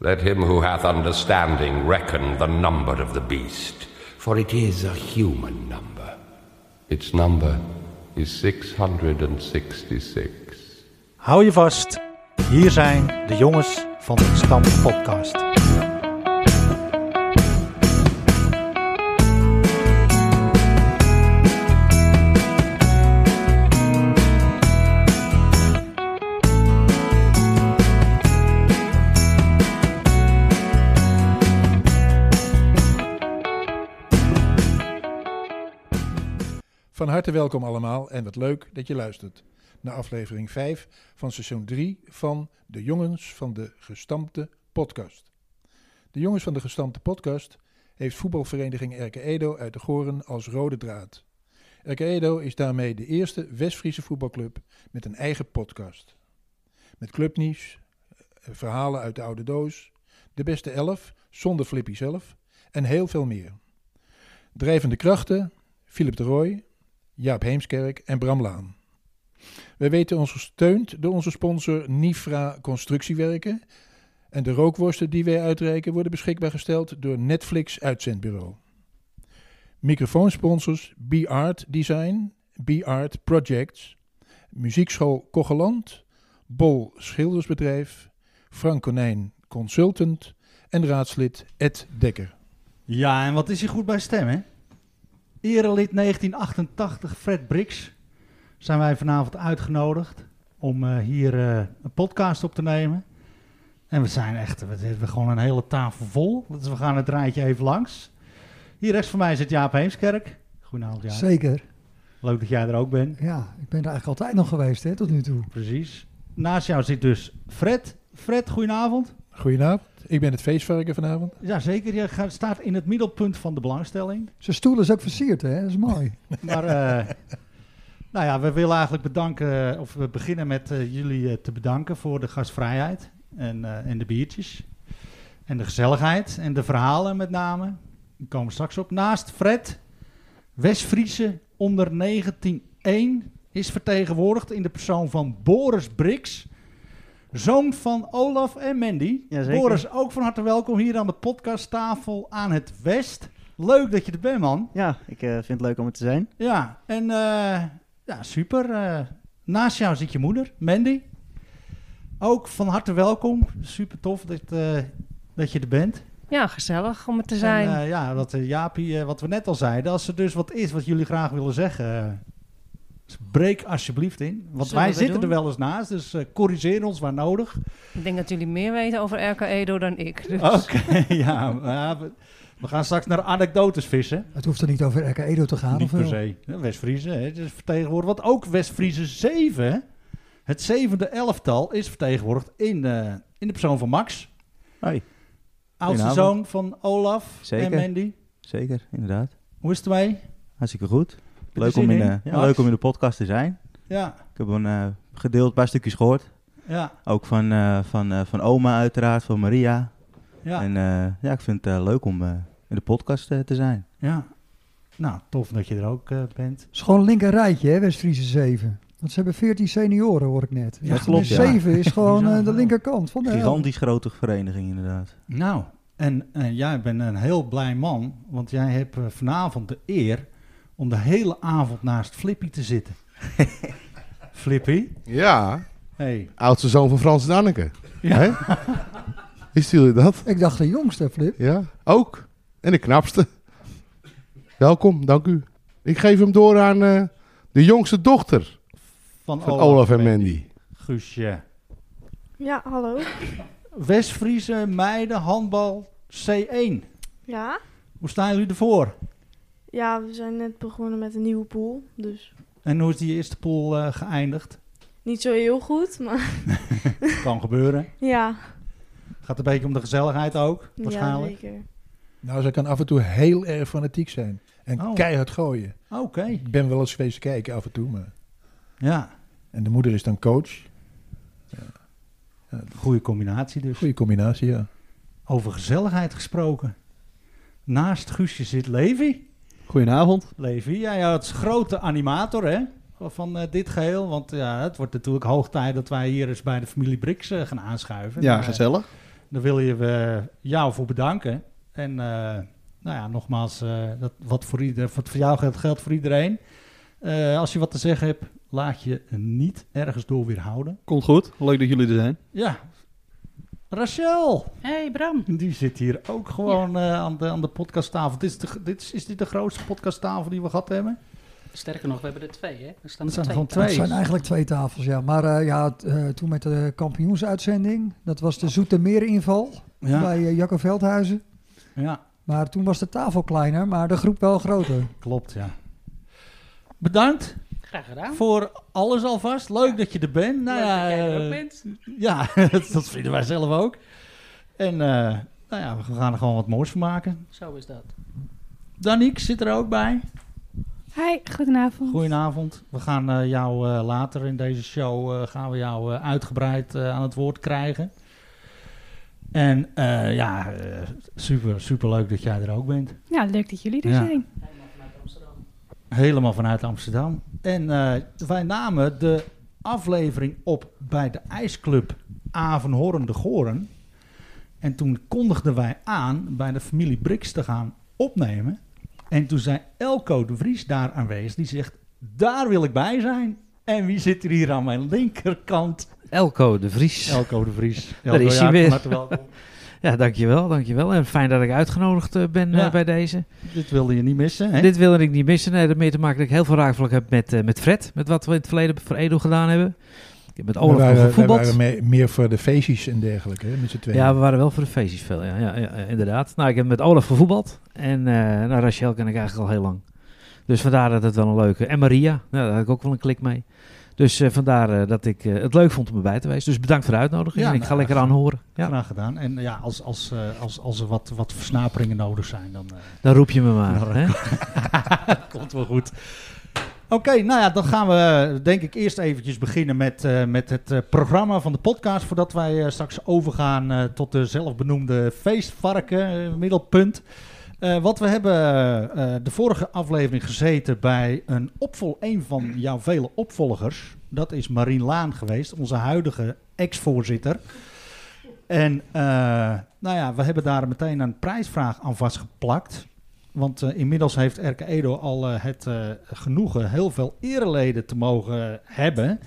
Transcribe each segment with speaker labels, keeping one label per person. Speaker 1: Let him who hath understanding reckon the number of the beast, for it is a human number. Its number is 666.
Speaker 2: Hou je vast. Hier zijn de jongens van de Stam Podcast.
Speaker 3: Van harte welkom allemaal en wat leuk dat je luistert naar aflevering 5 van seizoen 3 van De Jongens van de Gestampte Podcast. De Jongens van de Gestampte Podcast heeft voetbalvereniging RK Edo uit de Goren als rode draad. RK Edo is daarmee de eerste West-Friese voetbalclub met een eigen podcast. Met clubnieuws, eh, verhalen uit de oude doos, de beste elf, zonder Flippy zelf en heel veel meer. Drijvende krachten, Philip de Rooij, Jaap Heemskerk en Bram Laan. Wij weten ons gesteund door onze sponsor Nifra Constructiewerken. En de rookworsten die wij uitreiken worden beschikbaar gesteld door Netflix Uitzendbureau. Microfoonsponsors B-Art Design, B-Art Projects, Muziekschool Kogeland, Bol Schildersbedrijf, Frank Konijn Consultant en raadslid Ed Dekker.
Speaker 4: Ja, en wat is hij goed bij stem, hè? Erelid 1988, Fred Brix. Zijn wij vanavond uitgenodigd om eh, hier eh, een podcast op te nemen. En we zijn echt, we hebben gewoon een hele tafel vol. Dus we gaan het rijtje even langs. Hier rechts van mij zit Jaap Heemskerk. Goedenavond, Jaap.
Speaker 5: Zeker.
Speaker 4: Leuk dat jij er ook bent.
Speaker 5: Ja, ik ben er eigenlijk altijd nog geweest, hè, tot nu toe.
Speaker 4: Precies. Naast jou zit dus Fred. Fred, goedenavond.
Speaker 3: Goedenavond, ik ben het feestvarken vanavond.
Speaker 4: Jazeker, je gaat- staat in het middelpunt van de belangstelling.
Speaker 5: Zijn stoel is ook versierd, hè? Dat is mooi.
Speaker 4: Maar eh, nou ja, we willen eigenlijk bedanken, eh, of we beginnen met eh, jullie eh, te bedanken voor de gastvrijheid en, eh, en de biertjes. En de gezelligheid en de verhalen met name. Die komen we straks op. Naast Fred, West-Friese onder 19-1 is vertegenwoordigd in de persoon van Boris Brix. Zoon van Olaf en Mandy.
Speaker 6: Jazeker.
Speaker 4: Boris, ook van harte welkom hier aan de podcasttafel aan het West. Leuk dat je er bent, man.
Speaker 6: Ja, ik eh, vind het leuk om er te zijn.
Speaker 4: Ja, en eh, ja, super. eh. naast jou zit je moeder, Mandy. Ook van harte welkom. Super tof dat, eh, dat je er bent.
Speaker 7: Ja, gezellig om er te zijn.
Speaker 4: En, eh, ja, wat eh, Jaapie, eh, wat we net al zeiden. Als er dus wat is wat jullie graag willen zeggen, eh, breek alsjeblieft in. Want
Speaker 7: Zullen
Speaker 4: wij
Speaker 7: we
Speaker 4: zitten
Speaker 7: doen?
Speaker 4: er wel eens naast, dus eh, corrigeer ons waar nodig.
Speaker 7: ik denk dat jullie meer weten over RK Edo dan ik. Dus.
Speaker 4: Oké, ja. maar we, we gaan straks naar anekdotes vissen.
Speaker 5: Het hoeft er niet over RK Edo te gaan,
Speaker 4: Niet
Speaker 5: of
Speaker 4: per
Speaker 5: wel?
Speaker 4: se. Ja, West-Friese, hè, het is vertegenwoordigd. Want ook West-Friese 7, het zevende elftal, is vertegenwoordigd in, eh, in de persoon van Max.
Speaker 8: Hoi.
Speaker 4: Oudste
Speaker 8: Goedenavond.
Speaker 4: zoon van Olaf
Speaker 8: Zeker.
Speaker 4: en Mandy.
Speaker 8: Zeker, inderdaad.
Speaker 4: Hoe is het ermee?
Speaker 8: Hartstikke goed.
Speaker 4: er
Speaker 8: Leuk
Speaker 4: zin
Speaker 8: om, in,
Speaker 4: in,
Speaker 8: de, ja,
Speaker 4: Max?
Speaker 8: leuk om in de podcast te zijn.
Speaker 4: Ja,
Speaker 8: Ik heb een eh, gedeeld paar stukjes gehoord.
Speaker 4: ja,
Speaker 8: Ook van, eh, van, eh, van oma uiteraard, van Maria.
Speaker 4: ja.
Speaker 8: En eh, ja, ik vind het eh, leuk om eh, in de podcast eh, te zijn.
Speaker 4: ja. Nou, tof dat je er ook eh, bent.
Speaker 5: Het is gewoon een linker rijtje, hè, West-Friese 7. Want ze hebben 14 senioren, hoor ik net.
Speaker 4: Ja, klopt,
Speaker 5: Dus
Speaker 8: ja.
Speaker 5: 7 is gewoon
Speaker 4: Bizar,
Speaker 5: eh, de
Speaker 4: ja.
Speaker 5: linkerkant van de
Speaker 8: Gigantisch grote vereniging inderdaad.
Speaker 4: Nou, en, en jij bent een heel blij man, want jij hebt eh, vanavond de eer om de hele avond naast Flippy te zitten. Flippy?
Speaker 9: Ja,
Speaker 4: Hey.
Speaker 9: oudste zoon van Frans en Anneke. Hè? Wisten jullie dat?
Speaker 5: helft. Ik dacht de jongste, Flip.
Speaker 9: Ja, ook. En de knapste. Welkom, dank u. Ik geef hem door aan eh, de jongste dochter
Speaker 4: Van,
Speaker 9: van Olaf en Mandy.
Speaker 4: Guusje.
Speaker 10: Ja, hallo.
Speaker 4: West-Friese meiden handbal C1.
Speaker 10: Ja?
Speaker 4: Hoe staan jullie ervoor?
Speaker 10: Ja, we zijn net begonnen met een nieuwe pool, dus
Speaker 4: En hoe is die eerste pool eh, geëindigd?
Speaker 10: niet zo heel goed, maar
Speaker 4: Kan gebeuren.
Speaker 10: ja.
Speaker 4: Gaat een beetje om de gezelligheid ook, waarschijnlijk.
Speaker 10: Ja, zeker.
Speaker 3: Nou, zij kan af en toe heel erg fanatiek zijn en
Speaker 4: Oh.
Speaker 3: keihard gooien.
Speaker 4: Oké.
Speaker 3: Ik ben wel eens geweest kijken af en toe, maar...
Speaker 4: Ja,
Speaker 3: En de moeder is dan coach.
Speaker 4: goede combinatie dus.
Speaker 3: Goede combinatie, ja.
Speaker 4: Over gezelligheid gesproken. Naast Guusje zit Levi.
Speaker 6: Goedenavond.
Speaker 4: Levi, jij ja, het grote animator hè, van eh, dit geheel. Want ja, het wordt natuurlijk hoog tijd dat wij hier eens bij de familie Brix eh, gaan aanschuiven.
Speaker 6: Ja,
Speaker 4: Maar, eh,
Speaker 6: gezellig.
Speaker 4: Dan willen we jou voor bedanken. En eh, nou ja, nogmaals, eh, dat wat, voor ieder, wat voor jou geldt, geldt voor iedereen. Eh, als je wat te zeggen hebt, laat je niet ergens door weerhouden.
Speaker 6: Komt goed. Leuk dat jullie er zijn.
Speaker 4: Ja, Rachel!
Speaker 11: Hey Bram.
Speaker 4: Die zit hier ook gewoon eh, aan, de, aan de podcasttafel. Dit is, de, dit is, is dit de grootste podcasttafel die we gehad hebben?
Speaker 11: Sterker nog, we hebben er twee, hè? Er staan
Speaker 4: Dat
Speaker 11: er
Speaker 4: zijn er gewoon
Speaker 11: twee.
Speaker 4: twee.
Speaker 5: Het zijn eigenlijk twee tafels, ja. Maar eh, ja, t- eh, toen met de kampioensuitzending, dat was de Zoetermeer-inval
Speaker 4: Ja.
Speaker 5: bij eh, Jacco Veldhuizen.
Speaker 4: Ja,
Speaker 5: Maar toen was de tafel kleiner, maar de groep wel groter.
Speaker 4: klopt, ja. Bedankt
Speaker 11: Graag gedaan.
Speaker 4: voor alles alvast. Leuk dat je er bent. Nou
Speaker 11: Leuk
Speaker 4: ja,
Speaker 11: dat jij er ook
Speaker 4: eh,
Speaker 11: bent.
Speaker 4: Ja, dat, dat vinden wij zelf ook. En eh, nou ja, we gaan er gewoon wat moois van maken.
Speaker 11: Zo is dat.
Speaker 4: Danique zit er ook bij.
Speaker 12: Hi, goedenavond.
Speaker 4: Goedenavond. We gaan eh, jou eh, later in deze show eh, gaan we jou eh, uitgebreid eh, aan het woord krijgen. En eh, ja, eh, super, super leuk dat jij er ook bent.
Speaker 12: Ja, leuk dat jullie er
Speaker 4: Ja.
Speaker 12: zijn.
Speaker 4: Helemaal vanuit Amsterdam. En eh, wij namen de aflevering op bij de ijsclub Avenhoorn de Goren. En toen kondigden wij aan bij de familie Brix te gaan opnemen. En toen zei Elko de Vries daar aanwezig. Die zegt, daar wil ik bij zijn. En wie zit er hier aan mijn linkerkant?
Speaker 13: Elko de Vries.
Speaker 4: Elko de Vries.
Speaker 13: Daar is
Speaker 4: ja,
Speaker 13: hij
Speaker 4: van
Speaker 13: weer.
Speaker 4: harte welkom.
Speaker 13: Ja, dankjewel, dankjewel. En fijn dat ik uitgenodigd eh, ben eh,
Speaker 4: Ja.
Speaker 13: bij deze.
Speaker 4: Dit wilde je niet missen, hè?
Speaker 13: Dit wilde ik niet missen. Nee, dat heeft mee te maken dat ik heel veel raakvlak heb met, eh, met Fred. Met wat we in het verleden voor Edo gedaan hebben. Ik heb met
Speaker 3: We
Speaker 13: Olaf nog
Speaker 3: waren, we
Speaker 13: gevoetbald.
Speaker 3: waren mee- meer voor de feestjes en dergelijke, hè, met z'n tweeën. Oh,
Speaker 13: Ja, we waren wel voor de feestjes veel, ja, ja, ja, inderdaad. Nou, ik heb met Olaf gevoetbald en eh nou, Rachel ken ik eigenlijk al heel lang. Dus vandaar dat het wel een leuke... En Maria, nou, daar had ik ook wel een klik mee. Dus eh, vandaar eh, dat ik eh, het leuk vond om erbij te wezen. Dus bedankt voor de uitnodiging en ik ga
Speaker 4: nou,
Speaker 13: lekker
Speaker 4: graag-
Speaker 13: aanhoren. Ja,
Speaker 4: Graag gedaan. En ja, als, als, eh, als, als er wat, wat versnaperingen nodig zijn, dan... eh,
Speaker 13: dan roep je me maar.
Speaker 4: Dan-
Speaker 13: hè?
Speaker 4: Komt wel goed. Oké, nou ja, dan gaan we denk ik eerst eventjes beginnen met, eh, met het eh, programma van de podcast. Voordat wij eh, straks overgaan eh, tot de zelfbenoemde feestvarken, eh, middelpunt. Eh, wat we hebben eh, de vorige aflevering gezeten bij een, opvol, een van jouw vele opvolgers. Dat is Marien Laan geweest, onze huidige ex-voorzitter. En eh, nou ja, we hebben daar meteen een prijsvraag aan vastgeplakt. Want eh, inmiddels heeft Erke Edo al eh, het eh, genoegen heel veel ereleden te mogen hebben.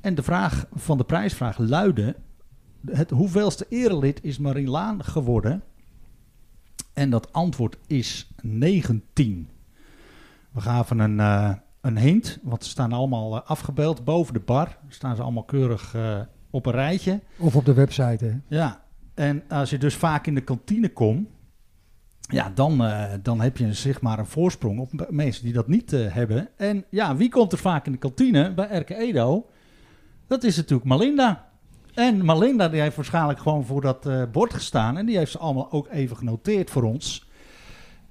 Speaker 4: En de vraag van de prijsvraag luidde: het hoeveelste erelid is Marie Laan geworden? En dat antwoord is 19. We gaven een, eh, een hint, want ze staan allemaal eh, afgebeeld boven de bar. Staan ze allemaal keurig eh, op een rijtje.
Speaker 5: Of op de website, hè.
Speaker 4: Ja, en als je dus vaak in de kantine komt, ja, dan, eh, dan heb je zeg maar een voorsprong op m- mensen die dat niet eh, hebben. En ja, wie komt er vaak in de kantine bij Erke Edo? Dat is natuurlijk Malinda. En Malinda die heeft waarschijnlijk gewoon voor dat eh, bord gestaan en die heeft ze allemaal ook even genoteerd voor ons.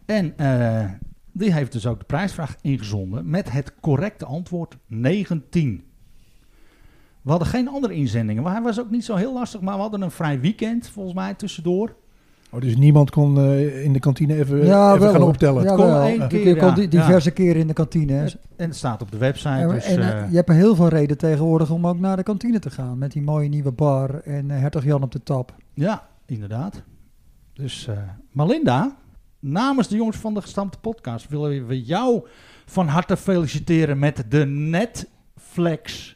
Speaker 4: En eh, die heeft dus ook de prijsvraag ingezonden met het correcte antwoord 19. We hadden geen andere inzendingen. Maar hij was ook niet zo heel lastig. Maar we hadden een vrij weekend, volgens mij, tussendoor.
Speaker 3: Oh, dus niemand kon eh, in de kantine even, even
Speaker 5: wel,
Speaker 3: gaan
Speaker 5: hoor.
Speaker 3: optellen.
Speaker 5: Ja,
Speaker 4: kon
Speaker 5: wel.
Speaker 4: één
Speaker 5: Je
Speaker 4: keer,
Speaker 5: kon
Speaker 4: ja.
Speaker 5: di- diverse keren in de kantine. hè.
Speaker 4: En het staat op de website.
Speaker 5: En-
Speaker 4: dus,
Speaker 5: en
Speaker 4: eh,
Speaker 5: eh, je hebt er heel veel reden tegenwoordig om ook naar de kantine te gaan. Met die mooie nieuwe bar en eh, Hertog Jan op de tap.
Speaker 4: Ja, inderdaad. Dus eh, Malinda, namens de jongens van de gestampte podcast willen we jou van harte feliciteren met de Netflex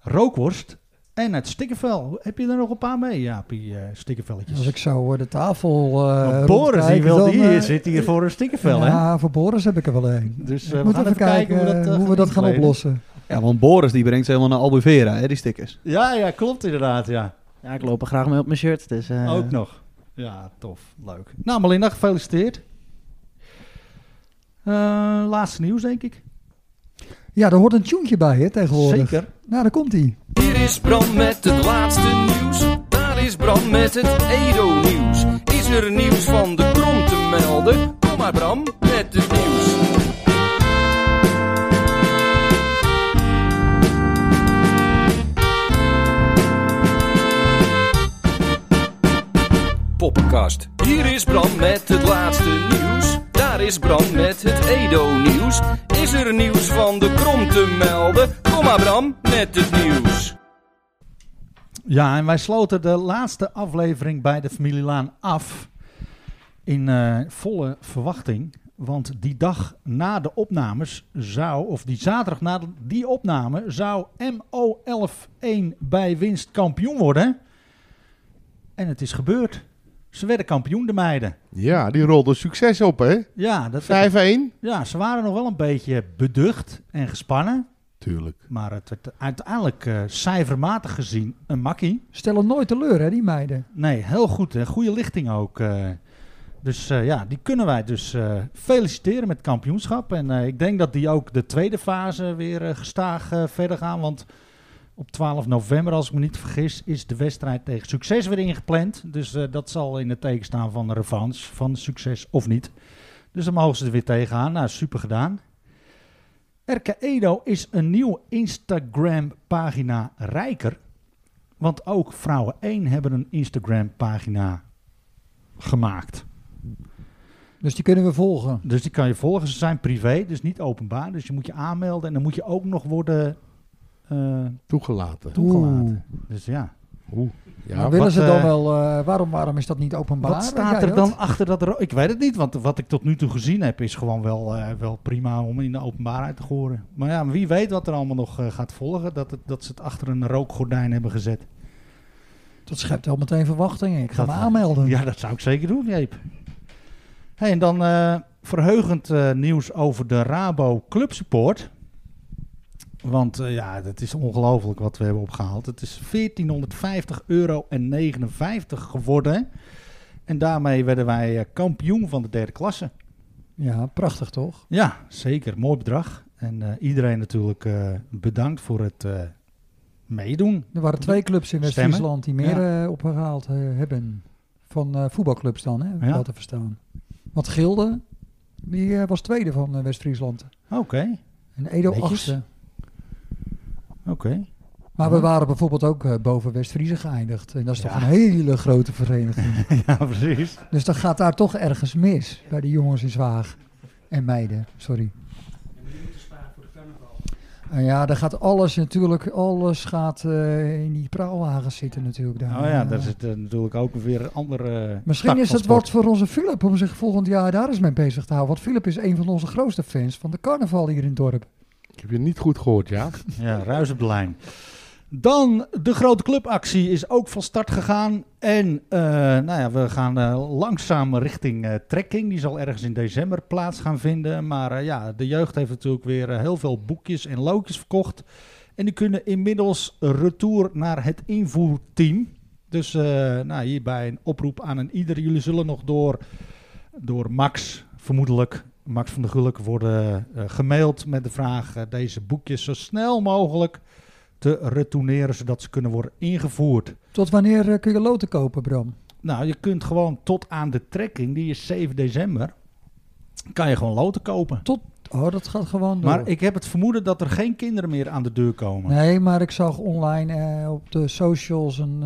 Speaker 4: rookworst en het stikkenvel. Heb je er nog een paar mee, Jaapie? eh stikkenvelletjes.
Speaker 5: Als ik zo eh, de tafel eh
Speaker 4: Want Nou, Boris, die
Speaker 5: rondkijk,
Speaker 4: wil
Speaker 5: dan,
Speaker 4: hier,
Speaker 5: eh,
Speaker 4: zit hier voor een stikkenvel, hè?
Speaker 5: Ja, voor Boris heb ik er wel een.
Speaker 4: Dus eh,
Speaker 5: we moeten even kijken hoe,
Speaker 4: eh,
Speaker 5: we dat gaan
Speaker 4: inkleden.
Speaker 5: oplossen.
Speaker 6: Ja, want Boris die brengt ze helemaal naar Albuvera, hè, die stickers.
Speaker 4: Ja, ja, klopt inderdaad, ja.
Speaker 6: Ja, ik loop er graag mee op mijn shirt, dus... eh,
Speaker 4: Ook nog. Ja, tof. Leuk. Nou, Melinda, gefeliciteerd. Eh, laatste nieuws, denk ik.
Speaker 5: Ja, er hoort een tuentje bij hè, tegenwoordig.
Speaker 4: Zeker.
Speaker 5: Nou, daar komt hij.
Speaker 14: Hier is Bram met het laatste nieuws. Daar is Bram met het Edo-nieuws. Is er nieuws van de krom te melden? Kom maar Bram met het nieuws. Poppenkast. Hier is Bram met het laatste nieuws. Daar is Bram met het Edo-nieuws. Is er nieuws van de krom te melden? Kom maar Bram met het nieuws.
Speaker 4: Ja, en wij sloten de laatste aflevering bij de familie Laan af. In eh, volle verwachting. Want die dag na de opnames zou, of die zaterdag na de- die opname, zou MO11-1 bij winst kampioen worden. En het is gebeurd. Ze werden kampioen, de meiden.
Speaker 9: Ja, die rolde succes op, hè?
Speaker 4: Ja, dat
Speaker 9: 5-1.
Speaker 4: Ja, ze waren nog wel een beetje beducht en gespannen.
Speaker 9: Tuurlijk.
Speaker 4: Maar het werd uiteindelijk eh, cijfermatig gezien een makkie.
Speaker 5: Stellen nooit teleur, hè, die meiden.
Speaker 4: Nee, heel goed. Hè? Goede lichting ook. eh. dus eh, ja, die kunnen wij dus eh, feliciteren met het kampioenschap. En eh, ik denk dat die ook de tweede fase weer eh, gestaag eh, verder gaan. Want op 12 november, als ik me niet vergis, is de wedstrijd tegen Succes weer ingepland. Dus eh, dat zal in het teken staan van de revanche, van Succes of niet. Dus dan mogen ze er weer tegenaan. Nou, super gedaan. RK Edo is een nieuwe Instagram-pagina rijker. Want ook Vrouwen 1 hebben een Instagram-pagina gemaakt.
Speaker 5: Dus die kunnen we volgen.
Speaker 4: Dus die kan je volgen. Ze zijn privé, dus niet openbaar. Dus je moet je aanmelden en dan moet je ook nog worden eh,
Speaker 9: toegelaten.
Speaker 4: toegelaten. Dus ja.
Speaker 9: Oeh.
Speaker 5: Maar willen ze dan
Speaker 4: wel?
Speaker 5: wel, eh, waarom, waarom is dat niet openbaar?
Speaker 4: Wat staat
Speaker 5: Jij
Speaker 4: er
Speaker 5: dat?
Speaker 4: dan achter dat ro- Ik weet het niet, want wat ik tot nu toe gezien heb is gewoon wel, eh, wel prima om in de openbaarheid te horen. Maar ja, wie weet wat er allemaal nog eh, gaat volgen, dat, het, dat ze het achter een rookgordijn hebben gezet.
Speaker 5: Dat schept wel meteen verwachtingen. Ik ga
Speaker 4: Dat-
Speaker 5: me aanmelden.
Speaker 4: Ja, dat zou ik zeker doen, Jeep. Hey, en dan eh, verheugend eh, nieuws over de Rabo Club Support. Want eh, ja, dat is ongelooflijk wat we hebben opgehaald. Het is 1450 euro en 59 geworden. En daarmee werden wij eh, kampioen van de derde klasse.
Speaker 5: Ja, prachtig toch?
Speaker 4: Ja, zeker. Mooi bedrag. En eh, iedereen natuurlijk eh, bedankt voor het eh, meedoen.
Speaker 5: Er waren twee clubs in
Speaker 4: Stemmen.
Speaker 5: West-Friesland die meer
Speaker 4: Ja.
Speaker 5: eh, opgehaald eh, hebben. Van eh, voetbalclubs dan, hè?
Speaker 4: Ja.
Speaker 5: Ja. te verstaan. Want Gilde, die eh, was tweede van eh, West-Friesland.
Speaker 4: Oké.
Speaker 5: En Edo
Speaker 4: Netjes.
Speaker 5: achtste.
Speaker 4: Oké.
Speaker 5: Maar
Speaker 4: Ja.
Speaker 5: we waren bijvoorbeeld ook eh, boven West-Friese geëindigd. En dat is toch een hele grote vereniging.
Speaker 4: ja, precies.
Speaker 5: Dus dan gaat daar toch ergens mis bij de jongens in Zwaag. En meiden, sorry. Nou ja, daar gaat alles natuurlijk, alles gaat eh, in die praalwagens zitten natuurlijk daar.
Speaker 4: Nou ja,
Speaker 5: Eh,
Speaker 4: daar zit eh, natuurlijk ook weer een andere. eh,
Speaker 5: Misschien
Speaker 4: tak
Speaker 5: is
Speaker 4: van
Speaker 5: het
Speaker 4: sport.
Speaker 5: wat voor onze Philip om zich volgend jaar daar eens mee bezig te houden. Want Philip is een van onze grootste fans van de carnaval hier in het dorp.
Speaker 9: Ik heb je niet goed gehoord, ja?
Speaker 4: Ja, ruis op de lijn. Dan de grote clubactie is ook van start gegaan. En eh, nou ja, we gaan eh, langzaam richting eh, trekking. Die zal ergens in december plaats gaan vinden. Maar eh, ja, de jeugd heeft natuurlijk weer eh, heel veel boekjes en loodjes verkocht. En die kunnen inmiddels retour naar het invoerteam. Dus eh, nou, hierbij een oproep aan een ieder. Jullie zullen nog door, door Max, vermoedelijk Max van der Gulik, worden eh, gemaild met de vraag eh, deze boekjes zo snel mogelijk te retourneren, zodat ze kunnen worden ingevoerd.
Speaker 5: Tot wanneer eh, kun je loten kopen, Bram?
Speaker 4: Nou, je kunt gewoon tot aan de trekking, die is 7 december, kan je gewoon loten kopen.
Speaker 5: Tot, oh, dat gaat gewoon door.
Speaker 4: Maar ik heb het vermoeden dat er geen kinderen meer aan de deur komen.
Speaker 5: Nee, maar ik zag online eh, op de socials een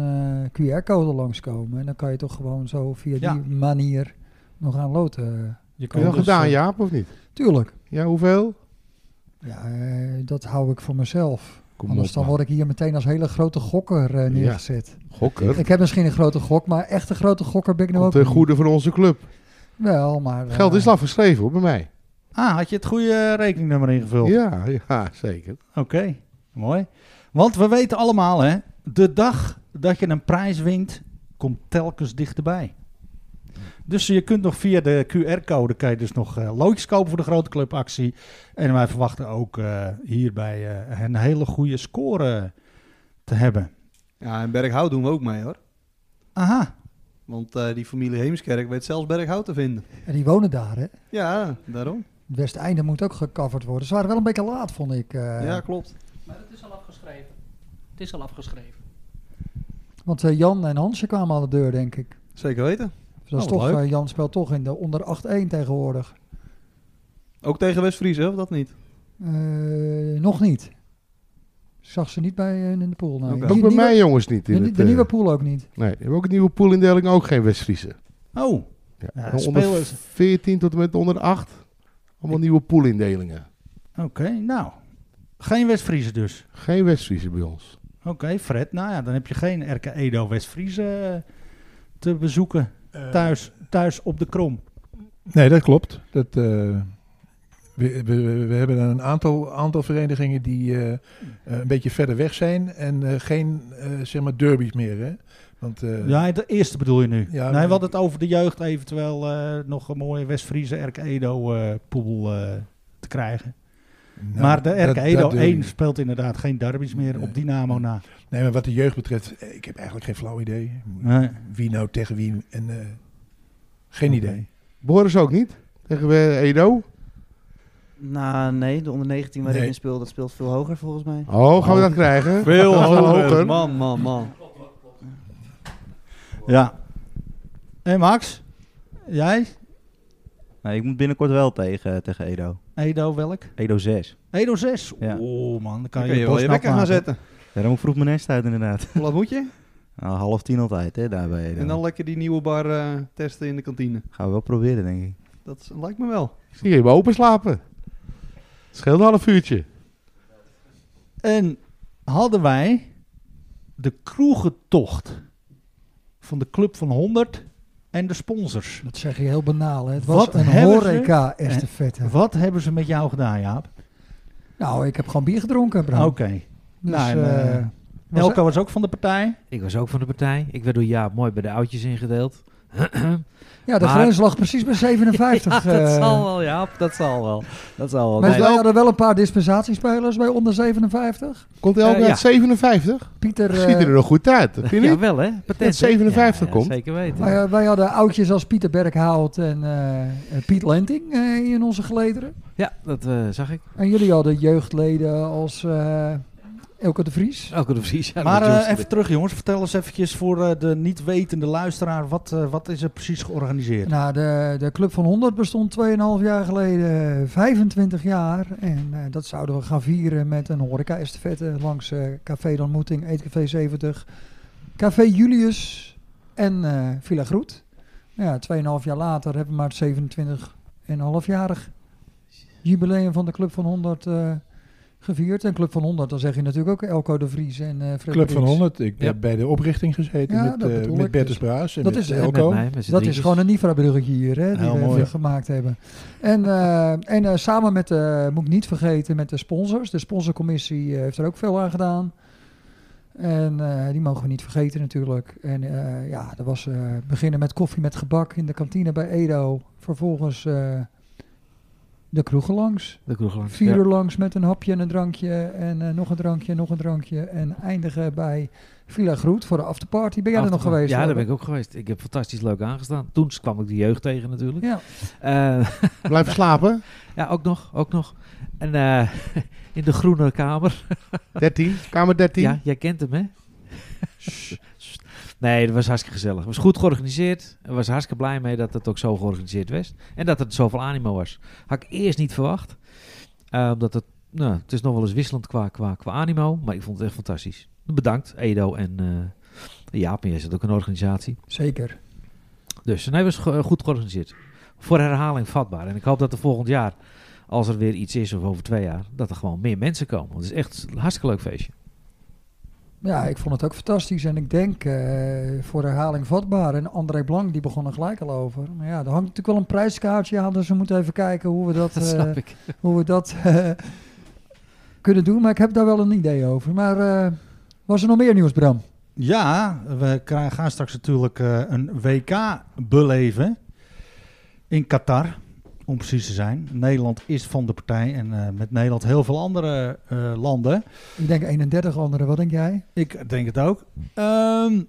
Speaker 5: eh, QR-code langskomen. En dan kan je toch gewoon zo via
Speaker 4: Ja.
Speaker 5: die manier nog aan eh, loten.
Speaker 4: Je
Speaker 9: Heb je dat
Speaker 4: eh,
Speaker 9: gedaan, Jaap, of niet?
Speaker 5: Dus, eh, Tuurlijk.
Speaker 9: Ja, hoeveel?
Speaker 5: Ja, eh, dat hou ik voor mezelf.
Speaker 9: Kom
Speaker 5: Anders
Speaker 9: op,
Speaker 5: dan
Speaker 9: man.
Speaker 5: word ik hier meteen als hele grote gokker eh, neergezet.
Speaker 9: Gokker?
Speaker 5: Ik heb misschien een grote gok, maar echt een grote gokker ben ik nou ook
Speaker 9: Ten
Speaker 5: niet.
Speaker 9: goede van onze club.
Speaker 5: Wel, maar... eh,
Speaker 9: Geld is al afgeschreven, hoor, bij mij.
Speaker 4: Ah, had je het goede rekeningnummer ingevuld?
Speaker 9: Ja, ja zeker.
Speaker 4: Oké, mooi. Want we weten allemaal, hè, de dag dat je een prijs wint, komt telkens dichterbij. Dus je kunt nog via de QR-code kan je dus nog eh, loodjes kopen voor de grote clubactie. En wij verwachten ook eh, hierbij eh, een hele goede score te hebben.
Speaker 6: Ja, en Berghout doen we ook mee hoor.
Speaker 4: Aha.
Speaker 6: Want eh, die familie Heemskerk weet zelfs Berghout te vinden.
Speaker 5: En die wonen daar, hè?
Speaker 6: Ja, daarom.
Speaker 5: Het Westeinde moet ook gecoverd worden. Ze waren wel een beetje laat, vond ik. eh.
Speaker 6: ja, klopt.
Speaker 11: Maar het is al afgeschreven. Het is al afgeschreven.
Speaker 5: Want eh, Jan en Hansje kwamen aan de deur, denk ik.
Speaker 6: Zeker weten.
Speaker 5: Dus dat is
Speaker 6: Oh, wat
Speaker 5: toch,
Speaker 6: leuk.
Speaker 5: eh, Jan speelt toch in de onder 8-1 tegenwoordig.
Speaker 6: Ook tegen West-Fries, hè, of dat niet?
Speaker 5: Eh, nog niet. Ik zag ze niet bij hun in de pool. Nee.
Speaker 9: Ook
Speaker 5: Die
Speaker 9: bij
Speaker 5: nieuwe-
Speaker 9: mij jongens niet in
Speaker 5: de,
Speaker 9: het,
Speaker 5: de
Speaker 9: eh,
Speaker 5: nieuwe pool ook niet.
Speaker 9: Nee, we hebben ook een nieuwe poolindeling, ook geen West-Friese.
Speaker 14: Ah, um.
Speaker 4: Oh.
Speaker 9: Ja,
Speaker 14: É,
Speaker 4: Ja,
Speaker 9: van onder
Speaker 4: spelers.
Speaker 9: 14 tot en met onder 8. Allemaal nieuwe poolindelingen.
Speaker 4: Oké, nou. Geen West-Vriezen dus.
Speaker 9: Geen West-Friese bij ons.
Speaker 4: Oké. Oké, Fred. Nou ja, dan heb je geen RK Edo West-Friese eh, te bezoeken.
Speaker 3: Eh.
Speaker 4: thuis, thuis op de krom.
Speaker 3: Nee, dat klopt. Dat, eh, we, we, we hebben een aantal, aantal verenigingen die eh, eh, een beetje verder weg zijn en eh, geen eh, zeg maar derbies meer. Hè? Want, eh,
Speaker 4: ja, de eerste bedoel je nu.
Speaker 3: Ja,
Speaker 4: nee, we hadden het over de jeugd eventueel eh, nog een mooie West-Friese RK Edo-pool eh, te krijgen.
Speaker 3: Nou,
Speaker 4: maar de E
Speaker 3: dat-
Speaker 4: RK
Speaker 3: dat
Speaker 4: Edo
Speaker 3: durf ik
Speaker 4: 1
Speaker 3: niet.
Speaker 4: speelt inderdaad geen derbies meer op Dynamo na.
Speaker 3: Nee, maar wat de jeugd betreft, eh, ik heb eigenlijk geen flauw idee.
Speaker 4: Nee.
Speaker 3: Wie nou tegen wie en eh, geen
Speaker 9: Oké.
Speaker 3: idee.
Speaker 9: Boris ook niet? Tegen eh,
Speaker 5: E
Speaker 9: Edo?
Speaker 8: Nou, nee, de onder 19 waar
Speaker 3: Nee.
Speaker 8: ik in speel, dat speelt veel hoger volgens mij.
Speaker 9: Oh, gaan we dat krijgen?
Speaker 6: Veel
Speaker 9: Gaan we
Speaker 6: hoger. Man, man, man.
Speaker 4: Ja. En Eh, Max? Jij?
Speaker 8: Nee, ik moet binnenkort wel tegen, tegen Edo.
Speaker 4: Edo welk?
Speaker 8: Edo 6.
Speaker 4: Edo 6?
Speaker 8: Ja.
Speaker 4: Oh man, dan kan
Speaker 6: Dan
Speaker 4: je,
Speaker 6: kun je wel je
Speaker 4: bosnap
Speaker 6: wekker gaan
Speaker 4: maken.
Speaker 6: zetten.
Speaker 8: Ja, dan moet ik vroeg mijn nest uit inderdaad.
Speaker 6: Hoe laat moet je?
Speaker 8: Nou, half tien altijd, hè, daarbij.
Speaker 6: En dan lekker die nieuwe bar eh, testen in de kantine.
Speaker 8: Gaan we wel proberen, denk ik.
Speaker 6: Dat is- lijkt me wel.
Speaker 4: eh,
Speaker 9: Zie je, we open slapen. Het scheelt een half uurtje.
Speaker 4: Eh, En hadden wij de kroegentocht van de Club van 100 en de sponsors.
Speaker 5: Dat zeg je heel banaal. Hè? Het was een
Speaker 4: hebben ze-
Speaker 5: horeca-estafette.
Speaker 4: eh, Wat hebben ze met jou gedaan, Jaap?
Speaker 5: Nou, ik heb gewoon bier gedronken, Bram.
Speaker 4: Oké.
Speaker 5: Dus,
Speaker 4: nou, en,
Speaker 5: eh,
Speaker 4: eh,
Speaker 5: was-
Speaker 4: Elko was ook van de partij.
Speaker 13: Ik was ook van de partij. Ik werd door Jaap mooi bij de oudjes ingedeeld.
Speaker 5: Ja, de
Speaker 13: Maar-
Speaker 5: grens lag precies bij 57.
Speaker 13: Ja, dat
Speaker 5: eh.
Speaker 13: zal wel, Jaap. Dat zal wel. Dat zal wel.
Speaker 5: Maar
Speaker 13: Nee,
Speaker 5: wij hadden wel een paar dispensatiespelers bij onder 57.
Speaker 9: Komt Elke
Speaker 13: Eh, ja.
Speaker 9: uit 57?
Speaker 5: Pieter... eh,
Speaker 9: Ziet er er nog goed uit, vind je niet?
Speaker 13: Ja, wel hè. Patent,
Speaker 9: Dat
Speaker 13: hè?
Speaker 9: 57
Speaker 13: Ja,
Speaker 9: komt.
Speaker 13: Zeker weten.
Speaker 5: Maar Nou ja, wij hadden oudjes als Pieter Berghout en eh, en Piet Lenting eh, in onze gelederen.
Speaker 13: Ja, dat eh, zag ik.
Speaker 5: En jullie hadden jeugdleden als eh Elke de Vries.
Speaker 13: Elke de Vries, ja,
Speaker 4: maar
Speaker 13: dat
Speaker 4: eh,
Speaker 13: Jos-
Speaker 4: even terug, jongens. Vertel eens eventjes voor eh, de niet-wetende luisteraar. Wat, eh, wat is er precies georganiseerd?
Speaker 5: Nou, de, de Club van 100 bestond 2,5 jaar geleden, eh, 25 jaar. En eh, dat zouden we gaan vieren met een horeca-estafette langs eh, Café de Ontmoeting, Eetcafé 70, Café Julius en eh Villa Groet. Nou Ja, 2,5 jaar later hebben we maar het 27,5-jarig jubileum van de Club van 100 eh, gevierd. En Club van 100, dan zeg je natuurlijk ook Elko de Vries en eh Fred
Speaker 3: Club van
Speaker 5: Prins.
Speaker 3: 100, ik heb
Speaker 5: Ja.
Speaker 3: bij de oprichting gezeten
Speaker 5: Ja,
Speaker 3: met,
Speaker 5: dat
Speaker 3: eh,
Speaker 5: bedoel
Speaker 3: met
Speaker 5: ik
Speaker 3: Bertus
Speaker 5: dus.
Speaker 3: Braas en
Speaker 5: dat
Speaker 3: met
Speaker 5: is,
Speaker 3: Elko.
Speaker 13: Met mij, met z'n
Speaker 5: dat is
Speaker 13: drietjes.
Speaker 5: gewoon een Nifra-bruggetje hier, hè, die
Speaker 13: Heel
Speaker 5: we
Speaker 13: mooi.
Speaker 5: even gemaakt hebben. En, eh, en eh, samen met, de moet ik niet vergeten, met de sponsors. De sponsorcommissie eh, heeft er ook veel aan gedaan. En eh, die mogen we niet vergeten natuurlijk. En eh, ja, dat was eh, beginnen met koffie met gebak in de kantine bij Edo. Vervolgens eh, de kroegen langs.
Speaker 13: De kroegen langs,
Speaker 5: Vier
Speaker 13: ja.
Speaker 5: uur langs met een hapje en een drankje. En eh, nog een drankje, nog een drankje. En eindigen bij Villa Groet voor de afterparty. Ben jij er nog
Speaker 13: Achtergrond.
Speaker 5: geweest? eh?
Speaker 13: Ja, daar
Speaker 5: Robert?
Speaker 13: ben ik ook geweest. Ik heb fantastisch leuk aangestaan. Toen kwam ik de jeugd tegen natuurlijk.
Speaker 5: Ja.
Speaker 13: Eh,
Speaker 9: Blijven slapen?
Speaker 13: Ja, ook nog, ook nog. En eh, in de groene kamer.
Speaker 9: 13, kamer 13.
Speaker 13: Ja, jij kent hem, hè? Sst. nee, dat was hartstikke gezellig. Het was goed georganiseerd. Ik was hartstikke blij mee dat het ook zo georganiseerd was. En dat het zoveel animo was. Had ik eerst niet verwacht. Eh, omdat het, nou, het is nog wel eens wisselend qua, qua, qua animo. Maar ik vond het echt fantastisch. Bedankt, Edo en eh Jaap. En jij zit ook in een organisatie.
Speaker 5: Zeker.
Speaker 13: Dus nee, was ge- goed georganiseerd. Voor herhaling vatbaar. En ik hoop dat er volgend jaar, als er weer iets is of over twee jaar, dat er gewoon meer mensen komen. Want het is echt een hartstikke leuk feestje.
Speaker 5: Ja, ik vond het ook fantastisch. En ik denk eh, voor herhaling vatbaar. En André Blank, die begon er gelijk al over. Maar ja, er hangt natuurlijk wel een prijskaartje aan. Dus we moeten even kijken hoe we dat,
Speaker 13: Dat
Speaker 5: eh,
Speaker 13: snap ik.
Speaker 5: Hoe we dat eh, kunnen doen. Maar ik heb daar wel een idee over. Maar eh, was er nog meer nieuws, Bram?
Speaker 4: Ja, we kra- gaan straks natuurlijk eh, een WK beleven in Qatar, om precies te zijn. Nederland is van de partij en eh, met Nederland heel veel andere eh, landen.
Speaker 5: Ik denk 31 anderen. Wat denk jij?
Speaker 4: Ik denk het ook. Ehm,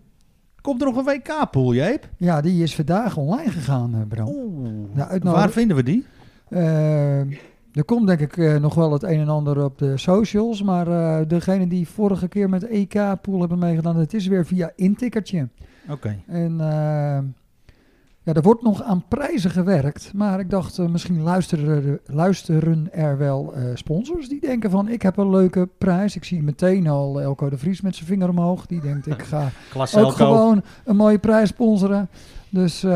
Speaker 4: komt er nog een WK-pool, Jeep?
Speaker 5: Ja, die is vandaag online gegaan, eh, Bram. Nou, uitnodig-
Speaker 4: Waar vinden we die?
Speaker 5: Eh, er komt denk ik eh, nog wel het een en ander op de socials. Maar eh, degene die vorige keer met EK-pool hebben meegedaan, het is weer via intikkertje.
Speaker 4: Oké.
Speaker 5: En eh, ja, er wordt nog aan prijzen gewerkt. Maar ik dacht, eh, misschien luisteren, er- luisteren er wel eh, sponsors die denken van... ik heb een leuke prijs. Ik zie meteen al Elko de Vries met zijn vinger omhoog. Die denkt, ik ga
Speaker 4: Klasse,
Speaker 5: ook
Speaker 4: Elko.
Speaker 5: gewoon een mooie prijs sponsoren. Dus eh,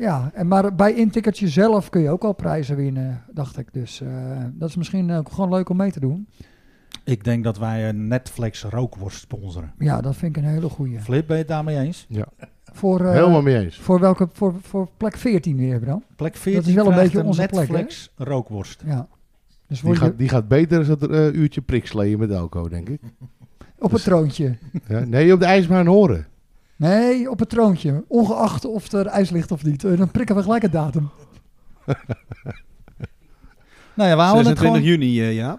Speaker 5: ja, en maar bij intikkertje zelf eh, kun je ook al prijzen winnen, dacht ik. Dus eh, dat is misschien ook gewoon leuk om mee te doen.
Speaker 4: Ik denk dat wij een Netflix rookworst sponsoren.
Speaker 5: Ja, dat vind ik een hele goeie.
Speaker 4: Flip, ben je het daarmee eens?
Speaker 9: Ja.
Speaker 5: Voor, eh,
Speaker 9: Helemaal mee eens.
Speaker 5: Voor, welke, voor, voor plek 14 weer, Bram.
Speaker 4: Plek
Speaker 5: Dat is wel een beetje onze plek, hè?
Speaker 4: Netflix rookworst.
Speaker 5: Ja. Dus
Speaker 9: die,
Speaker 5: word je
Speaker 9: gaat, die gaat beter als dat eh, uurtje priksleeën met alcohol, denk ik.
Speaker 5: op
Speaker 9: Dus-
Speaker 5: het troontje.
Speaker 9: Ja, nee, op de IJsbaan horen.
Speaker 5: Nee, op het troontje. Ongeacht of er ijs ligt of niet. Eh, Dan prikken we gelijk een datum.
Speaker 4: Nou ja, we houden het
Speaker 6: 26
Speaker 4: gewoon...
Speaker 6: juni, eh, ja.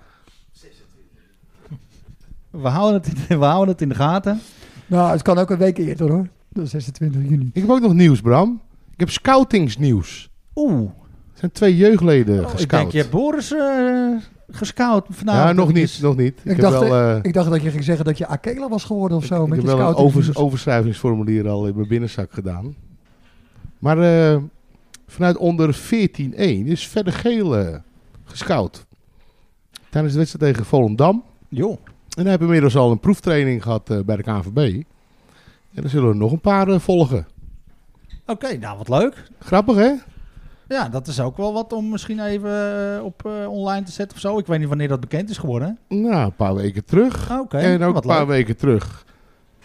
Speaker 4: We houden het, in, we houden het in de gaten.
Speaker 5: Nou, het kan ook een week eerder hoor. Dat is 26 juni.
Speaker 9: Ik heb ook nog nieuws, Bram. Ik heb scoutingsnieuws.
Speaker 4: Oeh. Oh,
Speaker 9: Er zijn twee jeugdleden
Speaker 4: ik denk,
Speaker 9: gescout.
Speaker 4: je hebt Boris eh, gescout vanavond.
Speaker 9: ja, nog
Speaker 4: Dat
Speaker 9: niet,
Speaker 4: is-
Speaker 9: nog niet.
Speaker 5: Ik
Speaker 9: Ik, heb
Speaker 5: dacht,
Speaker 9: wel, eh,
Speaker 5: ik dacht dat je ging zeggen dat je Akela was geworden of zo.
Speaker 9: ik
Speaker 5: met
Speaker 9: heb
Speaker 5: je
Speaker 9: wel een
Speaker 5: scouting.
Speaker 9: overs- overschrijvingsformulier al in mijn binnenzak gedaan. Maar eh, vanuit onder 14-1 is verder gele gescout. Tijdens de wedstrijd tegen Volendam.
Speaker 4: Jo.
Speaker 9: En we hebben inmiddels al een proeftraining gehad eh, bij de KNVB. En er zullen er nog een paar eh, volgen.
Speaker 4: Oké, nou wat leuk.
Speaker 9: Grappig hè?
Speaker 4: Ja, dat is ook wel wat om misschien even eh, op eh, online te zetten of zo. Ik weet niet wanneer dat bekend is geworden.
Speaker 9: Nou, een paar weken terug.
Speaker 4: Ah, oké.
Speaker 9: En ook
Speaker 4: Wat
Speaker 9: een paar
Speaker 4: leuk.
Speaker 9: weken terug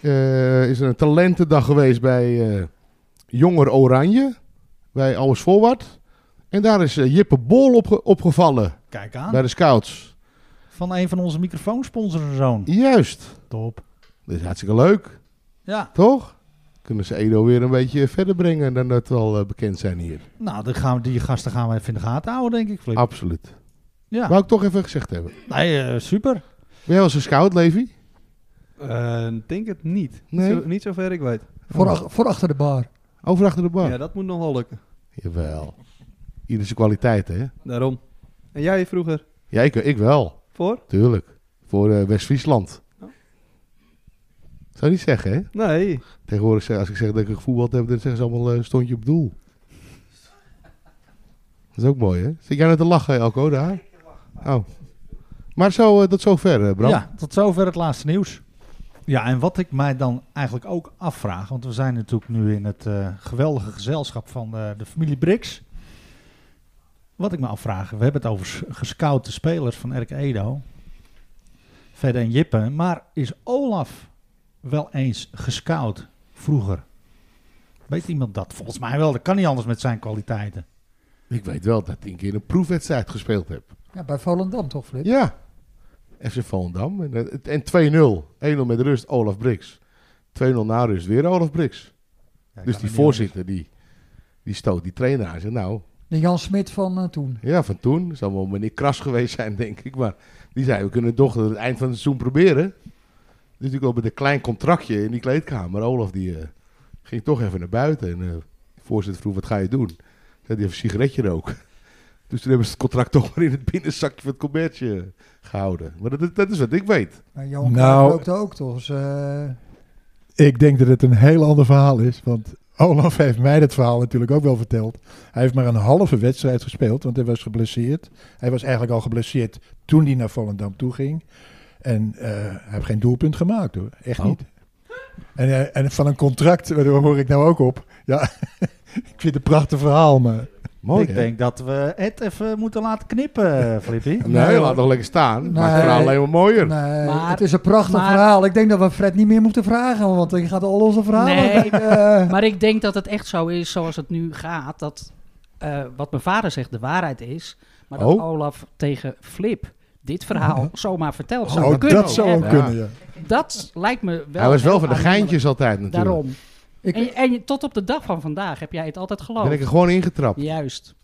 Speaker 9: eh, is er een talentendag geweest bij eh Jonger Oranje. Bij Alles Voorwaard. En daar is eh, Jippe Bol opge- opgevallen.
Speaker 4: Kijk aan.
Speaker 9: Bij de scouts.
Speaker 4: Van een van onze microfoonsponsorenzoon.
Speaker 9: Juist.
Speaker 4: Top.
Speaker 9: Dat is hartstikke leuk.
Speaker 4: Ja.
Speaker 9: Toch? Kunnen ze Edo weer een beetje verder brengen dan dat we al eh, bekend zijn hier.
Speaker 4: Nou, dan gaan we, die gasten gaan we even in de gaten houden, denk ik. Flip.
Speaker 9: Absoluut.
Speaker 4: Ja.
Speaker 9: Wou ik toch even gezegd hebben.
Speaker 4: Nee, eh, super.
Speaker 9: Ben jij als een scout, Levi?
Speaker 6: Eh, denk het niet.
Speaker 9: Nee?
Speaker 6: Zo- niet zover ik weet.
Speaker 5: Voor, ach- voor achter de bar.
Speaker 9: Over achter de bar?
Speaker 6: Ja, dat moet nog wel lukken.
Speaker 9: Jawel. Ieder zijn kwaliteit, hè?
Speaker 6: Daarom. En jij vroeger?
Speaker 9: Ja, ik, ik wel.
Speaker 6: Voor? Oh.
Speaker 9: Tuurlijk. Voor eh, West-Friesland. Zou je niet zeggen, hè?
Speaker 6: Nee.
Speaker 9: Tegenwoordig, zeg- als ik zeg dat ik gevoetbald heb, dan zeggen ze allemaal eh, stond je op doel. Dat is ook mooi, hè? Zit jij nou te lachen, Elko, daar? Oh. Maar zo, eh, tot zover, eh, Bram.
Speaker 4: Ja, tot zover het laatste nieuws. Ja, en wat ik mij dan eigenlijk ook afvraag, want we zijn natuurlijk nu in het eh, geweldige gezelschap van eh, de familie Brix. Wat ik me afvraag, we hebben het over s- gescoute spelers van Erk Edo, Verder en Jippe, maar is Olaf wel eens gescout vroeger? Weet iemand dat? Volgens mij wel, dat kan niet anders met zijn kwaliteiten.
Speaker 9: Ik weet wel dat ik een keer een proefwedstrijd gespeeld heb.
Speaker 5: Ja, bij Volendam toch, Flip?
Speaker 9: Ja. FC Volendam. En, eh, en 2-0. 1-0 met rust, Olaf Brix. 2-0 na rust, weer Olaf Brix. dus die voorzitter, die, die stoot die trainer aan. Zegt, nou,
Speaker 5: De Jan Smit van eh, toen.
Speaker 9: ja, van toen. Dat zal wel meneer Kras geweest zijn, denk ik. Maar die zei, we kunnen toch het eind van het seizoen proberen. Dus ik kwam met een klein contractje in die kleedkamer. Olaf, die eh, ging toch even naar buiten. En eh, de voorzitter vroeg, wat ga je doen? Zei die even een sigaretje roken. Dus toen hebben ze het contract toch maar in het binnenzakje van het commercie eh, gehouden. Maar dat, dat is wat ik weet.
Speaker 5: Maar Johan
Speaker 3: Nou.
Speaker 5: nou, rookte ook toch. Dus, eh,
Speaker 3: Ik denk dat het een heel ander verhaal is. Want Olaf heeft mij dat verhaal natuurlijk ook wel verteld. Hij heeft maar een halve wedstrijd gespeeld, want hij was geblesseerd. Hij was eigenlijk al geblesseerd toen hij naar Volendam toe ging. En eh, hij heeft geen doelpunt gemaakt hoor. Echt niet. En, eh, en van een contract, daar hoor ik nou ook op. Ja, ik vind het een prachtig verhaal, maar...
Speaker 9: Mooi,
Speaker 4: ik denk dat we het even moeten laten knippen, eh, Flippy.
Speaker 9: Nee, laat nog lekker staan. Maakt het
Speaker 5: Nee.
Speaker 9: verhaal alleen maar mooier.
Speaker 5: nee,
Speaker 11: Maar-
Speaker 5: het is een prachtig
Speaker 11: maar-
Speaker 5: verhaal. Ik denk dat we Fred niet meer moeten vragen, want hij gaat al onze verhalen.
Speaker 11: Nee,
Speaker 5: eh,
Speaker 11: maar ik denk dat het echt zo is zoals het nu gaat. Dat eh, wat mijn vader zegt de waarheid is. Maar dat
Speaker 9: Oh.
Speaker 11: Olaf tegen Flip dit verhaal zomaar vertelt.
Speaker 9: Oh,
Speaker 11: zou
Speaker 9: dat
Speaker 11: kunnen.
Speaker 9: zou
Speaker 11: hè?
Speaker 9: ook kunnen, ja.
Speaker 11: Dat lijkt me wel...
Speaker 9: Hij was wel
Speaker 11: heel
Speaker 9: van de
Speaker 11: aannemelijk.
Speaker 9: geintjes altijd natuurlijk.
Speaker 11: Daarom. en, je- en je- tot op de dag van vandaag heb jij het altijd geloofd.
Speaker 9: Ben ik er gewoon ingetrapt.
Speaker 11: Juist.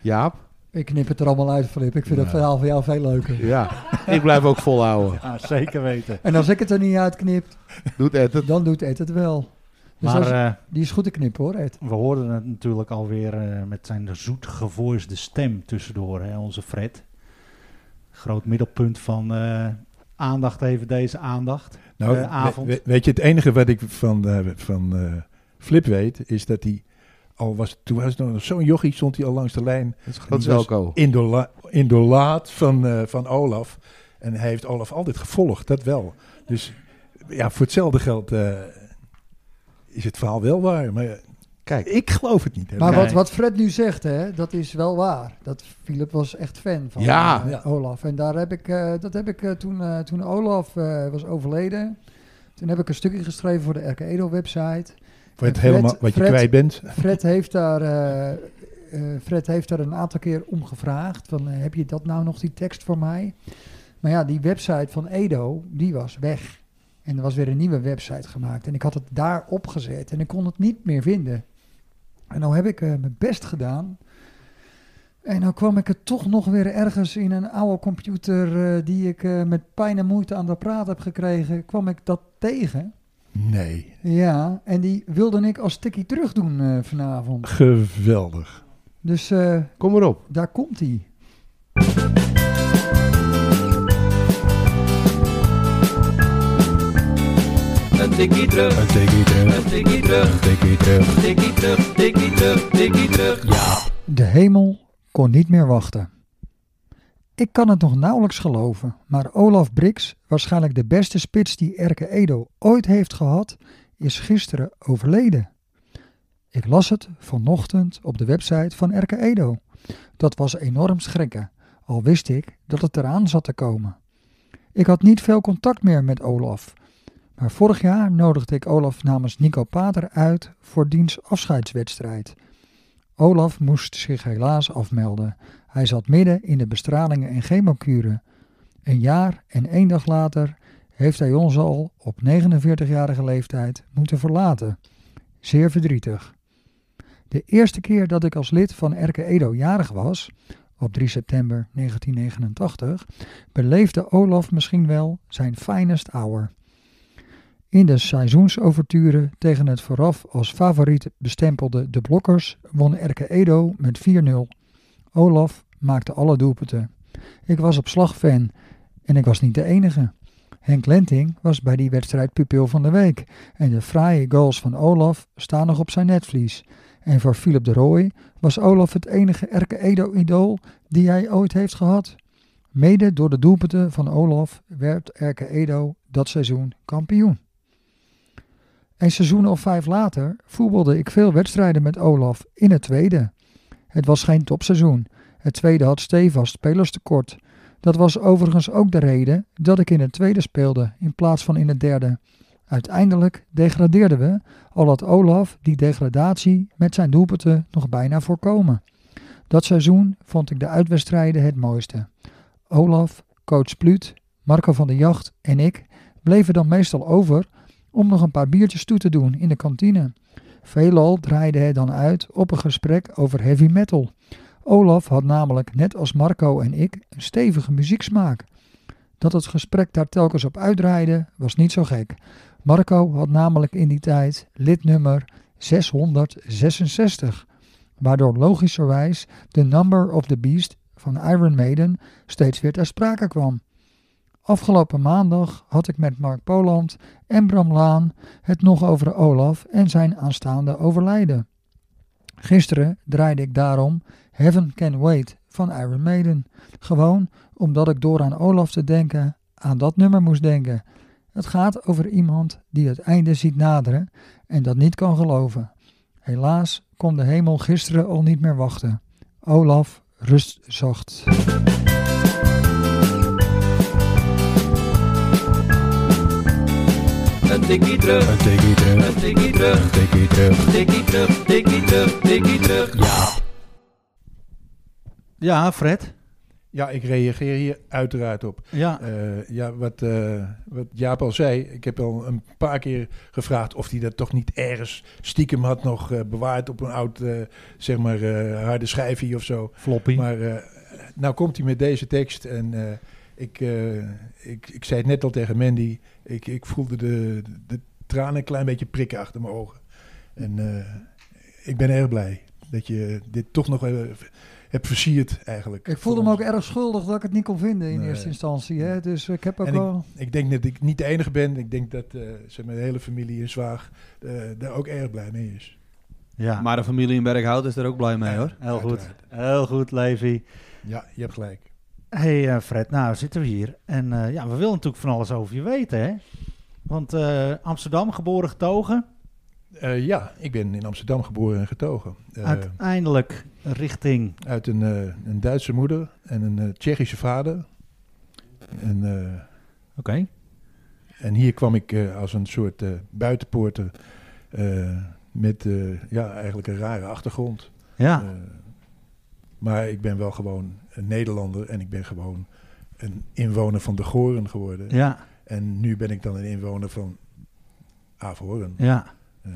Speaker 9: Jaap?
Speaker 5: Ik knip het er allemaal uit, Flip. Ik vind dat verhaal van jou veel leuker.
Speaker 9: Ja, ik blijf ook volhouden.
Speaker 4: Ja, zeker weten.
Speaker 5: En als ik het er niet uitknip,
Speaker 9: Doet Ed het?
Speaker 5: dan doet Ed het wel. Dus
Speaker 4: Maar,
Speaker 5: als-
Speaker 4: eh,
Speaker 5: die is goed te knippen hoor, Ed.
Speaker 4: We hoorden het natuurlijk alweer eh met zijn zoet gevoisde stem tussendoor, hè, onze Fred. Groot middelpunt van eh, aandacht even deze aandacht.
Speaker 3: Nou,
Speaker 4: Eh,
Speaker 3: we-
Speaker 4: avond.
Speaker 3: we- weet je, het enige wat ik van, eh, van eh, Flip weet, is dat hij al was, toen was het nog zo'n jochie, stond hij al langs de lijn.
Speaker 9: Dat is groot
Speaker 3: En die was
Speaker 9: welko.
Speaker 3: indola- Indolaat van, eh, van Olaf. En hij heeft Olaf altijd gevolgd, dat wel. Dus ja, voor hetzelfde geld eh, is het verhaal wel waar. Maar eh,
Speaker 9: Kijk.
Speaker 15: Ik geloof het niet. hè.
Speaker 5: Maar wat,
Speaker 15: Nee.
Speaker 5: wat Fred nu zegt, hè, dat is wel waar. Dat Philip was echt fan van
Speaker 15: Ja.
Speaker 5: eh,
Speaker 15: Ja.
Speaker 5: Olaf. En daar heb ik, eh, dat heb ik eh, toen, eh, toen Olaf eh, was overleden. Toen heb ik een stukje geschreven voor de RK Edo website.
Speaker 3: Voor het
Speaker 5: En
Speaker 3: helemaal- wat je kwijt bent.
Speaker 5: Fred heeft daar, eh, eh, Fred heeft daar een aantal keer om gevraagd. Van, eh, heb je dat nou nog, die tekst voor mij? Maar ja, die website van Edo, die was weg. En er was weer een nieuwe website gemaakt. En ik had het daar opgezet en ik kon het niet meer vinden. En nou heb ik eh, mijn best gedaan. En nou kwam ik het toch nog weer ergens in een oude computer eh, die ik eh, met pijn en moeite aan de praat heb gekregen, kwam ik dat tegen.
Speaker 3: Nee.
Speaker 5: Ja, en die wilde ik als tikkie terug doen eh, vanavond.
Speaker 3: Geweldig.
Speaker 5: Dus... eh,
Speaker 9: Kom maar op.
Speaker 5: Daar komt hij.
Speaker 14: Een tikkie terug. Een
Speaker 15: tikkie terug.
Speaker 14: Een tikkie terug. Een
Speaker 15: tikkie terug.
Speaker 14: Een tikkie terug. Tikkie terug. Tikkie terug. Ja.
Speaker 5: De hemel kon niet meer wachten. Ik kan het nog nauwelijks geloven, maar Olaf Brix, waarschijnlijk de beste spits die Erke Edo ooit heeft gehad, is gisteren overleden. Ik las het vanochtend op de website van Erke Edo. Dat was enorm schrikken, al wist ik dat het eraan zat te komen. Ik had niet veel contact meer met Olaf, maar vorig jaar nodigde ik Olaf namens Nico Pater uit voor diens afscheidswedstrijd. Olaf moest zich helaas afmelden. Hij zat midden in de bestralingen en chemokuren. Een jaar en één dag later heeft hij ons al op 49-jarige leeftijd moeten verlaten. Zeer verdrietig. De eerste keer dat ik als lid van Erke Edo jarig was, op 3 september 1989, beleefde Olaf misschien wel zijn finest hour. In de seizoensoverture tegen het vooraf als favoriet bestempelde De Blokkers won Erke Edo met 4-0. Olaf maakte alle doelpunten. Ik was op slag fan en ik was niet de enige. Henk Lenting was bij die wedstrijd pupil van de week en de fraaie goals van Olaf staan nog op zijn netvlies. En voor Philip de Rooij was Olaf het enige Erke Edo-idool die hij ooit heeft gehad. Mede door de doelpunten van Olaf werd Erke Edo dat seizoen kampioen. Een seizoen of vijf later voetbalde ik veel wedstrijden met Olaf in het tweede. Het was geen topseizoen. Het tweede had stevast spelerstekort. Dat was overigens ook de reden dat ik in het tweede speelde in plaats van in het derde. Uiteindelijk degradeerden we, al had Olaf die degradatie met zijn doelpunten nog bijna voorkomen. Dat seizoen vond ik de uitwedstrijden het mooiste. Olaf, coach Pluut, Marco van der Jacht en ik bleven dan meestal over om nog een paar biertjes toe te doen in de kantine. Veelal draaide het dan uit op een gesprek over heavy metal. Olaf had namelijk, net als Marco en ik, een stevige muzieksmaak. Dat het gesprek daar telkens op uitdraaide, was niet zo gek. Marco had namelijk in die tijd lidnummer 666, waardoor logischerwijs de Number of the Beast van Iron Maiden steeds weer ter sprake kwam. Afgelopen maandag had ik met Mark Poland en Bram Laan het nog over Olaf en zijn aanstaande overlijden. Gisteren draaide ik daarom Heaven Can Wait van Iron Maiden. Gewoon omdat ik door aan Olaf te denken aan dat nummer moest denken. Het gaat over iemand die het einde ziet naderen en dat niet kan geloven. Helaas kon de hemel gisteren al niet meer wachten. Olaf, rust zacht.
Speaker 14: Een tikkie terug. Een tikkie terug. Een tikkie terug. Een tikkie terug. Tikkie terug. Tikkie terug. Tikkie terug. Ja.
Speaker 4: Ja, Fred.
Speaker 3: Ja, ik reageer hier uiteraard op.
Speaker 4: Ja.
Speaker 3: ja wat, eh, wat Jaap al zei, ik heb al een paar keer gevraagd of hij dat toch niet ergens stiekem had nog eh, bewaard op een oud, eh, zeg maar, eh, harde schijfje of zo.
Speaker 4: Floppy.
Speaker 3: Maar eh, nou komt hij met deze tekst en eh, ik, eh, ik, ik zei het net al tegen Mandy, ik, ik voelde de, de tranen een klein beetje prikken achter mijn ogen. En eh, ik ben erg blij dat je dit toch nog eh, hebt versierd eigenlijk.
Speaker 5: Ik voelde me ook erg schuldig dat ik het niet kon vinden in
Speaker 3: Nee.
Speaker 5: eerste instantie. Hè? Dus ik heb ook
Speaker 3: En
Speaker 5: wel...
Speaker 3: ik, ik denk dat ik niet de enige ben. Ik denk dat eh zeg maar, de hele familie in Zwaag eh, daar ook erg blij mee is.
Speaker 4: Ja.
Speaker 6: Maar de familie in Berghout is er ook blij mee hoor.
Speaker 4: Heel goed. Heel goed, Levi.
Speaker 3: Ja, je hebt gelijk.
Speaker 4: hey, eh, Fred, nou zitten we hier. En eh, ja, we willen natuurlijk van alles over je weten, hè? Want eh, Amsterdam, geboren getogen.
Speaker 3: Eh, ja, ik ben in Amsterdam geboren en getogen. Eh,
Speaker 4: Uiteindelijk richting...
Speaker 3: Uit een, eh, een Duitse moeder en een eh, Tsjechische vader. En, Oké. En hier kwam ik eh, als een soort eh, buitenpoorter eh, met eh, ja, eigenlijk een rare achtergrond.
Speaker 4: Ja.
Speaker 3: Eh, maar ik ben wel gewoon een Nederlander en ik ben gewoon een inwoner van de Goren geworden.
Speaker 4: Ja.
Speaker 3: En nu ben ik dan een inwoner van Averhoorn.
Speaker 4: Ja.
Speaker 3: eh,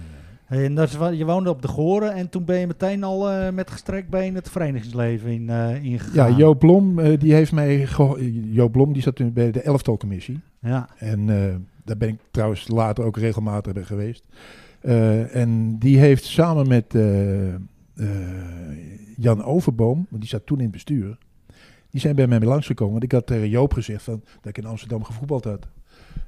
Speaker 4: Hey, en dat is, wa- je woonde op de Goren en toen ben je meteen al eh, met gestrekt been het verenigingsleven in, eh
Speaker 3: Ja,
Speaker 4: ingegaan.
Speaker 3: Joop Blom, eh, die heeft mij geho- Joop Blom die zat toen bij de elftalcommissie.
Speaker 4: Ja.
Speaker 3: En eh, daar ben ik trouwens later ook regelmatig bij geweest. Eh, en die heeft samen met eh, eh, Jan Overboom, want die zat toen in het bestuur, die zijn bij mij langsgekomen. Want ik had tegen Joop gezegd van, dat ik in Amsterdam gevoetbald had.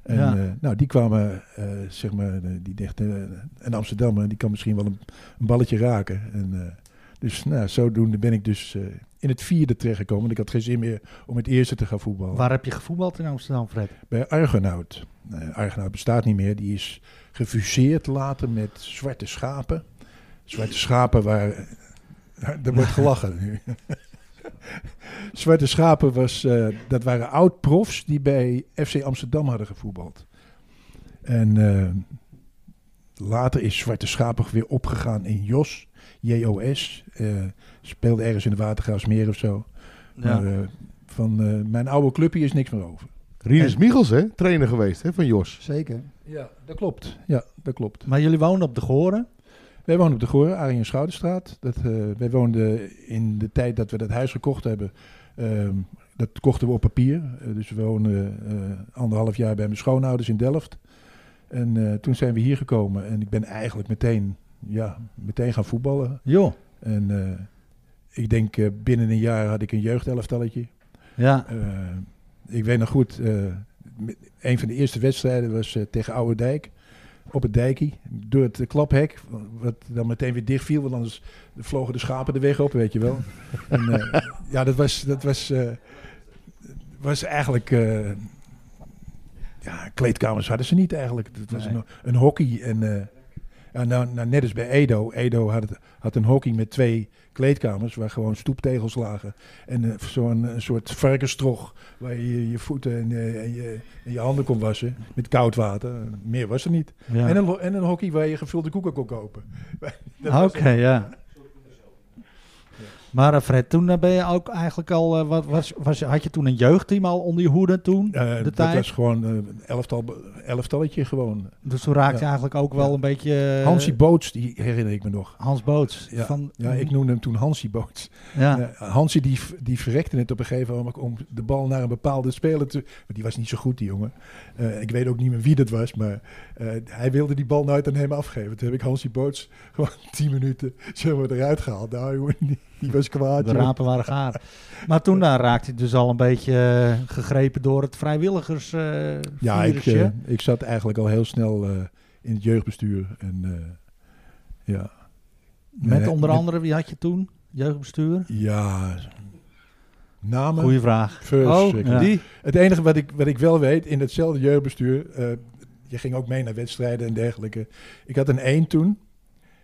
Speaker 3: En
Speaker 4: Ja.
Speaker 3: eh, nou, die kwamen, eh, zeg maar, eh, die dachten, eh, een Amsterdammer, die kan misschien wel een, een balletje raken. En, eh, dus nou, zodoende ben ik dus eh, in het vierde terechtgekomen. Want ik had geen zin meer om het eerste te gaan voetballen.
Speaker 4: Waar heb je gevoetbald in Amsterdam, Fred?
Speaker 3: Bij Argonaut. Eh, Argonaut bestaat niet meer. Die is gefuseerd later met Zwarte Schapen. Zwarte Schapen waar... Er wordt gelachen nu. Zwarte Schapen was, eh, dat waren oud-profs die bij FC Amsterdam hadden gevoetbald. En eh, later is Zwarte Schapen weer opgegaan in JOS. JOS. eh, speelde ergens in de Watergraafsmeer of zo.
Speaker 9: Ja.
Speaker 3: Maar eh, van eh, mijn oude clubje is niks meer over.
Speaker 9: Rinus Michels, hè? Trainer geweest, hè? Van Jos.
Speaker 3: Zeker. Ja, dat klopt. Ja, dat klopt.
Speaker 4: Maar jullie wonen op de Goren?
Speaker 3: Wij wonen op de Goren, Arjen Schouderstraat. Dat, eh, wij woonden in de tijd dat we dat huis gekocht hebben. ehm, dat kochten we op papier. Eh, dus we woonden eh, anderhalf jaar bij mijn schoonouders in Delft. En eh, toen zijn we hier gekomen. En ik ben eigenlijk meteen, ja, meteen gaan voetballen.
Speaker 4: Joh.
Speaker 3: En eh, ik denk eh, binnen een jaar had ik een jeugdelftalletje.
Speaker 4: Ja.
Speaker 3: Eh, ik weet nog goed, eh, m- een van de eerste wedstrijden was eh, tegen Oude Dijk. Op het dijkie, door het eh, klaphek, wat dan meteen weer dicht viel, want anders vlogen de schapen de weg op, weet je wel. en, eh, ja, dat was, dat was, eh, was eigenlijk. eh, ja, kleedkamers hadden ze niet eigenlijk. Het was
Speaker 4: Nee.
Speaker 3: een, een hockey. En, eh, ja, nou, nou, net als bij Edo. Edo had, het- had een hockey met twee kleedkamers waar gewoon stoeptegels lagen. En eh, zo'n eh, soort varkenstroch waar je je voeten en, eh, en je, en je handen kon wassen met koud water. Meer was er niet.
Speaker 4: Ja.
Speaker 3: En, een, lo- en een hockey waar je gevulde koeken kon kopen. Dat was
Speaker 4: Oké,
Speaker 3: het.
Speaker 4: ja. Maar eh, Fred, toen eh, ben je ook eigenlijk al... eh, wat, was, was, je- had je toen een jeugdteam al onder je hoede toen?
Speaker 3: Eh,
Speaker 4: de
Speaker 3: dat
Speaker 4: tijd?
Speaker 3: was gewoon eh, een elftal, elftalletje gewoon.
Speaker 4: Dus toen raakte je
Speaker 3: Ja.
Speaker 4: eigenlijk ook wel
Speaker 3: Ja.
Speaker 4: een beetje... eh,
Speaker 3: Hansie Boots, die herinner ik me nog.
Speaker 4: Hans Boots.
Speaker 3: Ja,
Speaker 4: van-
Speaker 3: ja ik noemde hem toen Hansie Boots.
Speaker 4: Ja.
Speaker 3: Eh, Hansie die, die verrekte het op een gegeven moment om de bal naar een bepaalde speler te... Want die was niet zo goed, die jongen. Eh, ik weet ook niet meer wie dat was, maar eh, hij wilde die bal nooit aan hem afgeven. Toen heb ik Hansie Boots gewoon tien minuten zeg maar, eruit gehaald. Nou jongen, die, die was kwaad.
Speaker 4: De
Speaker 3: joh.
Speaker 4: rapen waren gaar. Maar toen eh, raakte je dus al een beetje eh, gegrepen door het vrijwilligers. eh,
Speaker 3: Ja, ik,
Speaker 4: virusje.
Speaker 3: eh, ik zat eigenlijk al heel snel eh, in het jeugdbestuur. En, eh, ja.
Speaker 4: met
Speaker 3: Eh,
Speaker 4: onder andere, wie had je toen? Jeugdbestuur?
Speaker 3: Ja, namen.
Speaker 4: Goeie vraag.
Speaker 3: Verschrikkelijk.
Speaker 4: Oh, die?
Speaker 3: Het enige wat ik, wat ik wel weet, in hetzelfde jeugdbestuur, eh, je ging ook mee naar wedstrijden en dergelijke. Ik had een eend toen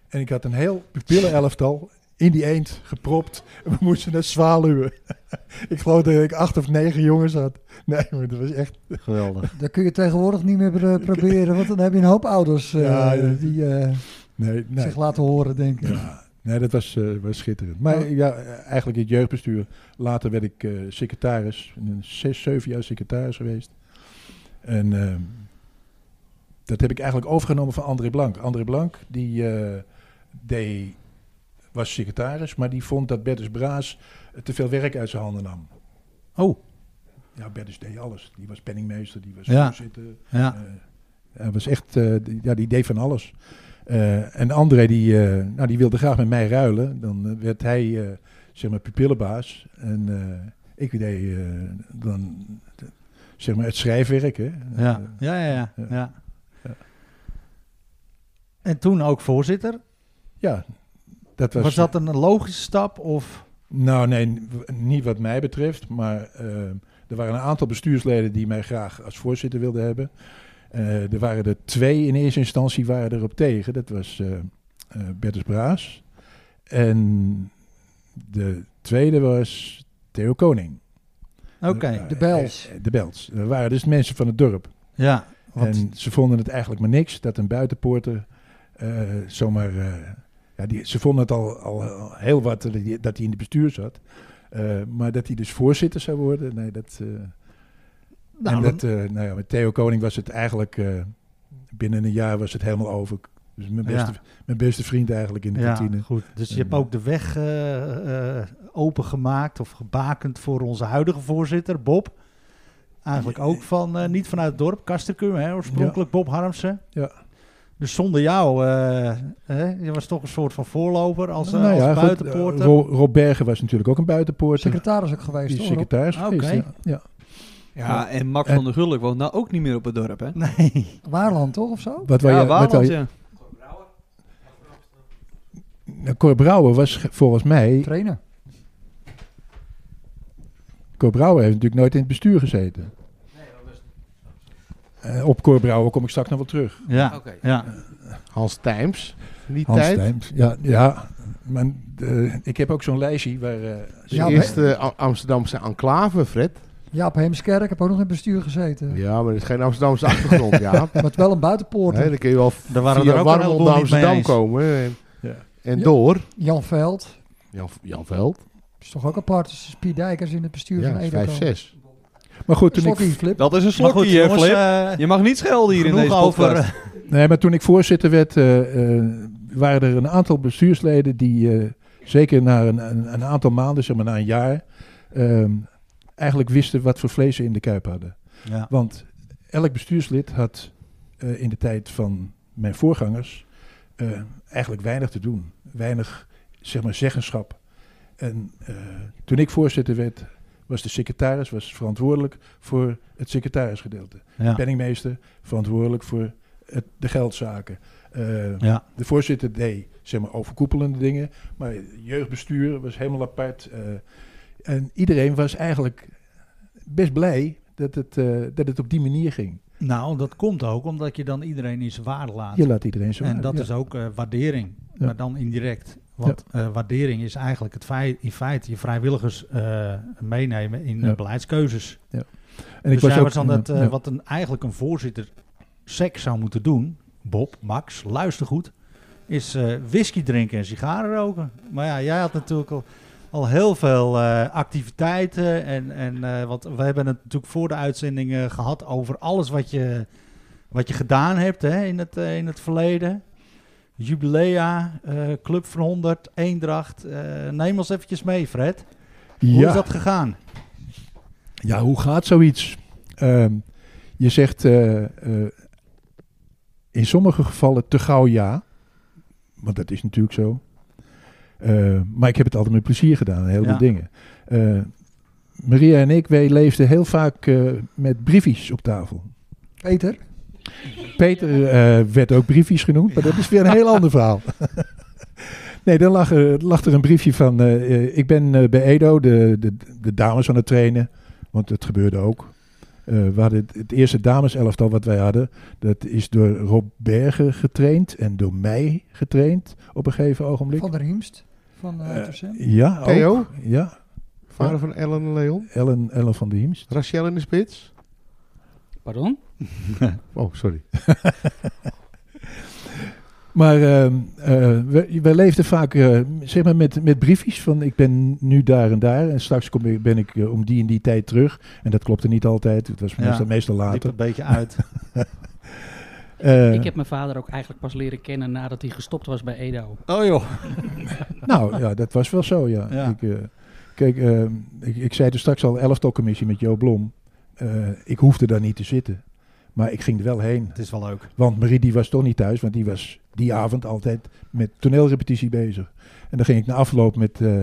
Speaker 3: en ik had een heel pupillenelftal in die eend gepropt. We moesten naar Zwaluwen. ik geloof dat ik acht of negen jongens had. Nee, maar dat was echt...
Speaker 4: Geweldig.
Speaker 5: Dat kun je tegenwoordig niet meer eh, proberen, want dan heb je een hoop ouders eh,
Speaker 3: Ja, ja.
Speaker 5: die eh,
Speaker 3: Nee, nee.
Speaker 5: zich laten horen, denk ik.
Speaker 3: Ja, nee, dat was, eh, was schitterend. Maar eh, ja, eh, eigenlijk het jeugdbestuur. Later werd ik eh, secretaris. Een zes, zeven jaar secretaris geweest. En eh, dat heb ik eigenlijk overgenomen van André Blank. André Blank die, eh, deed, was secretaris, maar die vond dat Bertus Braas te veel werk uit zijn handen nam.
Speaker 4: Oh.
Speaker 3: Ja, Bertus deed alles. Die was penningmeester, die was
Speaker 4: Ja.
Speaker 3: voorzitter.
Speaker 4: Ja.
Speaker 3: eh, hij was echt, eh, die- ja, die deed van alles. Eh, en André, die, eh, nou, die wilde graag met mij ruilen. Dan eh, werd hij, eh, zeg maar, pupillenbaas. En eh, ik deed eh, dan, eh, zeg maar, het schrijfwerk, hè. Eh,
Speaker 4: Ja. Ja, ja, ja, ja. En toen ook voorzitter.
Speaker 3: Ja, dat was...
Speaker 4: Was dat een logische stap of...
Speaker 3: Nou, nee, n- w- niet wat mij betreft. Maar eh, er waren een aantal bestuursleden die mij graag als voorzitter wilden hebben. Eh, er waren er twee in eerste instantie waren erop tegen. Dat was eh eh, Bertus Braas. En de tweede was Theo Koning.
Speaker 4: Oké, de Bels.
Speaker 3: Eh, eh, De Bels. Dat waren dus mensen van het dorp.
Speaker 4: Ja, want-
Speaker 3: En ze vonden het eigenlijk maar niks dat een buitenpoorter eh, zomaar... eh, ja, die, ze vonden het al, al al heel wat dat hij- dat hij in het bestuur zat. Eh, maar dat hij dus voorzitter zou worden, nee, dat... eh,
Speaker 4: Nou, dan-
Speaker 3: en dat, eh, nou ja, met Theo Koning was het eigenlijk... eh, binnen een jaar was het helemaal over. Dus mijn beste,
Speaker 4: Ja.
Speaker 3: mijn beste vriend eigenlijk in de
Speaker 4: ja,
Speaker 3: kantine.
Speaker 4: Goed. Dus je
Speaker 3: En,
Speaker 4: hebt ook de weg eh, eh, opengemaakt of gebakend voor onze huidige voorzitter, Bob. Eigenlijk ook van, eh, niet vanuit het dorp, Kasterkum, hè, oorspronkelijk Bob Harmsen.
Speaker 3: Ja.
Speaker 4: Dus zonder jou, eh, hè, je was toch een soort van voorloper als, eh,
Speaker 3: Nou ja,
Speaker 4: als
Speaker 3: goed,
Speaker 4: buitenpoorter.
Speaker 3: eh, Ro- Rob Bergen was natuurlijk ook een buitenpoorter.
Speaker 5: Secretaris ook geweest,
Speaker 3: Die is
Speaker 5: hoor, Rob.
Speaker 3: secretaris
Speaker 5: Ah,
Speaker 3: geweest,
Speaker 5: oké.
Speaker 3: ja. ja.
Speaker 6: Ja, en Max van der Gulik woont nou ook niet meer op het dorp, hè?
Speaker 4: Nee.
Speaker 5: Waarland toch of zo?
Speaker 3: Wat wou
Speaker 6: ja,
Speaker 3: je- wat
Speaker 6: Waarland,
Speaker 3: wou je-
Speaker 6: ja.
Speaker 3: Nou, Cor Brouwer was ge- volgens mij...
Speaker 5: Trainer.
Speaker 3: Cor Brouwer heeft natuurlijk nooit in het bestuur gezeten. Eh, op Cor Brouwer kom ik straks nog wel terug.
Speaker 4: Ja,
Speaker 9: Oké.
Speaker 4: ja.
Speaker 9: Hans Tijms. in Die
Speaker 3: Hans
Speaker 9: tijd.
Speaker 3: Tijms, ja. ja. Maar, eh, ik heb ook zo'n lijstje waar... eh,
Speaker 9: De eerste Am- Amsterdamse enclave, Fred.
Speaker 5: Jaap Heemskerk, heb ook nog in het bestuur gezeten.
Speaker 9: Ja, maar dat is geen Amsterdamse achtergrond, ja.
Speaker 5: Maar het wel een buitenpoort.
Speaker 9: Nee, dan kun je wel
Speaker 5: Daar waren
Speaker 9: via
Speaker 5: er ook een
Speaker 9: Warmond
Speaker 5: heleboel
Speaker 9: naar
Speaker 5: niet mee
Speaker 9: Amsterdam
Speaker 5: eens.
Speaker 9: komen. En,
Speaker 3: Ja.
Speaker 9: en door.
Speaker 5: Jan Veld.
Speaker 9: Jan, Jan Veld.
Speaker 5: Is toch ook apart? Dus Piet Dijkers in het bestuur
Speaker 9: Ja,
Speaker 5: van Edo.
Speaker 9: 5-6.
Speaker 3: Maar goed, toen
Speaker 5: Slokkie,
Speaker 3: ik...
Speaker 5: Flip.
Speaker 6: Dat is een slokkie,
Speaker 3: Maar goed,
Speaker 6: hè,
Speaker 3: jongens,
Speaker 6: Flip.
Speaker 3: eh,
Speaker 6: je mag niet schelden hier in
Speaker 3: genoeg
Speaker 6: deze
Speaker 3: over,
Speaker 6: podcast.
Speaker 3: Nee, maar toen ik voorzitter werd, eh, eh, waren er een aantal bestuursleden die eh, zeker na een, een, een aantal maanden, zeg maar na een jaar, ehm, eigenlijk wisten wat voor vlees ze in de kuip hadden.
Speaker 4: Ja.
Speaker 3: Want elk bestuurslid had eh, in de tijd van mijn voorgangers eh, eigenlijk weinig te doen. Weinig, zeg maar, zeggenschap. En eh, toen ik voorzitter werd, was de secretaris was verantwoordelijk voor het secretarisgedeelte.
Speaker 4: Ja.
Speaker 3: Penningmeester verantwoordelijk voor het, de geldzaken. Eh,
Speaker 4: Ja.
Speaker 3: De voorzitter deed zeg maar, overkoepelende dingen, maar jeugdbestuur was helemaal apart. eh, en iedereen was eigenlijk best blij dat het, eh, dat het op die manier ging.
Speaker 4: Nou, dat komt ook omdat je dan iedereen in zijn waarde laat.
Speaker 3: Je laat iedereen in zijn
Speaker 4: En
Speaker 3: waarde,
Speaker 4: dat
Speaker 3: ja.
Speaker 4: is ook eh, waardering,
Speaker 3: Ja.
Speaker 4: maar dan indirect. Want eh, waardering is eigenlijk het feit, in feite je vrijwilligers eh, meenemen in eh,
Speaker 3: Ja.
Speaker 4: beleidskeuzes.
Speaker 3: Ja. En
Speaker 4: En
Speaker 3: ik
Speaker 4: ik dus
Speaker 3: was
Speaker 4: jij
Speaker 3: ook-
Speaker 4: was dan dat,
Speaker 3: ja,
Speaker 4: eh,
Speaker 3: ja.
Speaker 4: wat een, eigenlijk een voorzitter seks zou moeten doen, Bob, Max, luister goed, is eh, whisky drinken en sigaren roken. Maar ja, jij had natuurlijk al, al heel veel eh, activiteiten. En, en eh, want we hebben het natuurlijk voor de uitzending eh, gehad over alles wat je, wat je gedaan hebt hè, in, het, eh, in het verleden. Jubilea, eh, Club van 100, Eendracht. eh, neem ons eventjes mee, Fred. Hoe
Speaker 3: Ja.
Speaker 4: is dat gegaan?
Speaker 3: Ja, hoe gaat zoiets? Ehm, je zegt eh, eh, in sommige gevallen te gauw ja. Want dat is natuurlijk zo. Eh, maar ik heb het altijd met plezier gedaan, een heleboel
Speaker 4: Ja.
Speaker 3: dingen. Eh, Maria en ik, wij leefden heel vaak eh, met briefjes op tafel.
Speaker 5: Peter?
Speaker 3: Peter eh, werd ook briefjes genoemd, maar dat is weer een heel ander verhaal. nee, dan lag er, lag er een briefje van... eh, eh, ik ben eh, bij Edo de, de, de dames aan het trainen, want het gebeurde ook. Eh, we hadden het, het eerste dameselftal wat wij hadden, dat is door Rob Bergen getraind en door mij getraind op een gegeven ogenblik.
Speaker 5: Van der Hiemst. Van eh Toussaint.
Speaker 3: Ja,
Speaker 9: Theo?
Speaker 3: ook. Ja.
Speaker 9: Vader
Speaker 3: Ja.
Speaker 9: van Ellen en Leon.
Speaker 3: Ellen, Ellen van de Hiemst.
Speaker 9: Rachel in de spits.
Speaker 11: Pardon?
Speaker 9: oh, sorry.
Speaker 3: Maar ehm, eh, we, we leefden vaak eh, zeg maar met, met briefjes van ik ben nu daar en daar en straks kom ik, ben ik eh, om die en die tijd terug. En dat klopte niet altijd, het was meestal, meestal
Speaker 4: liep
Speaker 3: later.
Speaker 4: een beetje uit.
Speaker 3: Eh,
Speaker 11: ik heb mijn vader ook eigenlijk pas leren kennen nadat hij gestopt was bij Edo.
Speaker 4: Oh joh.
Speaker 3: Nou ja, dat was wel zo, ja.
Speaker 11: Ja.
Speaker 3: Ik, eh, kijk, eh, ik, ik zei dus straks al, elftalcommissie met Jo Blom. Eh, ik hoefde daar niet te zitten. Maar ik ging er wel heen. Het
Speaker 4: is wel leuk.
Speaker 3: Want Marie die was toch niet thuis, want die was die avond altijd met toneelrepetitie bezig. En dan ging ik na afloop met, eh,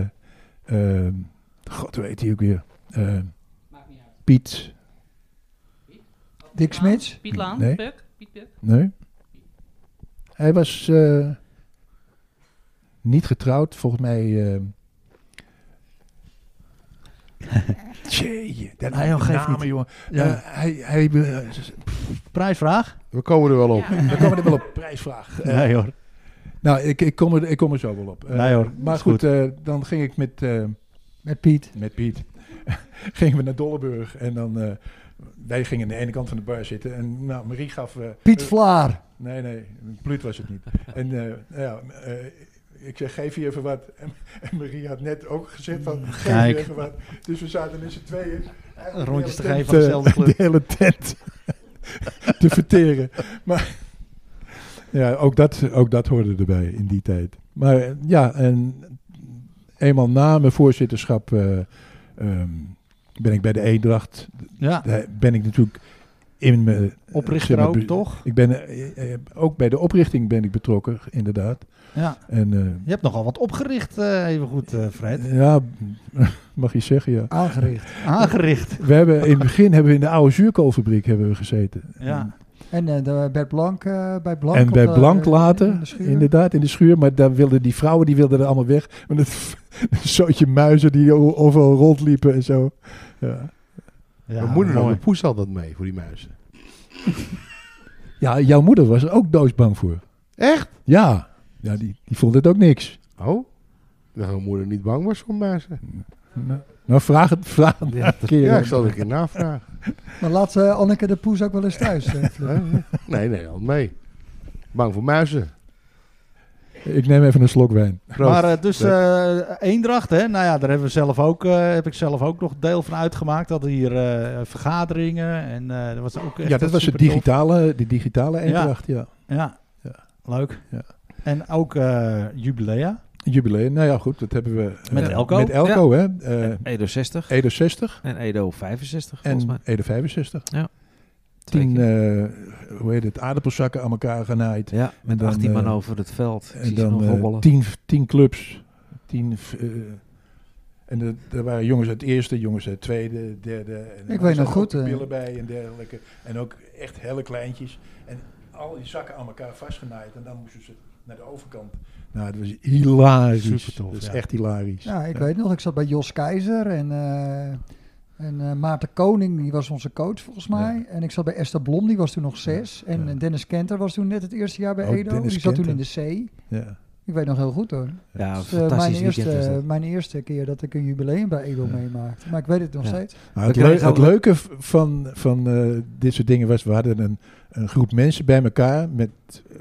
Speaker 3: eh, god hoe heet hij ook weer? Eh, Piet.
Speaker 5: Dick Smits?
Speaker 11: Piet Laan?
Speaker 3: Nee.
Speaker 11: Puk? Piet Puk?
Speaker 3: Nee. Hij was eh, niet getrouwd, volgens mij. eh, Tjee, dat
Speaker 4: Ah, joh,
Speaker 3: de
Speaker 4: geeft
Speaker 3: namen,
Speaker 4: Ah, niet.
Speaker 3: jongen.
Speaker 4: Ja.
Speaker 3: Eh, hij, hij, eh,
Speaker 4: Prijsvraag?
Speaker 9: We komen er wel op.
Speaker 3: We komen er wel op. Prijsvraag. Eh,
Speaker 4: Nee hoor.
Speaker 3: Nou, ik, ik, kom, er, ik kom er zo wel op. Eh,
Speaker 4: Nee hoor,
Speaker 3: Maar
Speaker 4: is
Speaker 3: goed,
Speaker 4: goed.
Speaker 3: eh, dan ging ik met... eh,
Speaker 5: met Piet.
Speaker 3: Met Piet. gingen we naar Dolleburg en dan... eh, wij gingen aan de ene kant van de bar zitten en nou, Marie gaf... eh,
Speaker 5: Piet
Speaker 3: eh,
Speaker 5: Vlaar.
Speaker 3: Nee, nee, Pluut was het niet. en eh, nou ja, eh, ik zeg, geef je even wat. En, en Marie had net ook gezegd van, geef je
Speaker 4: Mm, Kijk.
Speaker 3: even wat. Dus we zaten met z'n tweeën... eigenlijk
Speaker 4: Rondjes
Speaker 3: de
Speaker 4: te
Speaker 3: hele
Speaker 4: geven aan
Speaker 3: tent,
Speaker 4: dezelfde
Speaker 3: eh,
Speaker 4: club.
Speaker 3: De hele tent te verteren. Maar ja, ook dat, ook dat hoorde erbij in die tijd. Maar eh, ja, en eenmaal na mijn voorzitterschap eh, ehm, ben ik bij de Eendracht.
Speaker 4: Ja.
Speaker 3: Daar ben ik natuurlijk in mijn... eh,
Speaker 4: Oprichter
Speaker 3: zeg maar,
Speaker 4: ook,
Speaker 3: be-
Speaker 4: toch?
Speaker 3: Ik ben, eh, eh, ook bij de oprichting ben ik betrokken, inderdaad.
Speaker 4: Ja.
Speaker 3: En, eh,
Speaker 4: Je hebt nogal wat opgericht, eh even goed, eh, Fred.
Speaker 3: ja, mag je zeggen, ja.
Speaker 5: Aangericht.
Speaker 4: Aangericht.
Speaker 3: We hebben, in het begin hebben we in de oude zuurkoolfabriek hebben we gezeten.
Speaker 4: Ja.
Speaker 5: En eh, de, bij Blank, eh, bij Blank.
Speaker 3: en
Speaker 5: op
Speaker 3: bij
Speaker 5: de-
Speaker 3: Blank
Speaker 5: in-
Speaker 3: later,
Speaker 5: in de schuur.
Speaker 3: inderdaad, in de schuur. Maar daar wilden die vrouwen, die wilden er allemaal weg. Want het een zootje muizen die o- overal rondliepen en zo. Ja,
Speaker 9: Mijn moeder nam
Speaker 3: mooi.
Speaker 9: de poes altijd mee voor die muizen.
Speaker 3: ja jouw moeder was er ook doodsbang voor.
Speaker 9: Echt?
Speaker 3: Ja, ja die, die vond het ook niks.
Speaker 9: Oh? Ik dacht dat mijn moeder niet bang was voor muizen.
Speaker 3: Nou, vraag het, vraag het maar een keer.
Speaker 9: Ja, ik zal het een keer navragen.
Speaker 5: Maar laat eh, Anneke de Poes ook wel eens thuis. eh, Fleur.
Speaker 9: Nee, nee, al mee. Bang voor muizen.
Speaker 3: Ik neem even een slok wijn.
Speaker 4: Maar eh, dus eh, Eendracht, hè? nou ja, daar hebben we zelf ook, eh, heb ik zelf ook nog deel van uitgemaakt. Dat hier eh, vergaderingen en eh dat was ook echt
Speaker 3: ja, dat was de
Speaker 4: supertof.
Speaker 3: digitale, de digitale eendracht, ja.
Speaker 4: Ja. leuk.
Speaker 3: Ja.
Speaker 4: En ook eh, jubilea.
Speaker 3: Jubileum, nou ja, goed, dat hebben we. eh,
Speaker 4: Met Elko.
Speaker 3: Met Elko,
Speaker 4: Ja.
Speaker 3: hè? eh,
Speaker 4: En Edo 60.
Speaker 3: Edo 60.
Speaker 13: En Edo 65,
Speaker 3: En
Speaker 13: volgens mij.
Speaker 3: Edo 65.
Speaker 13: Ja.
Speaker 3: Tien, eh, hoe heet het, aardappelzakken aan elkaar genaaid.
Speaker 13: Ja, met
Speaker 3: En dan,
Speaker 13: 18 man
Speaker 3: eh,
Speaker 13: over het veld. Ik
Speaker 3: En
Speaker 13: zie ze nog
Speaker 3: dan eh,
Speaker 13: hobbelen.
Speaker 3: tien, tien clubs. Tien, eh, en er- er waren jongens uit het eerste, jongens uit het tweede, derde. En er
Speaker 5: weet
Speaker 3: zaten
Speaker 5: nog
Speaker 3: ook
Speaker 5: goed,
Speaker 3: de
Speaker 5: eh.
Speaker 3: Billen bij en dergelijke. En ook echt hele kleintjes. En al die zakken aan elkaar vastgenaaid. En dan moesten ze naar de overkant. Nou, dat was hilarisch.
Speaker 4: Supertof,
Speaker 3: dat is
Speaker 4: ja.
Speaker 3: echt hilarisch.
Speaker 5: Ja, ik weet nog, ik zat bij Jos Keizer en, eh, en eh, Maarten Koning, die was onze coach volgens mij. En ik zat bij Esther Blom, die was toen nog zes. En eh, Dennis Kenter was toen net het eerste jaar bij
Speaker 3: Oh,
Speaker 5: Edo.
Speaker 3: Dennis
Speaker 5: die zat
Speaker 3: Kenter.
Speaker 5: toen in de C.
Speaker 3: Ja.
Speaker 5: Ik weet nog heel goed hoor.
Speaker 13: Ja,
Speaker 5: Dat is, eh, mijn,
Speaker 13: fantastisch
Speaker 5: eerste,
Speaker 13: weekend was dat.
Speaker 5: mijn eerste keer dat ik een jubileum bij Edo meemaakte. Maar ik weet het nog
Speaker 13: Ja.
Speaker 5: steeds.
Speaker 3: Nou, het,
Speaker 13: We kregen
Speaker 3: leu- het
Speaker 13: al-
Speaker 3: leuke v- van, van eh, dit soort dingen was, we hadden een, een groep mensen bij elkaar met,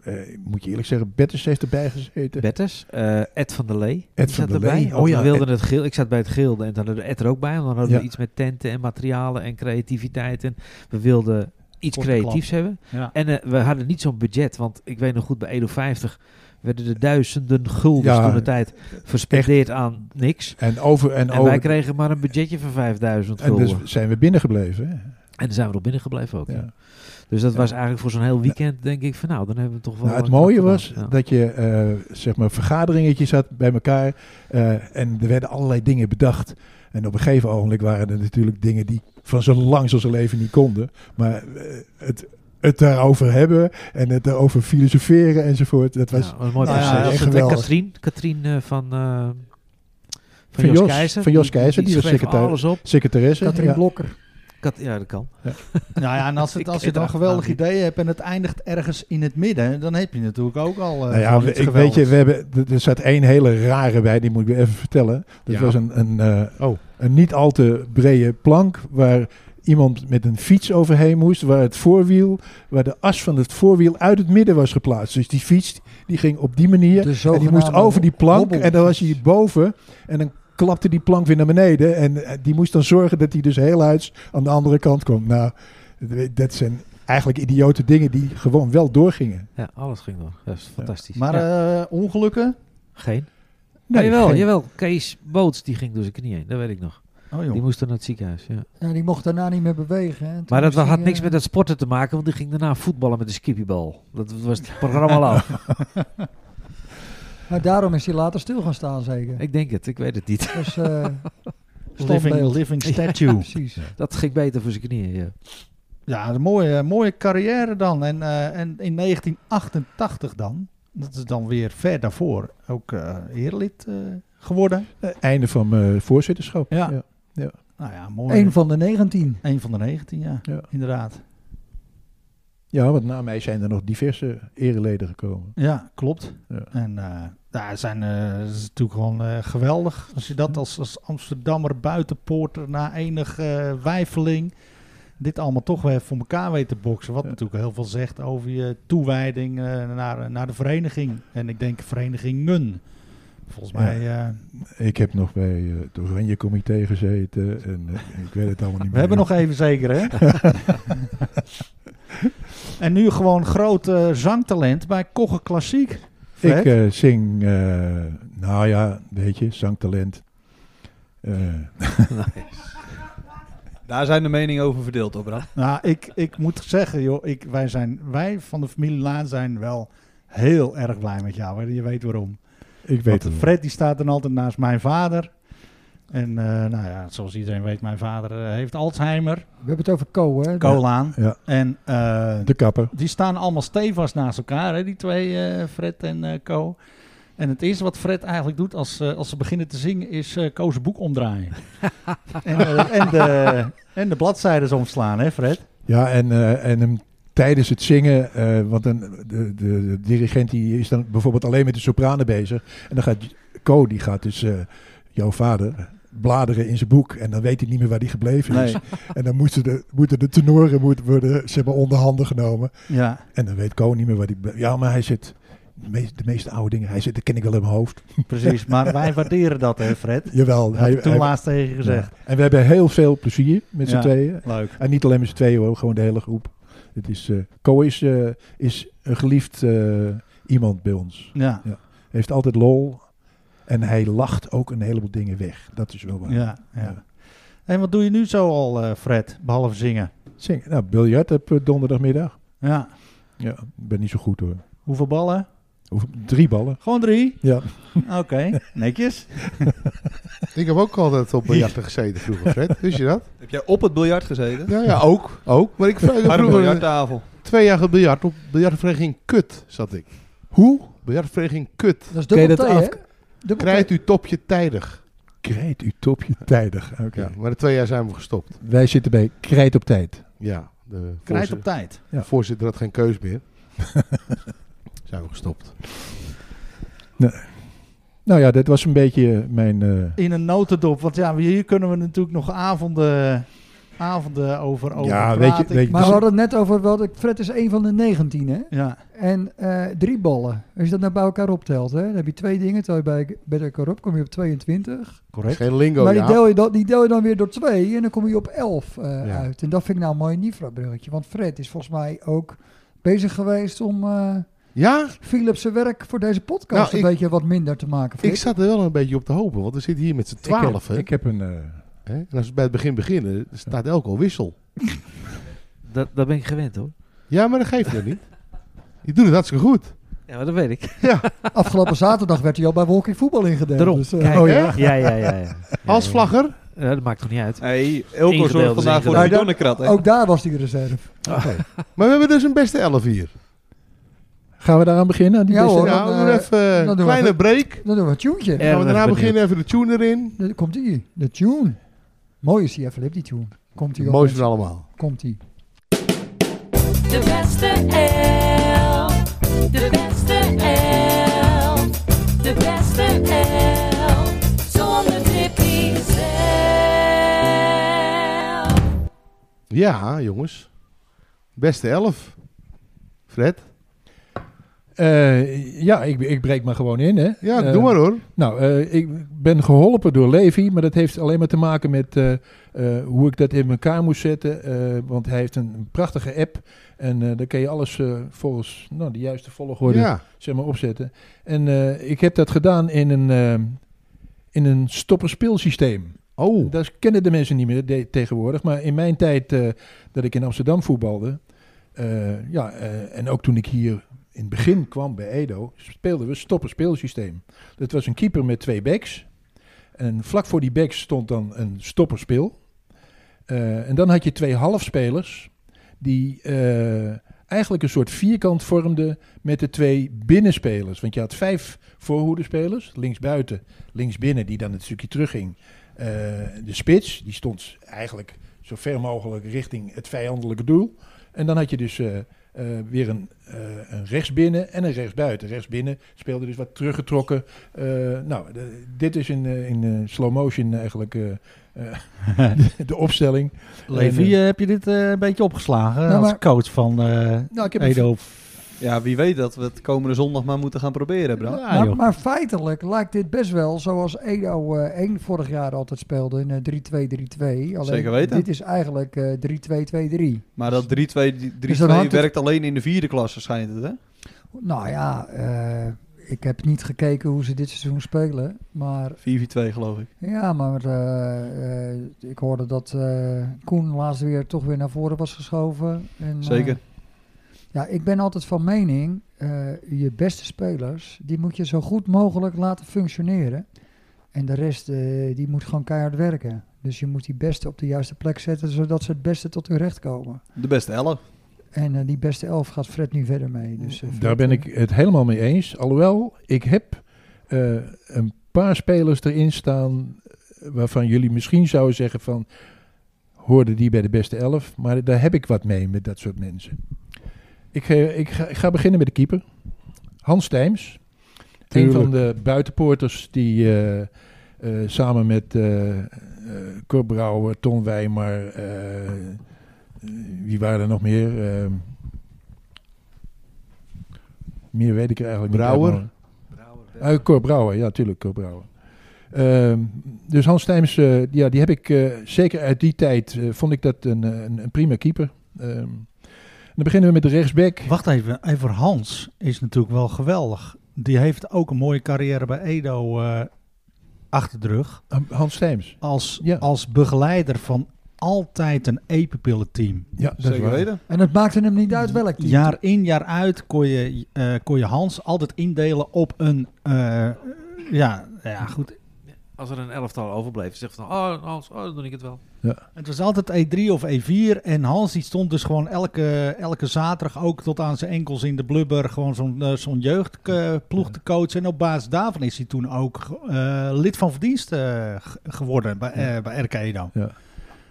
Speaker 3: eh, ik moet je eerlijk zeggen, Betters heeft erbij gezeten.
Speaker 13: Betters, eh, Ed van der Lee.
Speaker 3: Ed
Speaker 13: die
Speaker 3: van
Speaker 13: zat
Speaker 3: der Lee,
Speaker 13: erbij.
Speaker 3: oh
Speaker 13: want
Speaker 3: ja,
Speaker 13: We wilden
Speaker 3: Ed.
Speaker 13: het geel. Ik zat bij het gilde en dan hadden we Ed er ook bij. Want dan hadden
Speaker 3: Ja.
Speaker 13: we iets met tenten en materialen en creativiteit. En we wilden iets
Speaker 4: Korte
Speaker 13: creatiefs
Speaker 4: klap.
Speaker 13: hebben.
Speaker 4: Ja.
Speaker 13: En eh, we hadden niet zo'n budget. Want ik weet nog goed, bij Edo 50 werden de duizenden guldens
Speaker 3: Ja,
Speaker 13: toen de tijd verspendeerd aan niks.
Speaker 3: En over- en over-
Speaker 13: wij kregen maar een budgetje van 5000
Speaker 3: En
Speaker 13: gulden.
Speaker 3: dus zijn we binnengebleven. hè.
Speaker 13: En dan zijn we nog binnen gebleven ook.
Speaker 3: Ja.
Speaker 13: Ja. Dus dat
Speaker 3: Ja.
Speaker 13: was eigenlijk voor zo'n heel weekend, denk ik, van nou, dan hebben we toch wel...
Speaker 3: Nou, het
Speaker 13: wat
Speaker 3: mooie
Speaker 13: gedaan.
Speaker 3: was
Speaker 13: Ja.
Speaker 3: dat je eh, zeg maar vergaderingetjes had bij elkaar eh, en er werden allerlei dingen bedacht. En op een gegeven ogenblik waren er natuurlijk dingen die van zo lang als zijn leven niet konden. Maar eh, het, het daarover hebben en het daarover filosoferen enzovoort, dat was,
Speaker 13: Ja, wat een mooi
Speaker 3: nou ja,
Speaker 13: proces.
Speaker 3: echt
Speaker 13: Als het-
Speaker 3: geweldig.
Speaker 13: Katrien, Katrien eh, van, eh, van,
Speaker 3: Van
Speaker 13: Jos,
Speaker 3: Jos-
Speaker 13: Keizer.
Speaker 3: van Jos Keizer, die was
Speaker 13: schreef
Speaker 3: secretar-
Speaker 13: alles op.
Speaker 3: secretaresse, Katrien ja.
Speaker 5: Blokker.
Speaker 13: Kat, ja, dat kan.
Speaker 4: Nou ja, en als, het,
Speaker 13: Ik
Speaker 4: als je
Speaker 13: ken
Speaker 4: dan
Speaker 13: haar
Speaker 4: geweldig
Speaker 3: nou,
Speaker 13: naam niet.
Speaker 4: idee hebt en het eindigt ergens in het midden, dan heb je natuurlijk ook al. eh,
Speaker 3: Nou ja,
Speaker 4: gewoon
Speaker 3: we-
Speaker 4: iets
Speaker 3: ik weet
Speaker 4: geweldigs.
Speaker 3: je, we hebben, er- er zat één hele rare bij, die moet ik weer even vertellen.
Speaker 4: Ja.
Speaker 3: Dat
Speaker 4: Oh.
Speaker 3: was een, een, eh, een niet al te brede plank waar iemand met een fiets overheen moest, waar het voorwiel, waar de as van het voorwiel uit het midden was geplaatst. Dus die fiets, die ging op die manier en die moest
Speaker 5: zogenaamde
Speaker 3: over die plank
Speaker 5: hobbel.
Speaker 3: en dan was hij boven en dan klapte die plank weer naar beneden en eh, die moest dan zorgen dat hij dus heel uit aan de andere kant kwam. Nou, dat zijn eigenlijk idiote dingen die gewoon wel doorgingen.
Speaker 13: Ja, alles ging door. Dat is fantastisch.
Speaker 4: Maar
Speaker 13: Ja.
Speaker 4: eh, ongelukken?
Speaker 13: geen.
Speaker 4: Nee,
Speaker 13: Nee, jawel,
Speaker 4: geen.
Speaker 13: jawel. Kees Boots, die ging door zijn knie heen. Dat weet ik nog.
Speaker 4: Oh, joh.
Speaker 13: die moest toen naar het ziekenhuis, ja.
Speaker 5: Ja, die mocht daarna niet meer bewegen. hè. Toen
Speaker 13: Maar dat
Speaker 5: moest
Speaker 13: had
Speaker 5: die,
Speaker 13: niks
Speaker 5: eh,
Speaker 13: met dat sporten te maken, want die ging daarna voetballen met de skippiebal. Dat was het programma al af.
Speaker 5: Maar daarom is hij later stil gaan staan zeker.
Speaker 13: Ik denk het, ik weet het niet.
Speaker 5: Dus, eh,
Speaker 4: Living,
Speaker 5: standbeeld.
Speaker 4: living statue.
Speaker 13: Ja, Dat ging beter voor zijn knieën, ja.
Speaker 4: Ja, een mooie, mooie carrière dan. En, eh, en in 1988 dan, dat is dan weer ver daarvoor, ook eh eerlid eh, geworden.
Speaker 3: Eh, Einde van mijn voorzitterschap.
Speaker 4: Ja.
Speaker 3: ja.
Speaker 4: Nou ja, mooi.
Speaker 5: Eén van de 19.
Speaker 4: Eén van de 19, ja.
Speaker 3: Ja.
Speaker 4: Inderdaad.
Speaker 3: Ja, want na mij zijn er nog diverse ereleden gekomen.
Speaker 4: Ja, klopt. En eh daar zijn eh, dat is natuurlijk gewoon eh, geweldig. Als je dat als, als Amsterdammer buitenpoorter na enig eh wijfeling dit allemaal toch weer voor elkaar weet te boksen. Wat natuurlijk heel veel zegt over je toewijding eh, naar, naar de vereniging. En ik denk verenigingen. Volgens mij... eh,
Speaker 3: Ik heb nog bij eh, het Oranje Comité gezeten en eh, ik weet het allemaal niet meer.
Speaker 4: We hebben nog even zeker, hè? en nu gewoon groot eh, zangtalent bij Kogge Klassiek.
Speaker 3: Ik
Speaker 4: Fred.
Speaker 3: eh, zing, eh, nou ja, weet je, zangtalent. Eh
Speaker 6: Daar zijn de meningen over verdeeld, hoor, Bram.
Speaker 4: Nou, ik, ik moet zeggen, joh, ik, wij, zijn, wij van de familie Laan zijn wel heel erg blij met jou. Hè? Je weet waarom.
Speaker 3: Ik weet
Speaker 4: Want
Speaker 3: waarom.
Speaker 4: Fred die staat dan altijd naast mijn vader. En eh, nou ja, zoals iedereen weet, mijn vader eh, heeft Alzheimer.
Speaker 5: We hebben het over Co, hè?
Speaker 4: Kolaan.
Speaker 3: Ja.
Speaker 4: En, eh,
Speaker 3: de kapper.
Speaker 4: Die staan allemaal stevast naast elkaar, hè, die twee, eh, Fred en eh, Co. En het eerste wat Fred eigenlijk doet als, eh, als ze beginnen te zingen, is eh Ko's boek omdraaien. en, eh, en, de, en de bladzijdes omslaan, hè Fred?
Speaker 3: Ja, en, eh, en hem tijdens het zingen, eh, want dan, de, de, de dirigent die is dan bijvoorbeeld alleen met de sopranen bezig. En dan gaat Co, die gaat dus, eh, jouw vader, bladeren in zijn boek. En dan weet hij niet meer waar hij gebleven is.
Speaker 4: Nee.
Speaker 3: En dan moeten de, moeten de tenoren moeten worden zeg maar, onder handen genomen.
Speaker 4: Ja.
Speaker 3: En dan weet Co niet meer waar hij... ble- Ja, maar hij zit... De meeste, de meeste oude dingen, hij zit, dat ken ik wel in mijn hoofd.
Speaker 4: Precies, maar wij waarderen dat, hè, Fred?
Speaker 3: Jawel.
Speaker 4: Had ik toen laatst tegen je gezegd.
Speaker 3: Ja. En we hebben heel veel plezier met z'n
Speaker 4: Ja,
Speaker 3: tweeën.
Speaker 4: leuk.
Speaker 3: En niet alleen met z'n tweeën hoor, gewoon de hele groep. Het is, eh, Co is, eh, is een geliefd eh, iemand bij ons.
Speaker 4: Ja.
Speaker 3: Heeft altijd lol. En hij lacht ook een heleboel dingen weg. Dat is wel waar.
Speaker 4: Ja, ja. En wat doe je nu zo al, eh, Fred, behalve zingen?
Speaker 3: Zing. Nou, biljart op eh, donderdagmiddag.
Speaker 4: Ja.
Speaker 3: Ja, ik ben niet zo goed hoor.
Speaker 4: Hoeveel ballen?
Speaker 3: Hoeveel- Drie ballen.
Speaker 4: Gewoon drie?
Speaker 3: Ja.
Speaker 4: Oké, netjes.
Speaker 9: Ik heb ook altijd op biljarten gezeten vroeger, Fred. Wist je dat?
Speaker 6: Heb jij op het biljart gezeten?
Speaker 9: Ja, ja ook. ook. Maar ik
Speaker 6: Harde
Speaker 9: vroeger-
Speaker 6: biljarttafel.
Speaker 9: Twee jaar gebiljart. Op biljartvereniging Kut zat ik.
Speaker 3: Hoe?
Speaker 9: Biljartvereniging Kut.
Speaker 5: Dat is
Speaker 3: dubbel T, hè?
Speaker 9: Krijgt u topje tijdig.
Speaker 3: Krijt uw topje tijdig. Oké.
Speaker 9: Ja, maar de twee jaar zijn we gestopt.
Speaker 3: Wij zitten bij Krijt op tijd.
Speaker 9: Ja. De
Speaker 4: Krijt
Speaker 9: voorzi-
Speaker 4: op tijd.
Speaker 9: De voorzitter had geen keus meer. zijn we gestopt.
Speaker 3: Nee. Nou ja, dat was een beetje eh, mijn... eh,
Speaker 4: In een notendop, want ja, hier kunnen we natuurlijk nog avonden, avonden over, over
Speaker 3: Ja,
Speaker 4: praten.
Speaker 3: weet je- weet je- dus-
Speaker 5: Maar we hadden het net over, wel, dat Fred is een van de 19, hè?
Speaker 4: Ja.
Speaker 5: En eh, drie ballen. Als je dat nou bij elkaar optelt, hè, dan heb je twee dingen. Terwijl je bij, bij elkaar op kom je op 22.
Speaker 4: Correct.
Speaker 9: Geen lingo,
Speaker 5: maar die,
Speaker 9: ja.
Speaker 5: deel je dan, die deel je dan weer door twee en dan kom je op 11 eh,
Speaker 9: Ja.
Speaker 5: uit. En dat vind ik nou een mooi Nifra-bruggetje. Want Fred is volgens mij ook bezig geweest om eh
Speaker 9: ja?
Speaker 5: Philips' werk voor deze podcast
Speaker 9: Nou,
Speaker 5: een
Speaker 9: ik-
Speaker 5: beetje wat minder te maken. Fred.
Speaker 9: Ik zat er wel een beetje op te hopen, want we zitten hier met z'n
Speaker 5: heb-
Speaker 9: twaalf.
Speaker 3: ik heb een... eh,
Speaker 9: Hè? En als we bij het begin beginnen, staat elk al wissel.
Speaker 13: Dat, dat ben ik gewend hoor.
Speaker 9: Ja, maar dat geeft het niet. Je doet het hartstikke goed.
Speaker 13: Ja, maar dat weet ik.
Speaker 9: Ja.
Speaker 5: Afgelopen zaterdag werd hij al bij Walking Voetbal ingedeeld.
Speaker 13: Daarom.
Speaker 5: Dus, eh,
Speaker 13: Kijk, hè? ja. Ja, ja, ja,
Speaker 9: Als vlagger?
Speaker 13: Ja, Eh, dat maakt toch niet uit.
Speaker 6: Hey,
Speaker 13: Elko
Speaker 6: zorgt vandaag voor de
Speaker 5: Nou,
Speaker 6: bidonnenkrant.
Speaker 5: dat-
Speaker 6: hè?
Speaker 5: ook daar was hij de
Speaker 9: eh,
Speaker 5: reserve.
Speaker 9: Oké. maar we hebben dus een beste elf hier.
Speaker 3: Gaan we daaraan beginnen? aan die
Speaker 5: Ja
Speaker 3: beste-
Speaker 5: hoor,
Speaker 9: Nou, we doen
Speaker 5: eh,
Speaker 9: even
Speaker 5: dan
Speaker 9: een
Speaker 5: doen we
Speaker 9: kleine
Speaker 5: even-
Speaker 9: break.
Speaker 5: Dan doen we een tuentje.
Speaker 9: Gaan we daarna beginnen, even de tune erin.
Speaker 5: Dan komt ie, de tune. Mooi is die, Flip, die tune. Komt die
Speaker 9: Het mooiste van allemaal.
Speaker 5: Komt die.
Speaker 15: De beste elf. De beste elf. De beste elf. Zonder Tippy zelf.
Speaker 9: Ja, jongens. Beste elf. Fred?
Speaker 3: Eh, ja, ik, ik breek maar gewoon in, hè?
Speaker 9: Ja,
Speaker 3: Eh,
Speaker 9: doe maar, hoor.
Speaker 3: Nou, eh, ik ben geholpen door Levi, maar dat heeft alleen maar te maken met eh, eh, hoe ik dat in elkaar moest zetten. eh, want hij heeft een, een prachtige app en eh daar kun je alles eh, volgens nou, de juiste volgorde
Speaker 9: Ja.
Speaker 3: zeg maar, opzetten. En eh, ik heb dat gedaan in een, eh, in een stopperspeelsysteem.
Speaker 9: Oh.
Speaker 3: Dat kennen de mensen niet meer de- tegenwoordig. Maar in mijn tijd eh, dat ik in Amsterdam voetbalde. eh, ja, eh, en ook toen ik hier in het begin kwam bij Edo. speelden we stopperspeelsysteem. Dat was een keeper met twee backs. En vlak voor die backs stond dan een stopperspeel. Eh, en dan had je twee halfspelers. die eh, eigenlijk een soort vierkant vormden. met de twee binnenspelers. Want je had vijf voorhoedenspelers. linksbuiten, linksbinnen, die dan het stukje terugging. Eh, de spits, die stond eigenlijk zo ver mogelijk richting het vijandelijke doel. En dan had je dus eh, eh, weer een, eh een rechtsbinnen en een rechtsbuiten. Rechtsbinnen speelde dus wat teruggetrokken. Eh, nou, de- dit is in, eh, in eh, slow motion eigenlijk eh, eh, de opstelling.
Speaker 4: Levi,
Speaker 3: En, eh,
Speaker 4: eh, heb je dit eh, een beetje opgeslagen
Speaker 3: Nou,
Speaker 4: als
Speaker 3: maar-
Speaker 4: coach van eh
Speaker 3: Nou, ik heb
Speaker 4: Edo?
Speaker 6: Ja, wie weet dat we het komende zondag maar moeten gaan proberen, Bram.
Speaker 4: joh.
Speaker 5: maar, maar feitelijk lijkt dit best wel zoals Edo eh 1 vorig jaar altijd speelde in eh, 3-2-3-2. Alleen
Speaker 6: Zeker weten.
Speaker 5: Dit is eigenlijk eh 3-2-2-3.
Speaker 6: Maar dat 3-2 die- 3-2
Speaker 5: Dus dan hangt het-
Speaker 6: werkt alleen in de vierde klasse, schijnt het, hè?
Speaker 5: Nou ja, eh, ik heb niet gekeken hoe ze dit seizoen spelen. Maar
Speaker 6: 4-4-2, geloof ik.
Speaker 5: ja, maar eh, eh, ik hoorde dat eh, Koen laatst weer toch weer naar voren was geschoven. En, eh,
Speaker 6: Zeker.
Speaker 5: ja, ik ben altijd van mening, eh, je beste spelers, die moet je zo goed mogelijk laten functioneren. En de rest, eh, die moet gewoon keihard werken. Dus je moet die beste op de juiste plek zetten, zodat ze het beste tot hun recht komen.
Speaker 6: De beste elf.
Speaker 5: En eh, die beste elf gaat Fred nu verder mee. Dus, eh,
Speaker 3: Daar
Speaker 5: Fred,
Speaker 3: ben
Speaker 5: eh,
Speaker 3: ik het helemaal mee eens. Alhoewel, ik heb eh, een paar spelers erin staan eh, waarvan jullie misschien zouden zeggen van hoorden die bij de beste elf, maar daar heb ik wat mee met dat soort mensen. Ik, eh, ik, ga, ik ga beginnen met de keeper. Hans Tijms. Een
Speaker 9: Tuurlijk.
Speaker 3: van de buitenpoorters die eh, eh, samen met eh eh Cor Brouwer, Ton Wijmer, eh, eh, wie waren er nog meer? Ehm, meer weet ik er eigenlijk
Speaker 9: Brouwer?
Speaker 3: niet. uit, maar- Eh, Cor Brouwer, ja, tuurlijk, Cor Brouwer. Ehm, dus Hans Tijms, eh, ja, die heb ik eh, zeker uit die tijd, eh, vond ik dat een, eh, een, een prima keeper. Ehm, dan beginnen we met de rechtsback.
Speaker 4: Wacht even, even Hans is natuurlijk wel geweldig. Die heeft ook een mooie carrière bij Edo eh, achter de rug.
Speaker 5: Ehm,
Speaker 3: Hans Steems.
Speaker 4: Als, als begeleider van altijd een epipillenteam.
Speaker 3: Ja,
Speaker 5: dat is Zeker waar. weten. En het maakte hem niet uit welk team.
Speaker 4: Jaar in, jaar uit kon je, eh, kon je Hans altijd indelen op een... eh, ja, ja, goed.
Speaker 13: Als er een elftal overbleef, zegt van, oh, Hans, oh, dan doe ik het wel.
Speaker 4: Het was altijd E3 of E4 en Hans die stond dus gewoon elke, elke zaterdag ook tot aan zijn enkels in de blubber gewoon zo'n eh, zo'n jeugdploeg te coachen. En op basis daarvan is hij toen ook eh, lid van verdienst eh, g- geworden bij, eh, bij RK Edo.
Speaker 3: Ja.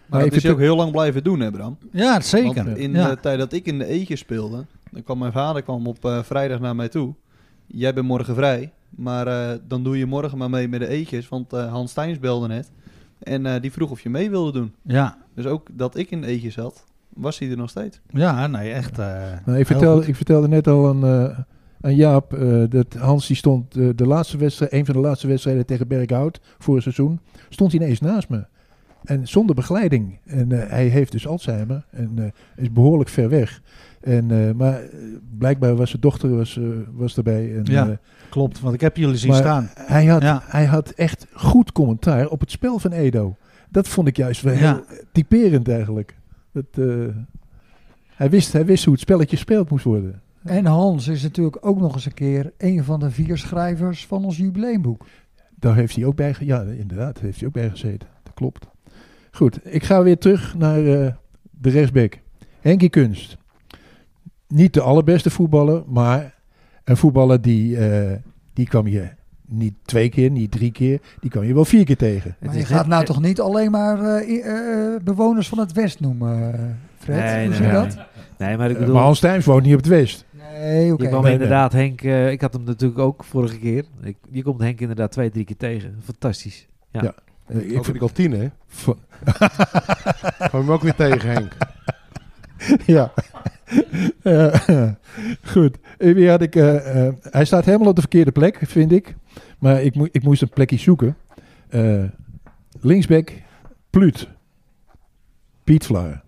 Speaker 6: Maar dat is je ook heel lang blijven doen, hè Bram?
Speaker 4: Ja, zeker.
Speaker 6: Want in
Speaker 4: Ja.
Speaker 6: de tijd dat ik in de eetje speelde, dan kwam mijn vader kwam op eh, vrijdag naar mij toe. Jij bent morgen vrij, maar eh, dan doe je morgen maar mee met de eetjes. Want eh, Hans Steins belde net en eh, die vroeg of je mee wilde doen.
Speaker 4: Ja.
Speaker 6: Dus ook dat ik in de eetjes zat, was hij er nog steeds.
Speaker 4: Ja, nee, echt. eh,
Speaker 3: Nou,
Speaker 4: heel
Speaker 3: ik, vertelde,
Speaker 4: goed.
Speaker 3: ik vertelde net al aan, eh, aan Jaap eh, dat Hans die stond eh, de laatste wedstrijd, een van de laatste wedstrijden tegen Berghout voor het seizoen, stond hij ineens naast me. En zonder begeleiding. En eh, hij heeft dus Alzheimer en eh, is behoorlijk ver weg. En, eh, maar eh, blijkbaar was zijn dochter was, eh, was erbij. En,
Speaker 4: Ja,
Speaker 3: eh,
Speaker 4: klopt, want ik heb jullie zien
Speaker 3: maar
Speaker 4: staan.
Speaker 3: Hij had, hij had echt goed commentaar op het spel van Edo. Dat vond ik juist wel heel
Speaker 4: Ja.
Speaker 3: typerend eigenlijk. Dat, eh, hij, wist, hij wist hoe het spelletje gespeeld moest worden.
Speaker 5: En Hans is natuurlijk ook nog eens een keer een van de vier schrijvers van ons jubileumboek.
Speaker 3: Daar heeft hij ook bij, ge- ja, inderdaad, heeft hij ook bij gezeten. Dat klopt. Goed, ik ga weer terug naar eh, de rechtsback. Henkie Kunst. Niet de allerbeste voetballer, maar een voetballer die, eh, die kwam je niet twee keer, niet drie keer, die kwam je wel vier keer tegen.
Speaker 5: Maar je gaat nou toch niet alleen maar eh, i- eh, bewoners van het West noemen, eh, Fred?
Speaker 13: Nee,
Speaker 5: Hoe
Speaker 13: nee,
Speaker 5: zie je
Speaker 13: nee.
Speaker 5: dat?
Speaker 13: Nee, maar ik
Speaker 3: Eh,
Speaker 13: bedoel...
Speaker 3: maar Hans Tijms woont niet op het West.
Speaker 5: Nee, oké.
Speaker 13: Je kwam
Speaker 5: Nee,
Speaker 13: inderdaad Henk... eh, ik had hem natuurlijk ook vorige keer. Ik, je komt Henk inderdaad twee, drie keer tegen. Fantastisch. Ja.
Speaker 3: Ja. Eh, ik
Speaker 9: Ook in
Speaker 3: vind-
Speaker 9: de kantine, hè?
Speaker 3: Vo-
Speaker 9: Kwam hem ook weer tegen, Henk.
Speaker 3: ja. Eh, goed. Eh, Wie had ik, eh, eh, hij staat helemaal op de verkeerde plek, vind ik. Maar ik, moe- ik moest een plekje zoeken. Eh, linksback, Pluut. Piet Vlaar.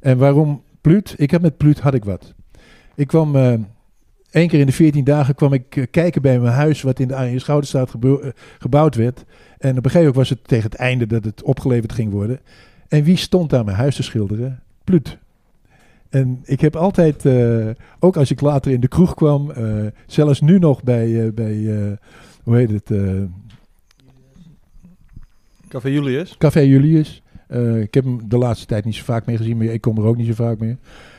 Speaker 3: En waarom Pluut? Ik heb met Pluut had ik wat. Ik kwam eh, één keer in de 14 dagen kwam ik eh, kijken bij mijn huis wat in de Arjen Schouderstraat gebouw- eh, gebouwd werd. En op een gegeven moment was het tegen het einde dat het opgeleverd ging worden. En wie stond aan mijn huis te schilderen? Pluut. En ik heb altijd, eh, ook als ik later in de kroeg kwam, eh, zelfs nu nog bij, eh, bij eh, hoe heet het, eh,
Speaker 6: Café Julius.
Speaker 3: Café Julius. Eh, ik heb hem de laatste tijd niet zo vaak meer gezien, maar ik kom er ook niet zo vaak meer.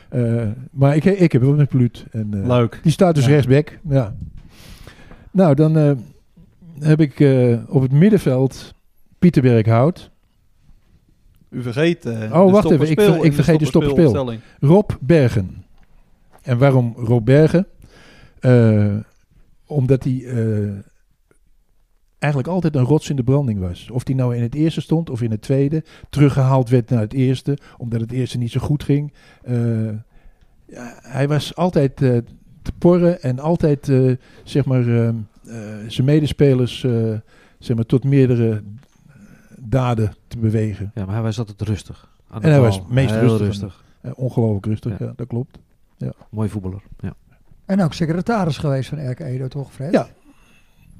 Speaker 3: Eh, maar ik, ik heb hem met Pluut. En, eh,
Speaker 4: Leuk.
Speaker 3: Die staat dus
Speaker 4: Ja.
Speaker 3: rechtsback. Ja. Nou, dan eh, heb ik eh, op het middenveld Pieter Berghout.
Speaker 6: U eh, vergeet. eh,
Speaker 3: oh,
Speaker 6: de
Speaker 3: wacht even. Ik,
Speaker 4: Eh,
Speaker 6: stopperspeel
Speaker 3: ver-
Speaker 6: en
Speaker 3: ik vergeet de
Speaker 6: stopperspeel
Speaker 3: stopperspel.
Speaker 6: opstelling.
Speaker 3: Rob Bergen. En waarom Roberge? Eh, omdat hij eh, eigenlijk altijd een rots in de branding was. Of die nou in het eerste stond of in het tweede. Teruggehaald werd naar het eerste, omdat het eerste niet zo goed ging. Eh, ja, hij was altijd eh, te porren en altijd eh, zeg maar, eh, eh, zijn medespelers eh, zeg maar, tot meerdere daden te bewegen.
Speaker 13: Ja, maar hij was altijd rustig. Aan de
Speaker 3: En hij
Speaker 13: bal.
Speaker 3: was meest
Speaker 13: Heel
Speaker 3: rustig.
Speaker 13: rustig.
Speaker 3: Eh, ongelooflijk rustig, ja, dat klopt. Ja.
Speaker 13: Mooi voetballer. Ja.
Speaker 5: En ook secretaris geweest van Erk Edo, toch Fred?
Speaker 3: Ja.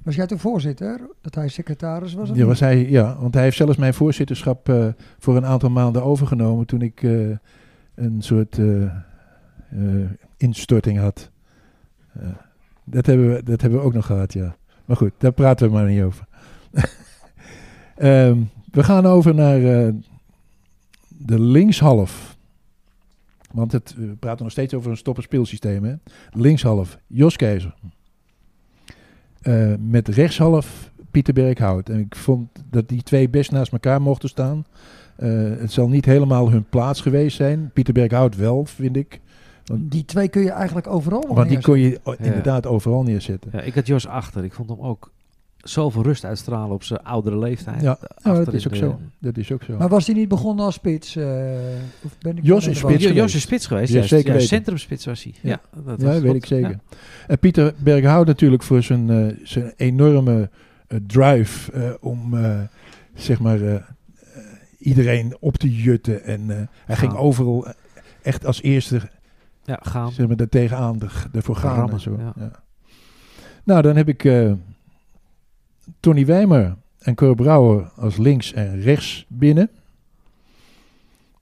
Speaker 5: Was jij toen voorzitter? Dat hij secretaris was? of
Speaker 3: Ja,
Speaker 5: niet?
Speaker 3: was hij, ja, want hij heeft zelfs mijn voorzitterschap eh, voor een aantal maanden overgenomen toen ik eh, een soort eh, eh, instorting had. Eh, dat, hebben we, dat hebben we ook nog gehad, ja. Maar goed, daar praten we maar niet over. Ehm, we gaan over naar eh, de linkshalf. Want het, we praten nog steeds over een stopperspeelsysteem. Hè? Linkshalf, Jos Keizer. Eh, met rechtshalf Pieter Berghout. En ik vond dat die twee best naast elkaar mochten staan. Eh, het zal niet helemaal hun plaats geweest zijn. Pieter Berghout wel, vind ik. Want,
Speaker 5: Die twee kun je eigenlijk overal nog
Speaker 3: want die kon je
Speaker 5: neerzetten.
Speaker 3: o- inderdaad overal neerzetten.
Speaker 13: Ja, ik had Jos achter. Ik vond hem ook zoveel rust uitstralen op zijn oudere leeftijd.
Speaker 3: Ja,
Speaker 13: Achter
Speaker 3: ja, dat is
Speaker 13: in
Speaker 3: ook
Speaker 13: de-
Speaker 3: zo. Dat is ook zo.
Speaker 5: Maar was hij niet begonnen als spits? eh, of ben ik
Speaker 3: Jos
Speaker 5: dan
Speaker 3: is
Speaker 5: helemaal-
Speaker 3: spits geweest.
Speaker 13: Jos is spits geweest, juist. Ja,
Speaker 3: weten.
Speaker 13: centrumspits was hij. Ja, dat is-
Speaker 3: weet
Speaker 13: klopt.
Speaker 3: ik zeker. En Pieter Berghout natuurlijk voor zijn, eh, zijn enorme eh, drive eh, om eh, zeg maar eh, eh, iedereen op te jutten. En eh, hij ging
Speaker 13: Gaan.
Speaker 3: overal eh, echt als eerste
Speaker 13: Ja, gaan.
Speaker 3: zeg maar, daar tegenaan, er- ervoor gaan. en
Speaker 13: Rammen,
Speaker 3: zo.
Speaker 13: ja.
Speaker 3: Ja. Nou, dan heb ik eh, Tony Wijmer en Cor Brouwer als links en rechts binnen.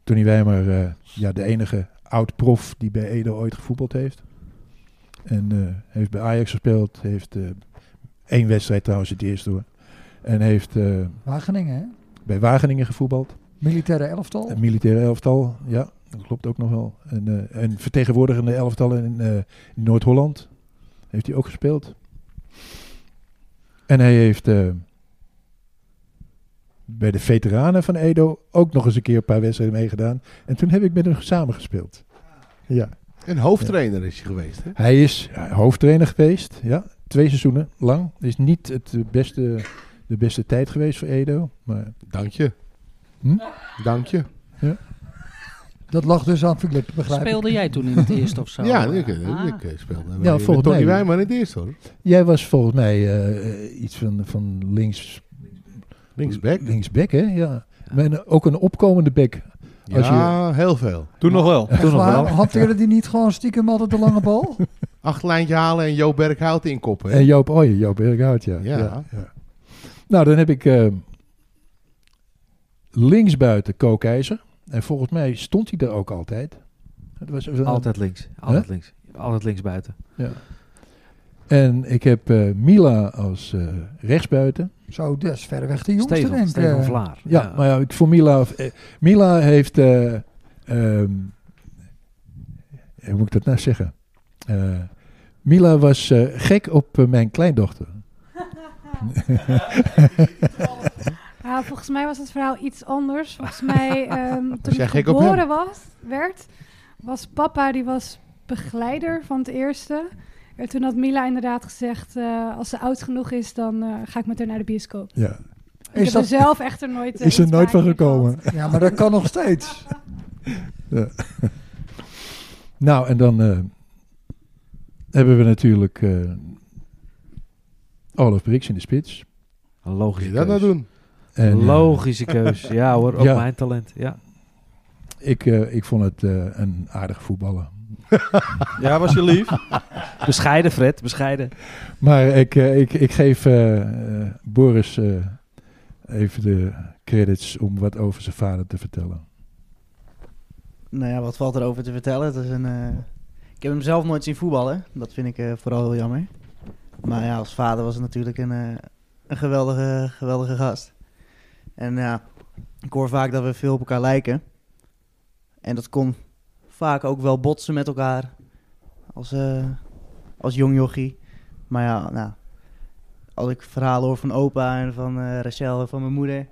Speaker 3: Tony Wijmer, eh, ja, de enige oud-prof die bij Edo ooit gevoetbald heeft. En eh, heeft bij Ajax gespeeld, heeft eh, één wedstrijd trouwens het eerste hoor. En heeft eh,
Speaker 5: Wageningen, hè?
Speaker 3: bij Wageningen gevoetbald.
Speaker 5: Militaire elftal.
Speaker 3: Een militaire elftal, ja, dat klopt ook nog wel. En, eh, een vertegenwoordigende elftal in, eh, in Noord-Holland heeft hij ook gespeeld. En hij heeft eh, bij de veteranen van Edo ook nog eens een keer een paar wedstrijden meegedaan. En toen heb ik met hem samengespeeld. Ja.
Speaker 9: En hoofdtrainer is hij geweest. Hè?
Speaker 3: Hij is eh, hoofdtrainer geweest, ja. Twee seizoenen lang. Is niet het eh, beste, de beste tijd geweest voor Edo. Maar...
Speaker 9: Dank je.
Speaker 3: Hm?
Speaker 9: Dank je.
Speaker 3: Ja.
Speaker 5: Dat lag dus aan Philip, begrijp ik.
Speaker 11: Speelde jij toen in het eerst of zo?
Speaker 9: Ja, ik, ik,
Speaker 11: Ah.
Speaker 9: ik speelde.
Speaker 3: Ja,
Speaker 9: Ja,
Speaker 3: volgens
Speaker 9: Tony
Speaker 3: mij.
Speaker 9: Wijmer in het eerst hoor.
Speaker 3: Jij was volgens mij eh, eh, iets van, van links...
Speaker 9: Linksback.
Speaker 3: Linksback, hè? Ja. Maar een- ook een opkomende back. Als
Speaker 9: ja, heel veel. Toen nog wel.
Speaker 5: Echt waar? Hanteerde die niet gewoon stiekem altijd de lange bal?
Speaker 9: Acht lijntje halen en Jo Berghout inkoppen.
Speaker 3: je,
Speaker 9: hè?
Speaker 3: en Joop Ooyen, Joop Berghout, ja.
Speaker 9: Ja.
Speaker 3: Nou, dan heb ik eh, linksbuiten Ko Keizer. En volgens mij stond hij er ook altijd. Dat was,
Speaker 13: Altijd links. Altijd links. Altijd links buiten.
Speaker 3: Ja. En ik heb eh, Mila als eh, rechtsbuiten.
Speaker 5: Zo, dat is verreweg de jongste,
Speaker 13: Stefan-
Speaker 5: denk ik.
Speaker 13: Stefan
Speaker 5: eh.
Speaker 13: Vlaar.
Speaker 3: Ja, maar ja, ik voor Mila. eh, Mila heeft. eh, ehm, hoe moet ik dat nou zeggen? Eh, Mila was eh, gek op eh, mijn kleindochter.
Speaker 12: Ah, volgens mij was het verhaal iets anders. Volgens mij, ehm, toen
Speaker 9: jij
Speaker 12: ik
Speaker 9: gek op hem?
Speaker 12: geboren was, werd, was papa, die was begeleider van het eerste. En toen had Mila inderdaad gezegd, eh, als ze oud genoeg is, dan eh, ga ik met haar naar de bioscoop.
Speaker 3: Ja.
Speaker 12: Ik heb er zelf echter nooit, eh,
Speaker 3: is er
Speaker 12: iets
Speaker 3: nooit van
Speaker 12: bij
Speaker 3: gekomen.
Speaker 5: Ja, maar dat kan nog steeds.
Speaker 3: Ja. nou, en dan eh, hebben we natuurlijk eh, Olaf Brix in de spits.
Speaker 13: Een logische
Speaker 9: Moet je dat nou
Speaker 13: keus.
Speaker 9: doen?
Speaker 3: En, eh,
Speaker 13: Logische keus. Ja hoor, ook
Speaker 3: Ja.
Speaker 13: mijn talent. Ja.
Speaker 3: Ik, eh, ik vond het eh, een aardige voetballer.
Speaker 13: ja, was je lief? bescheiden Fred, bescheiden.
Speaker 3: Maar ik, eh, ik, ik geef eh, eh, Boris eh, even de credits om wat over zijn vader te vertellen.
Speaker 16: Nou ja, wat valt er over te vertellen? Het is een, eh, Ik heb hem zelf nooit zien voetballen. Dat vind ik eh, vooral heel jammer. Maar ja, als vader was het natuurlijk een, eh, een geweldige, geweldige gast. En ja, ik hoor vaak dat we veel op elkaar lijken. En dat kon vaak ook wel botsen met elkaar. Als, eh, als jong jochie. Maar ja, nou, als ik verhalen hoor van opa en van eh Rachel en van mijn moeder.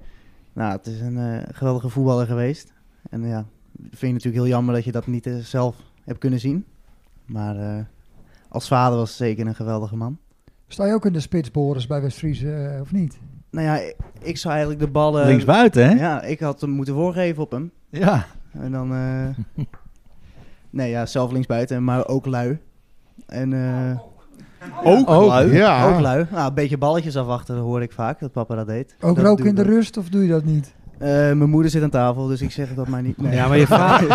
Speaker 16: Nou, het is een eh, geweldige voetballer geweest. En ja, vind je natuurlijk heel jammer dat je dat niet eh, zelf hebt kunnen zien. Maar eh, als vader was het zeker een geweldige man.
Speaker 5: Sta je ook in de spits, Boris, bij West-Fries, eh, of niet?
Speaker 16: Nou ja, ik, ik zou eigenlijk de ballen...
Speaker 5: Linksbuiten, hè?
Speaker 16: Ja, ik had hem moeten voorgeven op hem.
Speaker 5: Ja.
Speaker 16: En dan... eh, nee, ja, zelf linksbuiten, maar ook lui. En... eh,
Speaker 5: Ook?
Speaker 16: ook
Speaker 5: Ook,
Speaker 16: lui.
Speaker 5: ja.
Speaker 16: Ook lui. Nou, een beetje balletjes afwachten, dat hoor ik vaak, dat papa dat deed.
Speaker 5: Ook roken
Speaker 16: dat doe ik
Speaker 5: in de
Speaker 16: ook.
Speaker 5: rust, of doe je dat niet?
Speaker 16: Eh, mijn moeder zit aan tafel, dus ik zeg dat maar niet. Nee.
Speaker 13: Ja, maar je vader...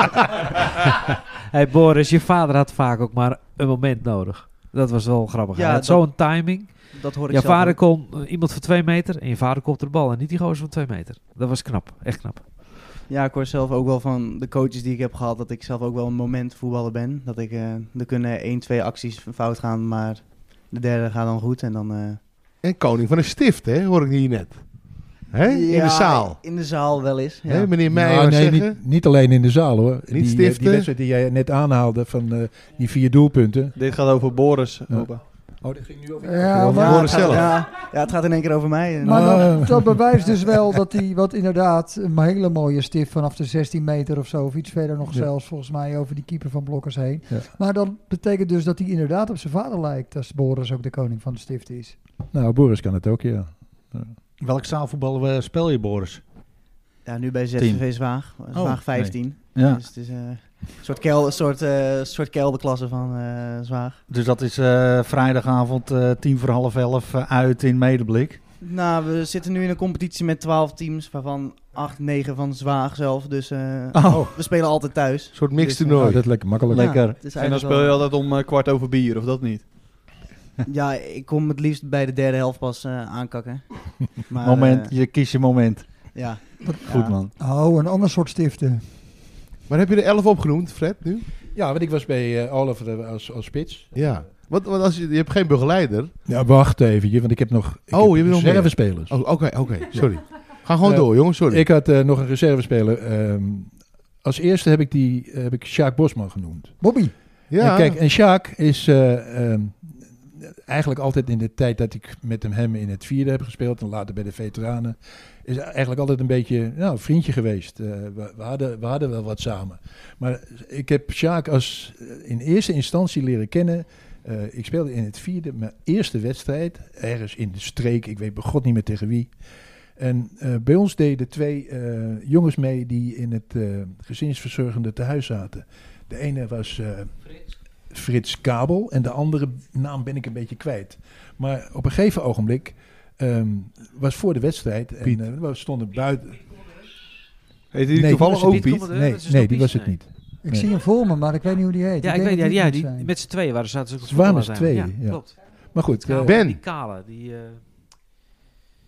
Speaker 13: hey Boris, je vader had vaak ook maar een moment nodig. Dat was wel grappig.
Speaker 16: Ja,
Speaker 13: Hij had
Speaker 16: dat-
Speaker 13: zo'n timing.
Speaker 16: dat hoor ik
Speaker 13: Je
Speaker 16: zelf
Speaker 13: vader
Speaker 16: ook.
Speaker 13: kon eh, iemand van twee meter en je vader kopte de bal. En niet die gozer van twee meter. Dat was knap. Echt knap.
Speaker 16: Ja, ik hoor zelf ook wel van de coaches die ik heb gehad dat ik zelf ook wel een moment voetballer ben. Dat ik, eh, er kunnen één, twee acties fout gaan, maar de derde gaat dan goed en dan... eh,
Speaker 9: En koning van een stift, hè, hoor ik hier net. Hè? in
Speaker 16: ja,
Speaker 9: de zaal.
Speaker 16: In de zaal wel eens. Ja.
Speaker 9: Hè, meneer Meijer
Speaker 3: Nou, nee,
Speaker 9: zeggen?
Speaker 3: niet, niet alleen in de zaal hoor. die, eh,
Speaker 9: stiften?
Speaker 3: Die wedstrijd die jij net aanhaalde van eh, die vier doelpunten.
Speaker 6: Dit gaat over Boris. opa.
Speaker 3: Oh, dit ging nu over
Speaker 5: Ja,
Speaker 3: over
Speaker 5: maar-
Speaker 3: Boris
Speaker 5: Ja, het gaat-
Speaker 3: zelf.
Speaker 16: Ja, ja, het gaat in één keer over mij.
Speaker 9: Nou.
Speaker 16: En-
Speaker 5: Maar dat, dat bewijst dus wel dat hij, wat inderdaad, een hele mooie stift vanaf de 16 meter of zo, of iets verder nog
Speaker 3: Ja.
Speaker 5: zelfs, volgens mij over die keeper van Blokkers heen.
Speaker 3: Ja.
Speaker 5: Maar dat betekent dus dat hij inderdaad op zijn vader lijkt, als Boris ook de koning van de stift is.
Speaker 3: Nou, Boris kan het ook, ja.
Speaker 4: Welk zaalvoetbal eh, speel je, Boris?
Speaker 16: Ja, nu bij
Speaker 4: Team.
Speaker 16: ZVV Zwaag. eh,
Speaker 4: Oh,
Speaker 16: Zwaag 15.
Speaker 4: nee. Ja.
Speaker 16: Dus het is eh, een soort, kel, een soort, eh, soort kelderklasse van eh, Zwaag.
Speaker 4: Dus dat is eh, vrijdagavond eh, tien voor half elf eh, uit in Medeblik.
Speaker 16: Nou, we zitten nu in een competitie met 12 teams, waarvan 8, 9 van Zwaag zelf. Dus eh,
Speaker 4: Oh.
Speaker 16: we spelen altijd thuis. Dus, eh,
Speaker 9: Een soort
Speaker 16: mix
Speaker 9: mixtoernooi.
Speaker 3: Oh, dat is lekker makkelijk.
Speaker 16: Ja, Lekker. het is
Speaker 6: en dan
Speaker 16: eigenlijk
Speaker 6: speel je
Speaker 16: wel-
Speaker 6: altijd om eh, kwart over bier, of dat niet?
Speaker 16: ja, ik kom het liefst bij de derde helft pas eh, aankakken. Maar,
Speaker 4: moment,
Speaker 16: eh,
Speaker 4: je kiest je moment.
Speaker 16: ja.
Speaker 4: Goed
Speaker 16: Ja.
Speaker 4: man.
Speaker 5: Oh, een ander soort stiften.
Speaker 9: Maar heb je er elf opgenoemd, Fred, nu?
Speaker 3: Ja, want ik was bij eh, Oliver eh, als, als spits.
Speaker 9: Ja. Want, want als je, je hebt geen begeleider.
Speaker 3: Ja, wacht even, want ik heb nog ik
Speaker 9: oh,
Speaker 3: heb
Speaker 9: je wil nog meer.
Speaker 3: reservespelers.
Speaker 9: Oh, Oké, oké, sorry. Ga
Speaker 3: Ja.
Speaker 9: gewoon
Speaker 3: Eh,
Speaker 9: door, jongens, sorry.
Speaker 3: Ik had eh, nog een reservespeler. Ehm als eerste heb ik, die, eh, heb ik Sjaak Bosman genoemd.
Speaker 5: Bobby.
Speaker 9: Ja.
Speaker 3: En kijk, en Sjaak is eh, ehm, eigenlijk altijd in de tijd dat ik met hem, hem in het vierde heb gespeeld en later bij de veteranen, is eigenlijk altijd een beetje nou, een vriendje geweest. Eh, we, we hadden, we hadden wel wat samen. Maar ik heb Sjaak als eh, in eerste instantie leren kennen. Eh, ik speelde in het vierde, mijn eerste wedstrijd, ergens in de streek, ik weet bij god niet meer tegen wie. En eh, bij ons deden twee eh, jongens mee die in het eh, gezinsverzorgende tehuis zaten. De ene was eh, Frits Kabel en de andere naam ben ik een beetje kwijt. Maar op een gegeven ogenblik ehm, was voor de wedstrijd en
Speaker 9: Piet.
Speaker 3: eh, we stonden buiten.
Speaker 9: Heet die
Speaker 3: was
Speaker 9: toevallig
Speaker 3: het
Speaker 9: ook
Speaker 3: niet.
Speaker 9: Piet?
Speaker 13: Commandeur,
Speaker 3: Nee,
Speaker 13: eh, dat is
Speaker 3: nee
Speaker 13: nog
Speaker 3: die
Speaker 13: Piet,
Speaker 3: was het
Speaker 13: nee.
Speaker 3: niet.
Speaker 5: Ik
Speaker 3: Nee.
Speaker 5: zie hem voor me, maar ik weet niet hoe die heet.
Speaker 13: Ja, ik weet
Speaker 5: dat
Speaker 13: ja, ja,
Speaker 5: moet
Speaker 13: die,
Speaker 5: zijn.
Speaker 13: met z'n tweeën waren zaten ze ook op
Speaker 3: Ze waren met z'n
Speaker 13: voetballen
Speaker 3: tweeën.
Speaker 13: samen.
Speaker 3: ja.
Speaker 13: klopt.
Speaker 3: Maar goed,
Speaker 13: Die
Speaker 3: eh,
Speaker 13: kale- Die kale, die... eh,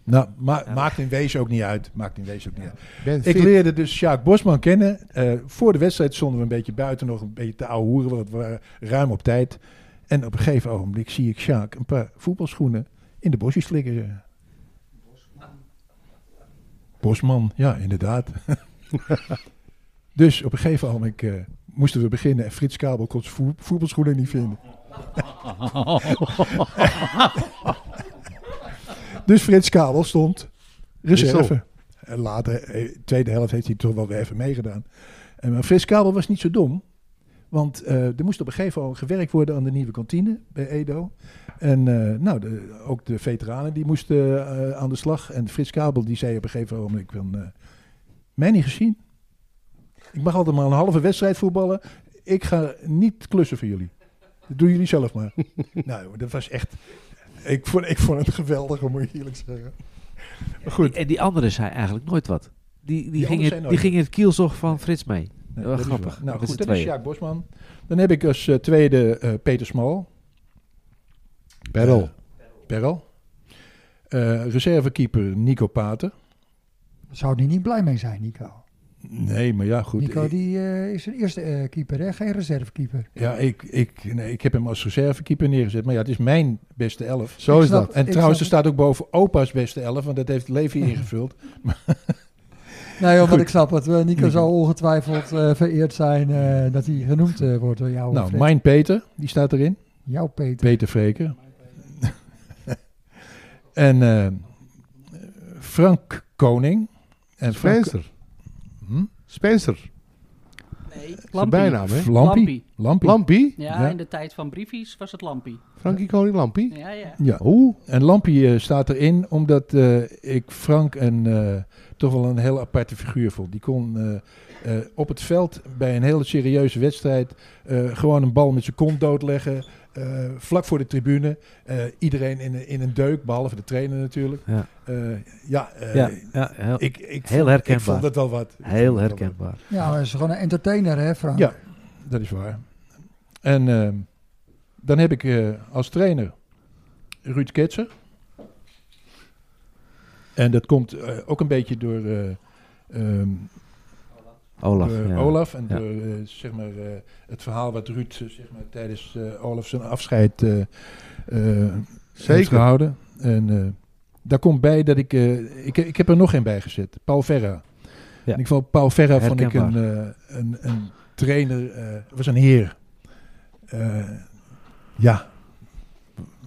Speaker 3: Nou, ma- maakt in wezen ook niet uit. Maakt in wezen ook niet uit.
Speaker 9: Ben
Speaker 3: ik
Speaker 9: fit.
Speaker 3: leerde dus Sjaak Bosman kennen. Eh, voor de wedstrijd stonden we een beetje buiten nog een beetje te ouwe hoeren, want we waren ruim op tijd. En op een gegeven ogenblik zie ik Sjaak een paar voetbalschoenen in de bosjes flikkeren. Bosman, ja, inderdaad. dus op een gegeven ogenblik eh, moesten we beginnen en Frits Kabel kon zijn voe- voetbalschoenen niet vinden. dus Frits Kabel stond reserve.
Speaker 9: Wissel.
Speaker 3: En later, eh, tweede helft, heeft hij toch wel weer even meegedaan. En maar Frits Kabel was niet zo dom. Want eh, er moest op een gegeven moment gewerkt worden aan de nieuwe kantine bij Edo. En eh, nou, de- ook de veteranen die moesten eh, aan de slag. En Frits Kabel die zei op een gegeven moment van... eh, mij niet gezien. Ik mag altijd maar een halve wedstrijd voetballen. Ik ga niet klussen voor jullie. Dat doen jullie zelf maar. nou, joh, dat was echt... Ik vond, ik vond het geweldig, moet ik eerlijk zeggen. Maar goed.
Speaker 13: En die andere zei eigenlijk nooit wat. Die, die,
Speaker 3: Die
Speaker 13: ging,
Speaker 3: andere
Speaker 13: het,
Speaker 3: zei nooit
Speaker 13: die ging het kielzog van Frits mee.
Speaker 3: Nee,
Speaker 13: Wel
Speaker 3: dat is
Speaker 13: grappig.
Speaker 3: waar. Nou
Speaker 13: Met
Speaker 3: goed,
Speaker 13: z'n
Speaker 3: dat is
Speaker 13: tweeën.
Speaker 3: Sjaak Bosman. Dan heb ik als eh, tweede eh, Peter Smal.
Speaker 9: Perel.
Speaker 3: Perel. Eh, reservekeeper Nico Pater.
Speaker 5: Zou die niet blij mee zijn, Nico?
Speaker 3: Nee, maar ja, goed.
Speaker 5: Nico
Speaker 3: ik,
Speaker 5: die, eh, is zijn eerste eh, keeper, hè? geen reservekeeper.
Speaker 3: ja, ik, ik, nee, ik heb hem als reservekeeper neergezet. Maar ja, het is mijn beste elf.
Speaker 9: Zo is
Speaker 5: snap-
Speaker 9: dat.
Speaker 3: En
Speaker 5: Ik
Speaker 3: trouwens, er
Speaker 5: snap
Speaker 3: staat ook boven opa's beste elf, want dat heeft Levi ingevuld. Nou,
Speaker 5: Nee, joh,
Speaker 3: Goed.
Speaker 5: maar ik snap het. Eh, Nico,
Speaker 3: Nico.
Speaker 5: zal ongetwijfeld eh, vereerd zijn eh, dat hij genoemd eh, wordt door jou.
Speaker 3: nou,
Speaker 5: Fred.
Speaker 3: mijn Peter, die staat erin.
Speaker 5: Jouw Peter.
Speaker 3: Peter Vreker. en eh, Frank Koning. En Frank-
Speaker 9: Spencer.
Speaker 3: Hm?
Speaker 9: Spencer.
Speaker 11: Nee,
Speaker 9: Zijn
Speaker 11: Lampie.
Speaker 9: bijnaam, hè?
Speaker 11: Lampie.
Speaker 3: Lampie. Eh.
Speaker 9: Lampie?
Speaker 11: Ja, in de tijd van briefies was het Lampie.
Speaker 9: Frankie Koning Lampie?
Speaker 11: Ja, ja.
Speaker 3: Ja. En Lampie eh, staat erin omdat eh, ik Frank een, eh, toch wel een heel aparte figuur vond. Die kon eh, eh, op het veld bij een hele serieuze wedstrijd eh, gewoon een bal met zijn kont doodleggen. eh, vlak voor de tribune. Eh, iedereen in, een- in een deuk, behalve de trainer natuurlijk.
Speaker 13: Ja.
Speaker 3: Eh, ja, eh,
Speaker 13: Ja, ja, heel-
Speaker 3: ik, ik,
Speaker 13: heel
Speaker 3: vond,
Speaker 13: herkenbaar.
Speaker 3: Ik vond dat wel wat. Ik vond
Speaker 13: Heel
Speaker 3: dat wel wat.
Speaker 13: herkenbaar.
Speaker 5: Ja, hij is gewoon een entertainer, hè, Frank?
Speaker 3: Ja, dat is waar. En ehm, dan heb ik eh, als trainer Ruud Ketser. En dat komt eh, ook een beetje door, eh, ehm,
Speaker 13: Olaf,
Speaker 3: door
Speaker 13: ja.
Speaker 3: Olaf en
Speaker 13: Ja.
Speaker 3: door eh, zeg maar, eh, het verhaal wat Ruud eh, zeg maar, tijdens eh Olaf zijn afscheid eh, eh, heeft
Speaker 9: Zeker.
Speaker 3: gehouden. En eh, daar komt bij dat ik, eh, ik... Ik heb er nog één bij gezet. Paul Verra.
Speaker 13: Ja.
Speaker 3: En ik vond Paul Verra vond ik een,
Speaker 13: Herkenbaar.
Speaker 3: eh, een, een trainer, eh was een heer. Eh, ja,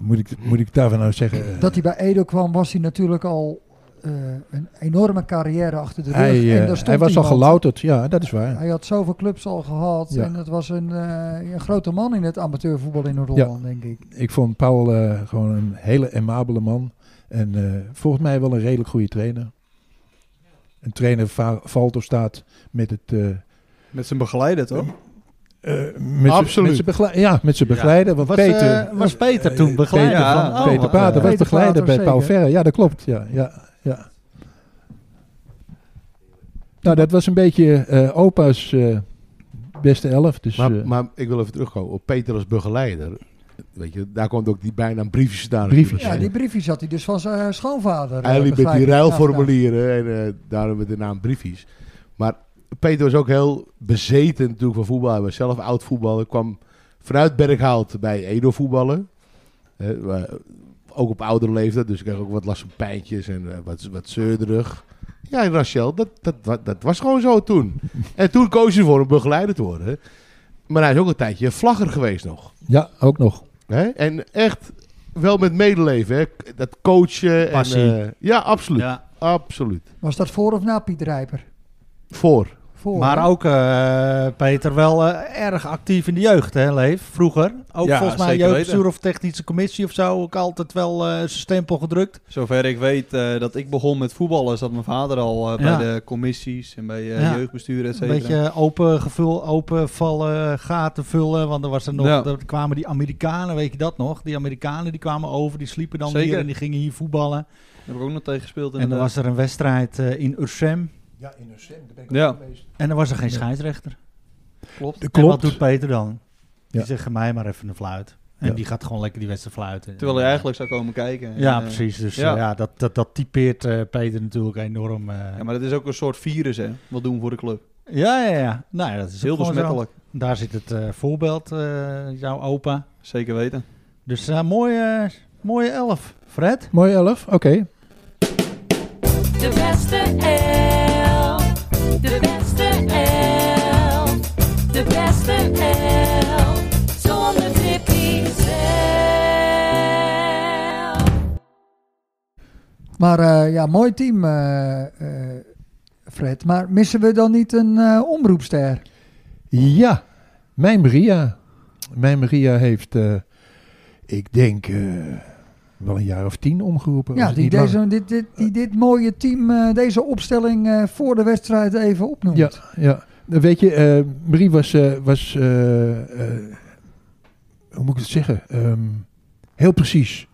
Speaker 3: moet ik, moet ik daarvan nou zeggen? eh,
Speaker 5: Dat hij bij Edo kwam, was hij natuurlijk al eh, een enorme carrière achter de rug.
Speaker 3: hij, eh,
Speaker 5: en daar stond
Speaker 3: hij was al
Speaker 5: iemand.
Speaker 3: gelouterd, ja, dat is waar.
Speaker 5: Hij had zoveel clubs al gehad.
Speaker 3: Ja.
Speaker 5: En het was een, eh, een grote man in het amateurvoetbal in Noord-Holland, denk ik.
Speaker 3: Ik vond Paul eh, gewoon een hele amabele man. En eh, volgens mij wel een redelijk goede trainer. Een trainer va- valt of staat met het... eh,
Speaker 6: Met zijn begeleider, toch?
Speaker 4: Eh,
Speaker 3: met z'n- Met z'n begle- ja, met zijn begeleider. Want
Speaker 6: Was,
Speaker 3: Peter,
Speaker 6: eh, was Peter toen
Speaker 3: eh,
Speaker 6: begeleider
Speaker 3: Peter,
Speaker 6: van-
Speaker 3: van-
Speaker 6: oh,
Speaker 3: Peter
Speaker 6: wat,
Speaker 3: Pater
Speaker 6: eh,
Speaker 3: was
Speaker 6: Peter
Speaker 3: begeleider
Speaker 6: Pater,
Speaker 3: bij Paul
Speaker 6: zeker.
Speaker 3: Verre. Ja, dat klopt. Ja, ja, ja. Nou, dat was een beetje eh, opa's eh, beste elf. Dus,
Speaker 9: maar,
Speaker 3: eh,
Speaker 9: maar ik wil even terugkomen op Peter als begeleider. Weet je, daar komt ook die bijnaam briefjes vandaan.
Speaker 3: Briefjes.
Speaker 5: Ja, die briefjes had hij dus van zijn eh, schoonvader. eh,
Speaker 9: Hij liep met
Speaker 5: begrijp
Speaker 9: die
Speaker 5: ik.
Speaker 9: ruilformulieren en eh, daarom met de naam briefjes. Maar Peter was ook heel bezeten natuurlijk van voetbal. Hij was zelf oud voetballer. Kwam vanuit Berghout bij Edo voetballen. Eh, maar ook op oudere leeftijd, dus ik kreeg ook wat last van pijntjes en eh, wat, wat zeurderig. Ja, en Rachel, dat, dat, wa- dat was gewoon zo toen. En toen koos hij ervoor om begeleider te worden. Maar hij is ook een tijdje vlagger geweest nog.
Speaker 3: Ja, ook nog.
Speaker 9: Hè? En echt wel met medeleven. Hè? Dat coachen.
Speaker 5: Passie.
Speaker 9: En, eh, ja, absoluut.
Speaker 5: Ja.
Speaker 9: Absoluut.
Speaker 5: Was dat voor of na Piet Rijper?
Speaker 9: Voor.
Speaker 5: Voor. hè?
Speaker 4: Maar ook eh, Peter wel eh, erg actief in de jeugd, hè, Leef? Vroeger. Ook
Speaker 6: Ja,
Speaker 4: volgens mij
Speaker 6: zeker
Speaker 4: jeugdbestuur
Speaker 6: weten.
Speaker 4: of technische commissie of zo. Ook altijd wel eh, zijn stempel gedrukt.
Speaker 6: Zover ik weet eh, dat ik begon met voetballen, zat mijn vader al eh,
Speaker 4: Ja.
Speaker 6: bij de commissies en bij eh
Speaker 4: Ja.
Speaker 6: jeugdbestuur, et
Speaker 4: Een
Speaker 6: cetera.
Speaker 4: beetje eh, open, gevul, open vallen, gaten vullen. Want er, was er nog,
Speaker 6: Ja.
Speaker 4: er kwamen die Amerikanen, weet je dat nog? Die Amerikanen die kwamen over, die sliepen dan
Speaker 6: Zeker.
Speaker 4: hier en die gingen hier voetballen.
Speaker 6: Daar heb ik ook nog tegen gespeeld.
Speaker 4: En dan was er een wedstrijd eh, in Ursem.
Speaker 3: Ja, in Ursem, daar ben ik
Speaker 6: Ja.
Speaker 3: ook geweest.
Speaker 4: En er was er geen
Speaker 3: Ja.
Speaker 4: scheidsrechter.
Speaker 6: Klopt.
Speaker 4: En wat
Speaker 6: Klopt.
Speaker 4: doet Peter dan? Die
Speaker 6: Ja.
Speaker 4: zegt, "Geef mij maar even een fluit. En
Speaker 6: Ja.
Speaker 4: die gaat gewoon lekker die wedstrijd fluiten.
Speaker 6: Terwijl hij eigenlijk zou komen kijken.
Speaker 4: Ja,
Speaker 6: En, eh,
Speaker 4: precies. Dus eh,
Speaker 6: ja.
Speaker 4: ja, dat, dat, dat typeert eh, Peter natuurlijk enorm. eh.
Speaker 6: Ja, maar dat is ook een soort virus, hè? Wat doen we voor de club?
Speaker 4: ja, ja, ja. Nou ja, dat is
Speaker 6: Heel
Speaker 4: ook gewoon zo.
Speaker 6: besmettelijk.
Speaker 4: Daar zit het eh, voorbeeld, eh, jouw opa.
Speaker 6: Zeker weten.
Speaker 4: Dus eh, mooie, mooie elf, Fred.
Speaker 3: Mooie elf, oké.
Speaker 15: De beste elf. De beste elf. De beste elf. Zonder Tippy zelf.
Speaker 5: Maar eh, ja, mooi team, eh, eh, Fred. Maar missen we dan niet een eh, omroepster?
Speaker 3: Ja, mijn Maria. Mijn Maria heeft, eh, ik denk, eh, wel een jaar of tien omgeroepen. als
Speaker 5: Ja,
Speaker 3: het
Speaker 5: die,
Speaker 3: niet
Speaker 5: deze,
Speaker 3: langer-
Speaker 5: dit, dit, die dit mooie team, eh, deze opstelling eh, voor de wedstrijd even opnoemt.
Speaker 3: Ja, ja. Nou, Weet je, eh, Marie was, eh, was eh, eh, hoe moet ik het zeggen, Ehm, heel precies.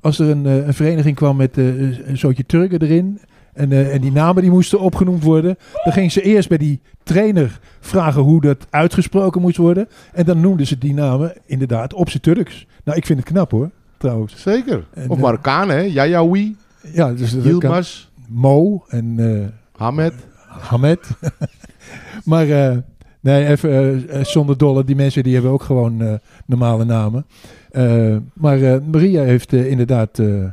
Speaker 3: Als er een, eh, een vereniging kwam met eh, een zootje Turken erin en, eh, en die namen die moesten opgenoemd worden, dan ging ze eerst bij die trainer vragen hoe dat uitgesproken moest worden. En dan noemden ze die namen inderdaad op z'n Turks. Nou, ik vind het knap hoor, trouwens.
Speaker 9: Zeker.
Speaker 3: En,
Speaker 9: of
Speaker 3: eh,
Speaker 9: Marokkanen, hè? Jajawi.
Speaker 3: Ja, dus dat
Speaker 9: Yilmaz.
Speaker 3: kan Mo en... eh,
Speaker 9: Hamed.
Speaker 3: Hamed. maar eh, nee, even eh, eh, zonder dolle. Die mensen die hebben ook gewoon eh, normale namen. Eh, maar eh, Maria heeft eh, inderdaad eh, eh,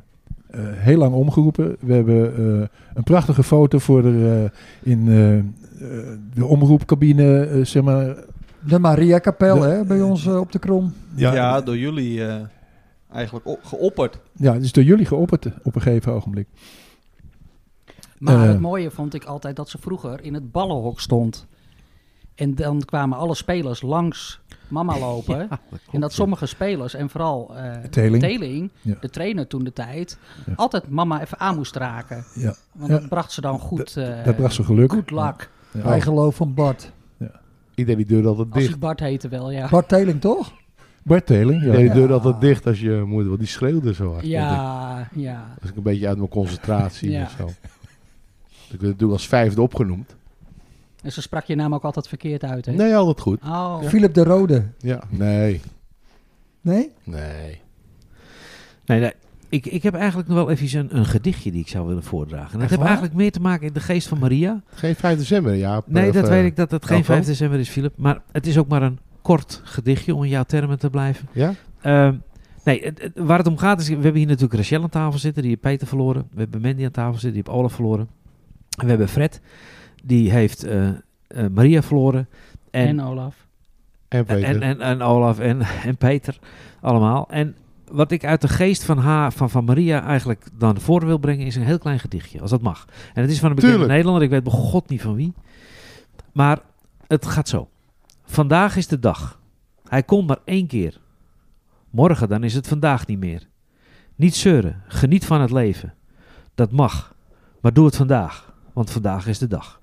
Speaker 3: heel lang omgeroepen. We hebben eh, een prachtige foto voor haar eh, in eh, eh, de omroepcabine, eh, zeg maar.
Speaker 5: De Maria Kapel,
Speaker 3: De-
Speaker 5: hè, bij ons eh, op de Krom.
Speaker 3: Ja.
Speaker 6: Ja, door jullie eh, eigenlijk op- geopperd.
Speaker 3: Ja, het is door jullie geopperd eh, op een gegeven ogenblik.
Speaker 11: Maar
Speaker 3: Eh,
Speaker 11: het mooie vond ik altijd dat ze vroeger in het ballenhok stond. En dan kwamen alle spelers langs mama lopen. en dat sommige spelers, en vooral eh,
Speaker 3: Teling. Ja.
Speaker 11: de trainer toen de tijd, altijd mama even aan moest raken.
Speaker 3: Ja.
Speaker 11: Want
Speaker 3: Ja.
Speaker 11: dat bracht ze dan goed. eh,
Speaker 3: dat bracht ze geluk.
Speaker 11: Goed lak.
Speaker 3: Ja.
Speaker 5: Bijgeloof van Bart.
Speaker 9: Iedereen die deur altijd
Speaker 11: Als
Speaker 9: dicht.
Speaker 11: ik Bart heette wel, ja.
Speaker 5: Bart Teling, toch?
Speaker 9: Bart Teling, ja.
Speaker 5: Ja.
Speaker 9: deed de deur altijd dicht als je moeder, want die schreeuwde zo hard.
Speaker 11: Ja, ja.
Speaker 9: Als ik een beetje uit mijn concentratie
Speaker 11: Ja.
Speaker 9: of zo. Ik werd natuurlijk als vijfde opgenoemd.
Speaker 11: En ze sprak je naam ook altijd verkeerd uit, hè?
Speaker 9: Nee, altijd goed.
Speaker 11: Oh.
Speaker 5: Philip de Rode.
Speaker 9: Ja, nee.
Speaker 5: Nee?
Speaker 9: Nee.
Speaker 13: Nee, nee. Ik, ik heb eigenlijk nog wel even een, een gedichtje die ik zou willen voordragen. En dat
Speaker 9: Echt
Speaker 13: heeft
Speaker 9: waar?
Speaker 13: eigenlijk meer te maken in de geest van Maria.
Speaker 9: Geen 5 december, ja.
Speaker 13: Nee,
Speaker 9: Of,
Speaker 13: dat
Speaker 9: eh,
Speaker 13: weet ik dat het geen
Speaker 9: Elko?
Speaker 13: 5 december is, Philip. Maar het is ook maar een kort gedichtje, om in jouw termen te blijven.
Speaker 9: Ja?
Speaker 13: Ehm, nee, het- het- waar het om gaat is, we hebben hier natuurlijk Rachel aan tafel zitten, die heeft Peter verloren. We hebben Mandy aan tafel zitten, die heeft Olaf verloren. En we hebben Fred, die heeft eh, eh, Maria verloren.
Speaker 11: En,
Speaker 13: En,
Speaker 11: Olaf.
Speaker 9: En
Speaker 13: en,
Speaker 9: Peter.
Speaker 13: en, en, Olaf en, en Peter allemaal. En wat ik uit de geest van, haar, van, van Maria eigenlijk dan voor wil brengen, is een heel klein gedichtje, als dat mag. En het is van een bekende
Speaker 9: Tuurlijk.
Speaker 13: Nederlander, ik weet bij god niet van wie. Maar het gaat zo. Vandaag is de dag. Hij komt maar één keer. Morgen dan is het vandaag niet meer. Niet zeuren, geniet van het leven. Dat mag, maar doe het vandaag, want vandaag is de dag.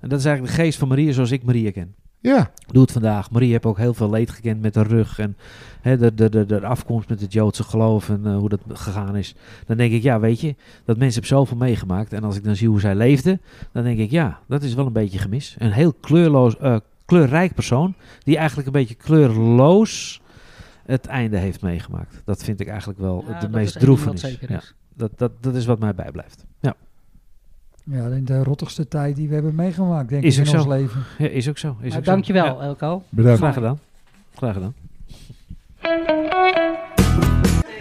Speaker 13: En dat is eigenlijk de geest van Maria zoals ik Maria ken.
Speaker 9: Ja.
Speaker 13: Doe het vandaag. Maria heb ook heel veel leed gekend met haar rug en hè, de, de, de, de afkomst met het Joodse geloof en eh, hoe dat gegaan is. Dan denk ik, ja, weet je, dat mensen hebben zoveel meegemaakt. En als ik dan zie hoe zij leefde, dan denk ik, ja, dat is wel een beetje gemis. Een heel kleurloos, eh, kleurrijk persoon die eigenlijk een beetje kleurloos het einde heeft meegemaakt. Dat vind ik eigenlijk wel
Speaker 11: Ja,
Speaker 13: de
Speaker 11: dat is
Speaker 13: meest
Speaker 11: één ding wat
Speaker 13: droevenis.
Speaker 11: zeker
Speaker 13: Ja,
Speaker 11: is.
Speaker 13: dat, dat, dat is wat mij bijblijft. Ja,
Speaker 5: Ja, in de rottigste tijd die we hebben meegemaakt, denk
Speaker 13: is
Speaker 5: ik,
Speaker 13: ook
Speaker 5: in
Speaker 13: zo.
Speaker 5: ons leven.
Speaker 13: Ja, is ook zo. Is
Speaker 11: Maar
Speaker 13: ook zo.
Speaker 11: dankjewel, eh,
Speaker 13: Ja.
Speaker 11: Elko.
Speaker 5: Bedankt.
Speaker 13: Graag gedaan. Graag gedaan.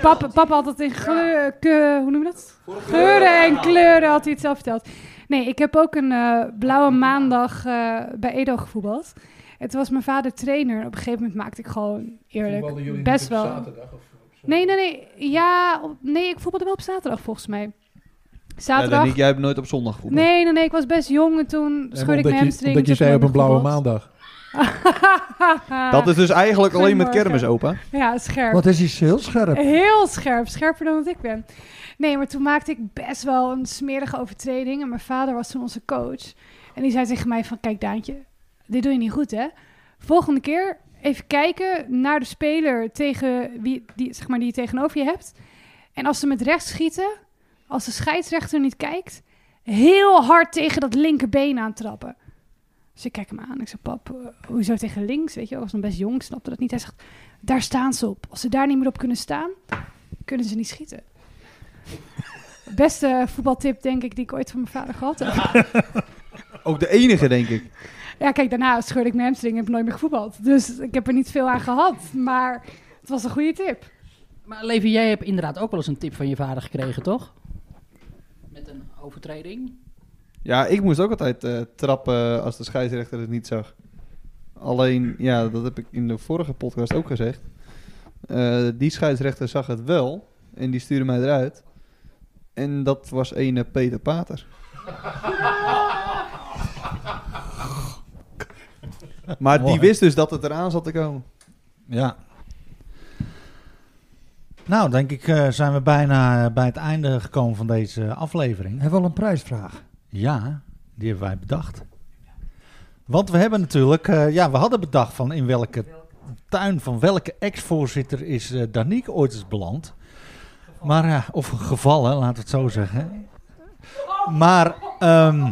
Speaker 12: Papa, papa had het in kleur, ke- hoe noem je dat? Geuren en kleuren had hij het zelf verteld. Nee, ik heb ook een eh, blauwe maandag eh, bij Edo gevoetbald. Het was mijn vader trainer. Op een gegeven moment maakte ik gewoon
Speaker 3: Voetbalden jullie
Speaker 12: eerlijk
Speaker 3: niet
Speaker 12: best
Speaker 3: op
Speaker 12: wel.
Speaker 3: zaterdag of
Speaker 12: nee, nee, nee. Ja, op- nee, ik voetbalde wel op zaterdag volgens mij.
Speaker 6: Ja,
Speaker 12: Zaterdag.
Speaker 6: Danique, jij hebt nooit op zondag gevoetbald.
Speaker 12: nee, nee, nee. Ik was best jong en toen scheurde ik
Speaker 3: omdat
Speaker 12: mijn
Speaker 3: je-
Speaker 12: hamstring.
Speaker 3: omdat je zei op een blauwe
Speaker 9: maandag.
Speaker 6: Dat is dus eigenlijk alleen met
Speaker 12: Goedemorgen.
Speaker 6: kermis, opa.
Speaker 12: Ja, scherp.
Speaker 5: Wat is die heel scherp?
Speaker 12: Heel scherp, scherper dan wat ik ben. Nee, maar toen maakte ik best wel een smerige overtreding. En mijn vader was toen onze coach. En die zei tegen mij van, kijk Daantje, dit doe je niet goed hè. Volgende keer even kijken naar de speler tegen wie, die, zeg maar, die je tegenover je hebt. En als ze met rechts schieten, als de scheidsrechter niet kijkt... heel hard tegen dat linkerbeen aantrappen. Dus ik kijk hem aan. Ik zeg, pap, eh, hoezo tegen links? Weet je, ik was nog best jong, ik snapte dat niet. Hij zegt, daar staan ze op. Als ze daar niet meer op kunnen staan, kunnen ze niet schieten. Beste voetbaltip, denk ik, die ik ooit van mijn vader gehad heb.
Speaker 6: Ook de enige, denk ik.
Speaker 12: ja, kijk, daarna scheurde ik mijn hamstring en heb nooit meer gevoetbald. Dus ik heb er niet veel aan gehad, maar het was een goede tip.
Speaker 11: Maar Levi, jij hebt inderdaad ook wel eens een tip van je vader gekregen, toch? Met een overtreding.
Speaker 6: Ja, ik moest ook altijd eh, trappen als de scheidsrechter het niet zag. Alleen, ja, dat heb ik in de vorige podcast ook gezegd. Eh, die scheidsrechter zag het wel en die stuurde mij eruit. En dat was ene Peter Pater. Maar die
Speaker 4: Mooi.
Speaker 6: wist dus dat het eraan zat te komen.
Speaker 4: Ja. Nou, denk ik eh, zijn we bijna eh, bij het einde gekomen van deze aflevering.
Speaker 5: Hebben we al een prijsvraag?
Speaker 4: Ja, die hebben wij bedacht. Want we hebben natuurlijk, eh, ja, we hadden bedacht van in welke tuin van welke ex-voorzitter is eh Danique ooit eens beland. Maar, ja, of gevallen, laten we het zo zeggen. Maar ehm,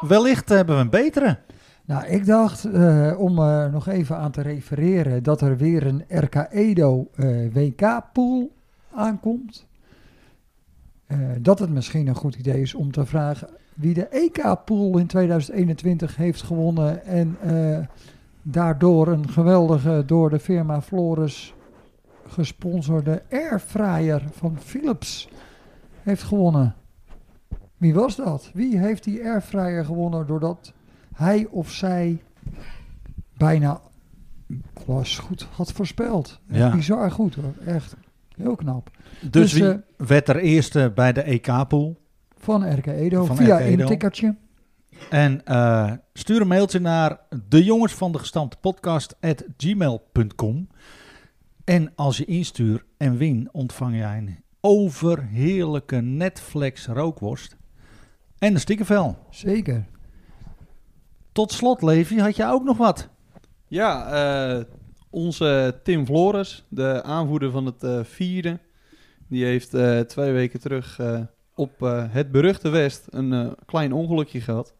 Speaker 4: wellicht hebben we een betere.
Speaker 5: Nou, ik dacht, eh, om er nog even aan te refereren, dat er weer een RK Edo WK-pool aankomt. Eh, dat het misschien een goed idee is om te vragen wie de EK-pool in 2021 heeft gewonnen. En eh, daardoor een geweldige, door de firma Flores gesponsorde airfryer van Philips heeft gewonnen. Wie was dat? Wie heeft die airfryer gewonnen doordat hij of zij bijna alles goed had voorspeld? Echt
Speaker 4: Ja.
Speaker 5: Bizar goed hoor, echt. Heel knap.
Speaker 4: Dus,
Speaker 5: Dus,
Speaker 4: wie
Speaker 5: eh,
Speaker 4: werd er eerste bij de E EK-pool?
Speaker 5: Van RK Edo,
Speaker 4: Van
Speaker 5: via
Speaker 4: RK
Speaker 5: een
Speaker 4: Edo.
Speaker 5: tikkertje.
Speaker 4: En eh, stuur een mailtje naar de jongens van de gestampte podcast En als je instuurt en win, ontvang jij een overheerlijke Netflix rookworst. En een stikkervel.
Speaker 5: Zeker.
Speaker 4: Tot slot, Levi, had jij ook nog wat?
Speaker 6: Ja, eh, onze Tim Flores, de aanvoerder van het eh, vierde, die heeft eh, twee weken terug eh, op eh, het beruchte West een eh, klein ongelukje gehad.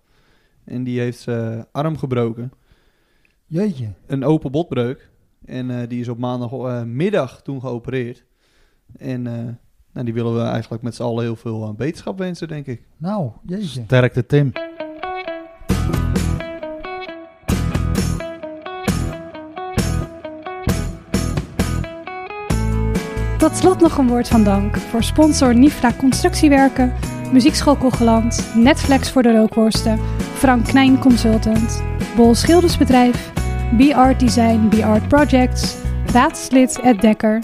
Speaker 6: En die heeft zijn arm gebroken.
Speaker 5: Jeetje.
Speaker 6: Een open botbreuk. En eh, die is op maandagmiddag toen geopereerd. En eh, nou, die willen we eigenlijk met z'n allen heel veel aan beterschap wensen, denk ik.
Speaker 5: Nou, jeetje.
Speaker 4: Sterkte, Tim.
Speaker 12: Tot slot nog een woord van dank voor sponsor Nifra Constructiewerken, Muziekschool Kogeland, Netflix voor de rookworsten, Frank Knijn Consultant, Bol Schildersbedrijf, B-Art Design, B-Art Projects, Raadslid Ed Dekker,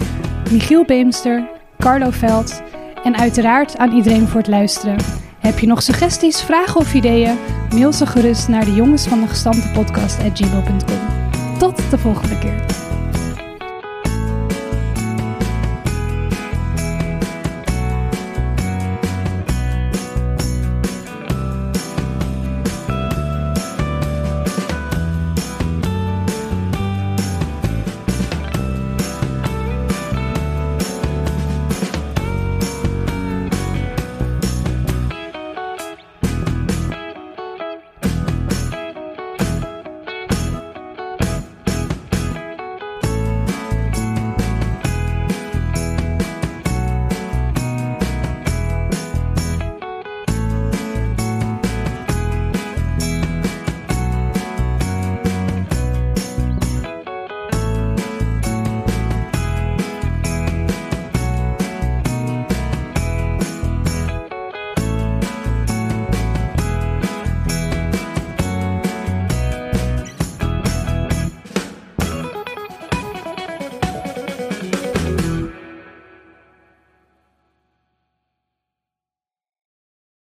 Speaker 12: Michiel Beemster, Carlo Veld en uiteraard aan iedereen voor het luisteren. Heb je nog suggesties, vragen of ideeën? Mail ze gerust naar de jongens van de gestampte podcast at gmail.com. Tot de volgende keer.